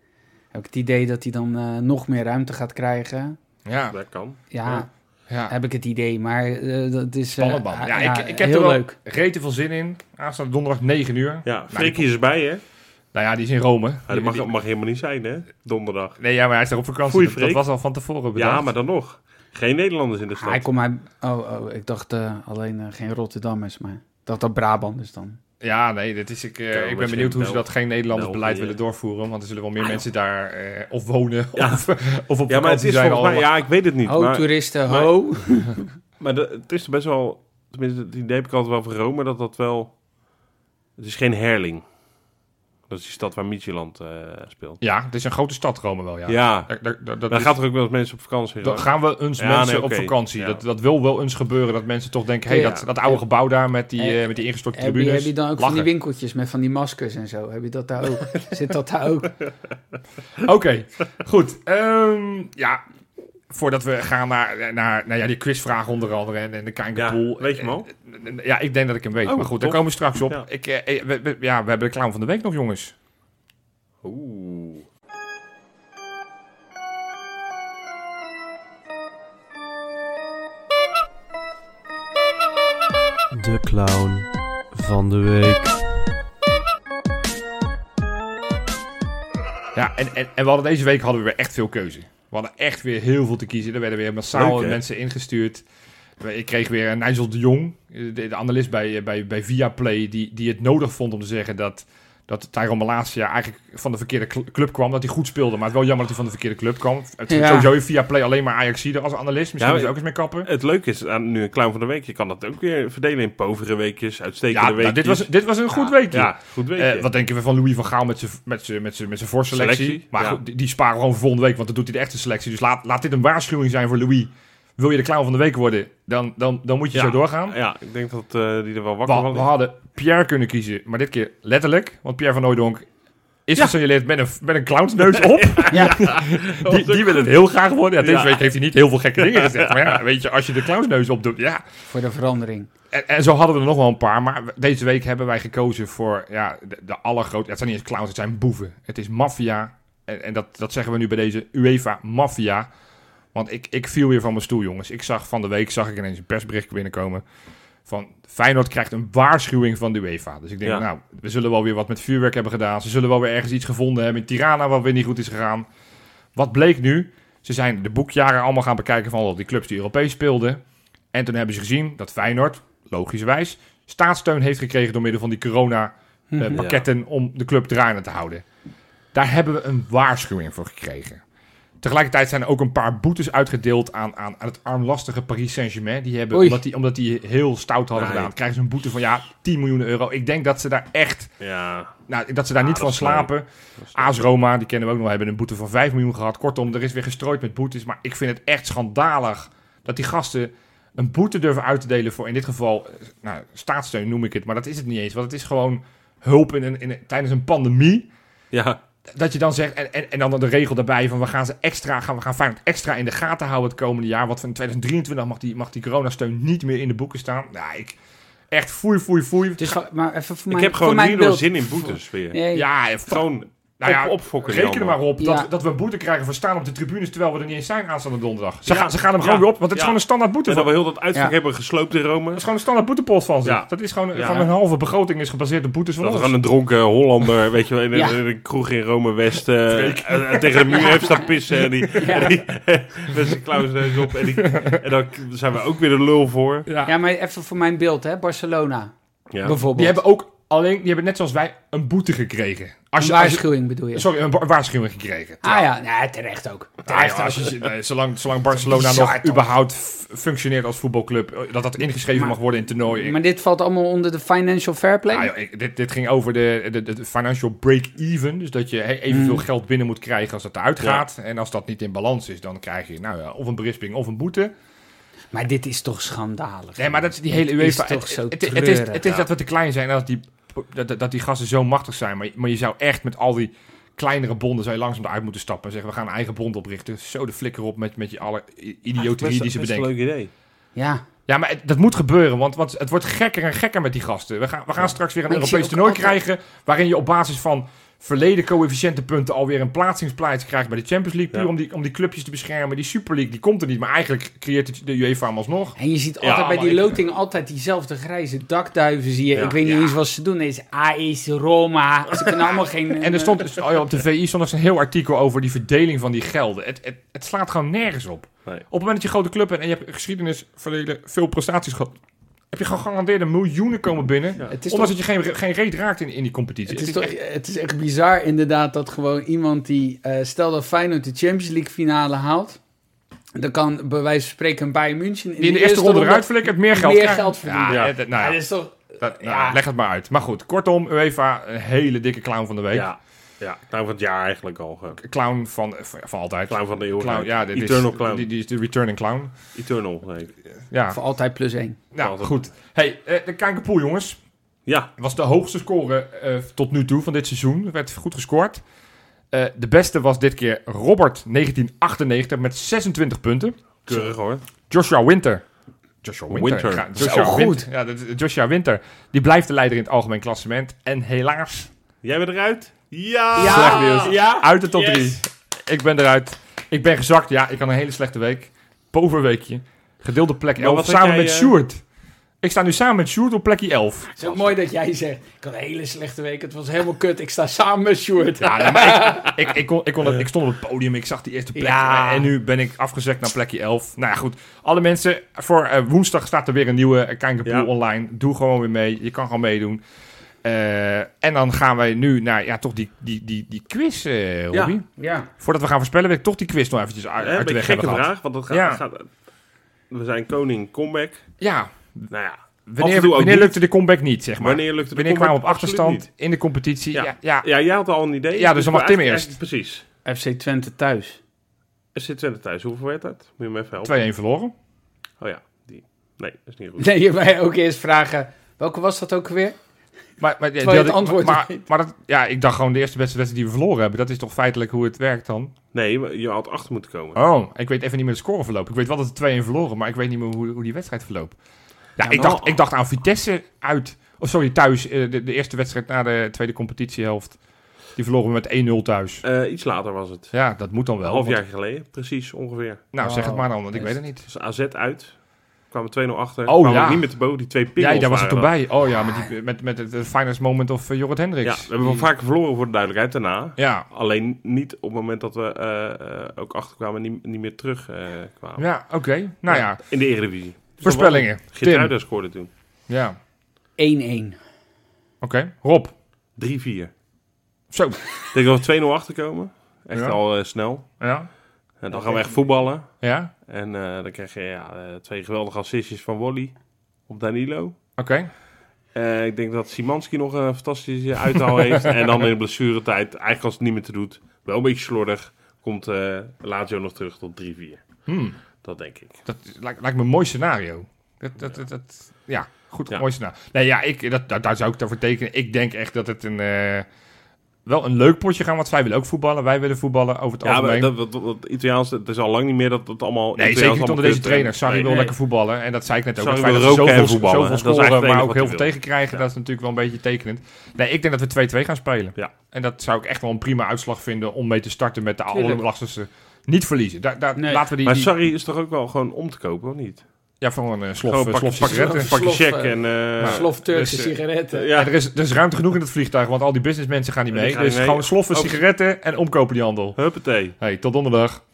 Speaker 3: Heb ik het idee dat hij dan eh, nog meer ruimte gaat krijgen.
Speaker 2: Ja,
Speaker 1: Dat kan.
Speaker 3: Ja,
Speaker 1: Ja.
Speaker 2: ja.
Speaker 3: heb ik het idee, maar eh, dat is... eh,
Speaker 2: Spannend man.
Speaker 3: ah,
Speaker 2: Ja, ik, ik heb
Speaker 3: heel
Speaker 2: er wel
Speaker 3: leuk.
Speaker 2: rete veel zin in. Aanstaande donderdag 9 uur.
Speaker 1: Ja,
Speaker 2: nou, die-
Speaker 1: Frikkie is erbij, hè?
Speaker 2: nou ja, die is in Rome.
Speaker 1: Ja, dat mag, mag helemaal niet zijn, hè? Donderdag.
Speaker 2: Nee, ja, maar hij is daar op vakantie.
Speaker 1: Goeie
Speaker 2: dat, dat
Speaker 1: Freek.
Speaker 2: was al van tevoren bedacht.
Speaker 1: Ja, maar dan nog. Geen Nederlanders
Speaker 2: Dus
Speaker 1: in de
Speaker 3: Ah, hij
Speaker 1: stad.
Speaker 3: komt maar... Oh, oh, ik dacht eh, alleen eh, geen Rotterdammers, maar... Ik dacht dat Brabant is dan.
Speaker 2: Ja, nee, dit is, ik, eh,
Speaker 1: Ja,
Speaker 2: ik ben
Speaker 1: misschien
Speaker 2: benieuwd hoe ze
Speaker 1: Bel-
Speaker 2: dat geen Nederlanders
Speaker 1: België.
Speaker 2: beleid willen doorvoeren. Want er zullen wel meer mensen daar eh, of wonen
Speaker 1: Ah, Ja.
Speaker 2: of, of op
Speaker 1: Ja, maar het
Speaker 2: vakantie
Speaker 1: is volgens mij...
Speaker 2: zijn. allemaal.
Speaker 1: Ja, ik weet het niet.
Speaker 2: Oh,
Speaker 3: Ho,
Speaker 1: Maar,
Speaker 3: toeristen,
Speaker 1: maar-
Speaker 3: ho!
Speaker 1: maar de- het is best wel... Tenminste, het idee heb ik altijd wel van Rome dat dat wel... Het is geen Herling. Dat is die stad waar Micheland eh, speelt.
Speaker 2: Ja, het is een grote stad Rome wel, ja.
Speaker 1: Ja.
Speaker 2: Daar, daar- daar- dat
Speaker 1: Dan
Speaker 2: is-
Speaker 1: gaat er ook wel eens mensen op vakantie.
Speaker 2: dan gaan we eens
Speaker 1: Ja,
Speaker 2: mensen
Speaker 1: nee,
Speaker 2: op
Speaker 1: oké.
Speaker 2: vakantie.
Speaker 1: Ja.
Speaker 2: Dat, dat wil wel eens gebeuren. Dat mensen toch denken, hé, hey,
Speaker 3: Ja.
Speaker 2: dat, dat oude gebouw daar met die,
Speaker 3: Eh,
Speaker 2: eh, met die ingestorte
Speaker 3: Heb je,
Speaker 2: tribunes.
Speaker 3: heb je dan ook van die
Speaker 2: lachen.
Speaker 3: winkeltjes met van die maskers en zo? Heb je dat daar ook? Zit dat daar ook?
Speaker 2: Oké, goed. Ehm, ja, voordat we gaan naar, naar nou ja, die quizvraag onder andere en, en de
Speaker 1: Ja,
Speaker 2: Kankerpool.
Speaker 1: weet je hem al?
Speaker 2: Ja, ik denk dat ik hem weet.
Speaker 1: Oh,
Speaker 2: maar goed, daar
Speaker 1: tof.
Speaker 2: komen we straks op.
Speaker 1: Ja.
Speaker 2: Ik, eh, eh, we, we- ja, we hebben de clown van de week nog, jongens.
Speaker 1: Oeh.
Speaker 5: De clown van de week.
Speaker 2: Ja, en, en, en we hadden deze week hadden we weer echt veel keuze. We hadden echt weer heel veel te kiezen. Er werden weer massaal
Speaker 1: Leuk, hè?
Speaker 2: mensen ingestuurd. Ik kreeg weer een Nigel de Jong, eh, de, de analist bij, eh, bij, bij Viaplay, die, die het nodig vond om te zeggen dat, dat Tyrone Malacia eigenlijk van de verkeerde cl- club kwam. Dat hij goed speelde, maar het wel jammer dat hij van de verkeerde club kwam. Het
Speaker 3: Ja.
Speaker 2: Sowieso in Viaplay alleen maar Ajaxide als analist. Misschien
Speaker 1: Ja,
Speaker 2: moet je
Speaker 1: maar-
Speaker 2: ook eens mee kappen.
Speaker 1: Het leuke is, aan nu een clown van de week, je kan dat ook weer verdelen in povere weekjes, uitstekende
Speaker 2: Ja, nou,
Speaker 1: weekjes.
Speaker 2: dit, was, dit was een goed weekje.
Speaker 1: Ja, goed weekje.
Speaker 2: Eh, wat denken we van Louis van Gaal met zijn- met zijn- met zijn met zijn voorselectie?
Speaker 1: Selectie,
Speaker 2: maar
Speaker 1: ja.
Speaker 2: goed, die, die sparen we gewoon voor volgende week, want dan doet hij de echte selectie. Dus laat, laat dit een waarschuwing zijn voor Louis. Wil je de clown van de week worden, dan, dan, dan moet je
Speaker 1: Ja.
Speaker 2: zo doorgaan.
Speaker 1: Ja, ik denk dat eh, die er wel wakker
Speaker 2: we,
Speaker 1: van
Speaker 2: we
Speaker 1: ligt.
Speaker 2: hadden Pierre kunnen kiezen, maar dit keer letterlijk. Want Pierre van Hooijdonk is gesignaleerd met een, met een clownsneus op.
Speaker 3: Ja.
Speaker 2: die, die wil het heel graag worden. Ja, deze
Speaker 1: Ja.
Speaker 2: week heeft hij niet heel veel gekke dingen gezegd. Maar ja, weet je, als je de clownsneus opdoet, ja...
Speaker 3: Voor de verandering.
Speaker 2: En, en zo hadden we er nog wel een paar, maar we- deze week hebben wij gekozen voor ja, de, de allergrootste. Het zijn niet eens clowns, het zijn boeven. Het is maffia. En, en dat, dat zeggen we nu bij deze UEFA maffia. Want ik, ik viel weer van mijn stoel, jongens. Ik zag van de week zag ik ineens een persbericht binnenkomen. Van Feyenoord krijgt een waarschuwing van de UEFA. Dus ik denk,
Speaker 1: Ja.
Speaker 2: nou, we zullen wel weer wat met vuurwerk hebben gedaan. Ze zullen wel weer ergens iets gevonden hebben in Tirana, wat weer niet goed is gegaan. Wat bleek nu? Ze zijn de boekjaren allemaal gaan bekijken van al die clubs die Europees speelden. En toen hebben ze gezien dat Feyenoord, logischerwijs, staatssteun heeft gekregen door middel van die
Speaker 3: Mhm.
Speaker 2: corona-pakketten om de club draaiende te houden. Daar hebben we een waarschuwing voor gekregen. Tegelijkertijd zijn er ook een paar boetes uitgedeeld aan, aan, aan het armlastige Paris Saint-Germain. Die hebben,
Speaker 3: Oei.
Speaker 2: omdat die, omdat die heel stout hadden
Speaker 1: Nee.
Speaker 2: gedaan, krijgen ze een boete van ja, 10 miljoen euro. Ik denk dat ze daar echt,
Speaker 1: Ja,
Speaker 2: nou, dat ze daar niet
Speaker 1: Ah, dat
Speaker 2: van
Speaker 1: is leuk.
Speaker 2: slapen.
Speaker 1: dat is-
Speaker 2: AS Roma, die kennen we ook nog, hebben een boete van 5 miljoen gehad. Kortom, er is weer gestrooid met boetes. Maar ik vind het echt schandalig dat die gasten een boete durven uit te delen voor in dit geval eh, nou, staatssteun noem ik het. Maar dat is het niet eens, want het is gewoon hulp in een, in een- tijdens een pandemie.
Speaker 1: ja.
Speaker 2: dat je dan zegt, en, en, en dan de regel daarbij van we gaan ze extra, gaan, we gaan Feyenoord extra in de gaten houden het komende jaar. Want van 2023 mag die, mag die coronasteun niet meer in de boeken staan. Nou, ik, echt foei, foei, foei.
Speaker 3: Het is wel- Dus maar even voor
Speaker 1: Ik
Speaker 3: mijn,
Speaker 1: heb gewoon
Speaker 3: voor mijn
Speaker 1: nu nog
Speaker 3: beeld.
Speaker 1: zin in boetes weer.
Speaker 3: Nee,
Speaker 2: ja, en fa-
Speaker 1: Gewoon
Speaker 2: nou ja,
Speaker 1: op, opfokken.
Speaker 2: reken er
Speaker 1: Jan.
Speaker 2: maar op
Speaker 3: Ja.
Speaker 2: dat, dat we een boete krijgen voor staan op de tribunes terwijl we er niet eens zijn aanstaande donderdag. Ze,
Speaker 1: Ja.
Speaker 2: gaan, ze gaan hem gewoon
Speaker 1: Ja.
Speaker 2: weer op, want het
Speaker 1: Ja.
Speaker 2: is gewoon een standaard boete.
Speaker 1: En
Speaker 2: van-
Speaker 1: dat we heel dat uitvak
Speaker 3: Ja.
Speaker 1: hebben gesloopt in Rome.
Speaker 2: Dat is gewoon een standaard boetepot van ze.
Speaker 1: Ja.
Speaker 2: Dat is gewoon,
Speaker 1: Ja.
Speaker 2: gewoon een halve begroting is gebaseerd op boetes van
Speaker 1: Dat er
Speaker 2: ons.
Speaker 1: gewoon een dronken Hollander, weet je wel, in, een-
Speaker 3: Ja.
Speaker 1: in een kroeg in Rome-West eh, eh, tegen de muur heeft staan pissen. En die, en die met zijn klauwsneus op. En, die, en dan k- zijn we ook weer de lul voor.
Speaker 2: Ja.
Speaker 3: ja, maar even voor mijn beeld, hè. Barcelona,
Speaker 1: Ja.
Speaker 3: bijvoorbeeld.
Speaker 2: Die hebben ook alleen, die hebben net zoals wij een boete gekregen. Als
Speaker 3: een
Speaker 2: je, als je-
Speaker 3: waarschuwing, bedoel je?
Speaker 2: sorry, een wa- waarschuwing gekregen.
Speaker 3: Ah ja, nee, terecht ook.
Speaker 2: Ja,
Speaker 3: Terecht
Speaker 2: joh,
Speaker 3: ook.
Speaker 2: als je, nee, zolang, zolang Barcelona
Speaker 3: Bizar,
Speaker 2: nog
Speaker 3: toch?
Speaker 2: überhaupt f- functioneert als voetbalclub, eh, dat dat ingeschreven
Speaker 3: Maar-
Speaker 2: mag worden in toernooien.
Speaker 3: Maar dit valt allemaal onder de financial fair play?
Speaker 2: Ja, joh, Nou, ik- dit, dit ging over de, de, de financial break-even. Dus dat je he-
Speaker 3: Mm.
Speaker 2: evenveel geld binnen moet krijgen als dat eruit gaat. En als dat niet in balans is, dan krijg je nou ja, of een berisping of een boete.
Speaker 3: Maar dit is toch schandalig?
Speaker 2: Nee, maar dat is die hele
Speaker 3: Dit
Speaker 2: UEFA.
Speaker 3: is toch
Speaker 2: het,
Speaker 3: zo
Speaker 2: het, het, het is,
Speaker 3: treurig.
Speaker 2: het is dat we te klein zijn en dat die, dat, dat- dat die gasten zo machtig zijn. Maar, maar je zou echt met al die kleinere bonden zou je langzaam eruit moeten stappen. En zeggen, we gaan een eigen bond oprichten. Zo de flikker op met, met je alle i- idioterie die ze bedenken.
Speaker 1: een leuk idee.
Speaker 3: Ja.
Speaker 2: Ja, maar het- dat moet gebeuren, want, want het wordt gekker en gekker met die gasten. We gaan, we gaan straks weer een
Speaker 3: Maar ik zie
Speaker 2: Europees
Speaker 3: ook
Speaker 2: toernooi
Speaker 3: altijd-
Speaker 2: krijgen... waarin je op basis van verleden coëfficiëntenpunten... alweer een plaatsingsplaats krijgt bij de Champions League... puur
Speaker 1: Ja.
Speaker 2: om, die, om die clubjes te beschermen. Die Super League, die komt er niet. Maar eigenlijk creëert het de UEFA hem alsnog.
Speaker 3: En je ziet
Speaker 1: Ja,
Speaker 3: altijd bij
Speaker 2: maar
Speaker 3: die
Speaker 2: ik-
Speaker 3: loting altijd diezelfde grijze dakduiven zie je.
Speaker 1: Ja.
Speaker 3: ik weet niet eens wat ze doen. Er is AES, Roma. Ze kunnen allemaal geen...
Speaker 2: En er stond dus- oh ja, op de VI stond dus een heel artikel over die verdeling van die gelden. Het, het, het slaat gewoon nergens op.
Speaker 1: Nee.
Speaker 2: Op het moment dat je een grote club bent en je hebt geschiedenis, verleden, veel prestaties gehad... heb je gegarandeerd miljoenen komen binnen...
Speaker 3: Het is
Speaker 2: omdat
Speaker 3: toch-
Speaker 2: het je geen, geen reet raakt in, in die competitie.
Speaker 3: Het is,
Speaker 2: Het
Speaker 3: toch, het is echt bizar inderdaad dat gewoon iemand die... eh, stel dat Feyenoord de Champions League finale haalt. Dan kan bij wijze van spreken een Bayern München...
Speaker 2: Die in de eerste ronde eruit flikkert, meer geld
Speaker 3: meer
Speaker 2: krijgen.
Speaker 3: geld verdienen.
Speaker 2: Ja,
Speaker 1: Ja.
Speaker 2: dat-
Speaker 3: Ja,
Speaker 2: nou ja,
Speaker 3: dat is toch...
Speaker 2: dat- nou,
Speaker 3: ja.
Speaker 2: Leg het maar uit. Maar goed, kortom, UEFA, een hele dikke clown van de week.
Speaker 1: Ja. ja, nou van het jaar eigenlijk al. eh,
Speaker 2: Clown van, van, van altijd.
Speaker 1: Clown van de eeuw.
Speaker 2: Clown, ja, dit
Speaker 1: Eternal
Speaker 2: is,
Speaker 1: Clown.
Speaker 2: Die, die is de returning clown.
Speaker 1: Eternal, nee.
Speaker 2: Ja,
Speaker 3: Voor altijd plus één.
Speaker 2: nou
Speaker 1: Altijd.
Speaker 2: goed. hey, eh, de Kankerpoel jongens.
Speaker 1: Ja,
Speaker 2: Was de hoogste score eh, tot nu toe van dit seizoen. Werd goed gescoord. Eh, de beste was dit keer Robert 1998 met 26 punten.
Speaker 1: keurig hoor.
Speaker 2: Joshua Winter. Joshua Winter.
Speaker 1: Winter.
Speaker 2: Ja,
Speaker 1: Zo
Speaker 2: Joshua
Speaker 3: goed.
Speaker 2: Winter. Ja, dat is- Joshua Winter. Die blijft de leider in het algemeen klassement. En helaas
Speaker 1: Jij bent eruit? Ja!
Speaker 3: Ja!
Speaker 2: Slecht nieuws.
Speaker 1: Ja?
Speaker 2: Uit de top
Speaker 1: Yes.
Speaker 2: 3. Ik ben eruit. Ik ben gezakt. Ja, ik had een hele slechte week. Poverweekje. Gedeelde plek
Speaker 1: Maar
Speaker 2: 11.
Speaker 1: wat had
Speaker 2: Samen
Speaker 1: jij,
Speaker 2: met
Speaker 1: eh,
Speaker 2: Sjoerd. Ik sta nu samen met Sjoerd op plekje 11.
Speaker 3: Het is ook mooi dat jij zegt, ik had een hele slechte week, het was helemaal kut, ik sta samen met Sjoerd.
Speaker 2: Ja, nee, maar ik, ik, ik, kon, ik, kon het- ik stond op het podium, ik zag die eerste plek. Eh,
Speaker 3: Ja.
Speaker 2: En nu ben ik afgezakt naar plekje 11. Nou ja, goed. Alle mensen, voor eh, woensdag staat er weer een nieuwe eh, Kijkerpool
Speaker 1: Ja.
Speaker 2: online. Doe gewoon weer mee. Je kan gewoon meedoen. Eh, en dan gaan wij nu naar ja, toch die, die, die, die quiz, eh Robby.
Speaker 1: Ja.
Speaker 3: Ja.
Speaker 2: Voordat we gaan voorspellen, wil ik toch die quiz nog eventjes uit,
Speaker 1: Hè,
Speaker 2: uit de
Speaker 1: Een
Speaker 2: weg
Speaker 1: gekke
Speaker 2: hebben gehad.
Speaker 1: vraag, want dat gaat,
Speaker 2: Ja.
Speaker 1: dat gaat- We zijn koning comeback.
Speaker 2: Ja,
Speaker 1: Nou ja, Af en
Speaker 2: wanneer,
Speaker 1: toe ook
Speaker 2: wanneer
Speaker 1: niet.
Speaker 2: lukte de comeback niet, zeg maar? Wanneer,
Speaker 1: wanneer lukt het?
Speaker 2: kwamen we op achterstand in de competitie? Ja,
Speaker 1: Ja.
Speaker 2: ja,
Speaker 1: Ja, jij had al een idee.
Speaker 2: Ja, dus dan mag Tim
Speaker 1: eigenlijk-
Speaker 2: eerst.
Speaker 1: eigenlijk- Precies.
Speaker 3: FC Twente thuis.
Speaker 1: Er zit Twente thuis. Hoeveel werd dat? Moet je me even helpen?
Speaker 2: 2-1 verloren.
Speaker 1: Oh ja, die. Nee, dat is niet goed.
Speaker 3: Nee, je mij ook eerst vragen, welke was dat ook weer?
Speaker 2: Maar, maar,
Speaker 3: Terwijl je het antwoord
Speaker 2: maar, maar,
Speaker 3: weet.
Speaker 2: maar dat, ja, ik dacht gewoon de eerste wedstrijd die we verloren hebben. Dat is toch feitelijk hoe het werkt dan?
Speaker 1: Nee, maar je had achter moeten komen.
Speaker 2: Oh, ik weet even niet meer de scoreverloop. Ik weet wel dat het 2-1 verloren, maar ik weet niet meer hoe, hoe die wedstrijd verloopt. Ja, ik,
Speaker 1: maar-
Speaker 2: dacht, ik dacht aan Vitesse uit. Oh, sorry, thuis. eh, De, de eerste wedstrijd na de tweede competitiehelft. Die verloren we met 1-0 thuis.
Speaker 1: Eh, iets later was het.
Speaker 2: Ja, dat moet dan
Speaker 1: Een
Speaker 2: wel.
Speaker 1: half
Speaker 2: want-
Speaker 1: jaar geleden, precies ongeveer.
Speaker 2: nou, zeg het maar dan, want ik
Speaker 3: Oh,
Speaker 2: weet het niet.
Speaker 1: Dus AZ uit. Kwamen 2-0 achter.
Speaker 2: Oh,
Speaker 1: kwamen
Speaker 2: ja.
Speaker 1: ook niet meer te boven. Die twee pikkels
Speaker 2: Ja, daar was ik
Speaker 1: waren
Speaker 2: toen
Speaker 1: dat.
Speaker 2: bij. Oh ja, met, die, met, met het eh, finest moment of eh, Jorrit
Speaker 1: Ja,
Speaker 2: Hendricks.
Speaker 1: we hebben wel vaker verloren voor de duidelijkheid daarna.
Speaker 2: Ja,
Speaker 1: Alleen niet op het moment dat we eh, eh, ook achterkwamen en niet, niet meer terugkwamen. kwamen.
Speaker 2: ja oké. Nou ja,
Speaker 1: In de Eredivisie.
Speaker 2: voorspellingen. Tim.
Speaker 1: Geertruida scoorde toen.
Speaker 2: Ja, oké.
Speaker 3: 1-1.
Speaker 2: Rob.
Speaker 1: 3-4.
Speaker 2: Zo.
Speaker 1: Ik denk dat we 2-0 achterkomen. Echt
Speaker 2: Ja.
Speaker 1: al eh, snel.
Speaker 2: Ja.
Speaker 1: En dan gaan we echt voetballen.
Speaker 2: Ja,
Speaker 1: En eh, dan krijg je ja, eh, twee geweldige assistjes van Wally op Danilo.
Speaker 2: oké.
Speaker 1: Eh, ik denk dat Simanski nog een fantastische uithaal heeft. En dan in de blessuretijd, eigenlijk als het niet meer te doet, wel een beetje slordig, komt eh Lazio nog terug tot 3-4.
Speaker 2: Hmm,
Speaker 1: Dat denk ik.
Speaker 2: dat is- lijkt, lijkt me een mooi scenario. Dat, dat, dat, dat- ja, goed,
Speaker 1: Ja.
Speaker 2: mooi scenario. Nee, ja, ik, dat, daar, daar zou ik daarvoor tekenen. Ik denk echt dat het een... eh, wel een leuk potje gaan, want zij willen ook voetballen. Wij willen voetballen over het
Speaker 1: Ja, maar
Speaker 2: algemeen.
Speaker 1: dat, dat, dat- dat Italiaans, het is al lang niet meer dat het allemaal...
Speaker 2: nee,
Speaker 1: Italiaans
Speaker 2: zeker niet
Speaker 1: allemaal
Speaker 2: onder deze
Speaker 1: kut-
Speaker 2: trainer. Sarri
Speaker 1: Nee,
Speaker 2: wil
Speaker 1: nee.
Speaker 2: lekker voetballen. En dat zei ik net ook.
Speaker 1: Sarri
Speaker 2: dat
Speaker 1: wil
Speaker 2: wij dat
Speaker 1: roken en
Speaker 2: zoveel,
Speaker 1: voetballen.
Speaker 2: zoveel
Speaker 1: Dat is eigenlijk
Speaker 2: scoren,
Speaker 1: het enige
Speaker 2: maar ook
Speaker 1: wat
Speaker 2: heel
Speaker 1: hij
Speaker 2: veel
Speaker 1: wil.
Speaker 2: tegenkrijgen. Dat is natuurlijk wel een beetje tekenend. Nee, ik denk dat we 2-2 gaan spelen.
Speaker 1: Ja.
Speaker 2: En dat zou ik echt wel een prima uitslag vinden om mee te starten met de
Speaker 3: Tuurlijk.
Speaker 2: allerlastigste. Niet verliezen. Daar, daar,
Speaker 3: Nee.
Speaker 2: Laten we die,
Speaker 1: Maar
Speaker 2: die-
Speaker 1: Sarri is toch ook wel gewoon om te kopen, of niet?
Speaker 2: ja, voor een eh, slof,
Speaker 1: Gewoon
Speaker 2: eh,
Speaker 1: pak-
Speaker 2: slof
Speaker 1: pak-
Speaker 2: sigaretten.
Speaker 1: Pak een
Speaker 3: Slof,
Speaker 1: check
Speaker 3: eh,
Speaker 1: en... eh,
Speaker 3: Slof Turkse
Speaker 2: dus, eh,
Speaker 3: sigaretten.
Speaker 1: Ja,
Speaker 2: Ja, er, is, er is ruimte genoeg in het vliegtuig, want al die businessmensen gaan niet
Speaker 1: Die
Speaker 2: mee.
Speaker 1: gaan
Speaker 2: dus
Speaker 1: niet mee.
Speaker 2: gewoon sloffen,
Speaker 1: Ook-
Speaker 2: sigaretten en omkopen die handel.
Speaker 1: huppatee.
Speaker 2: Hey, tot donderdag.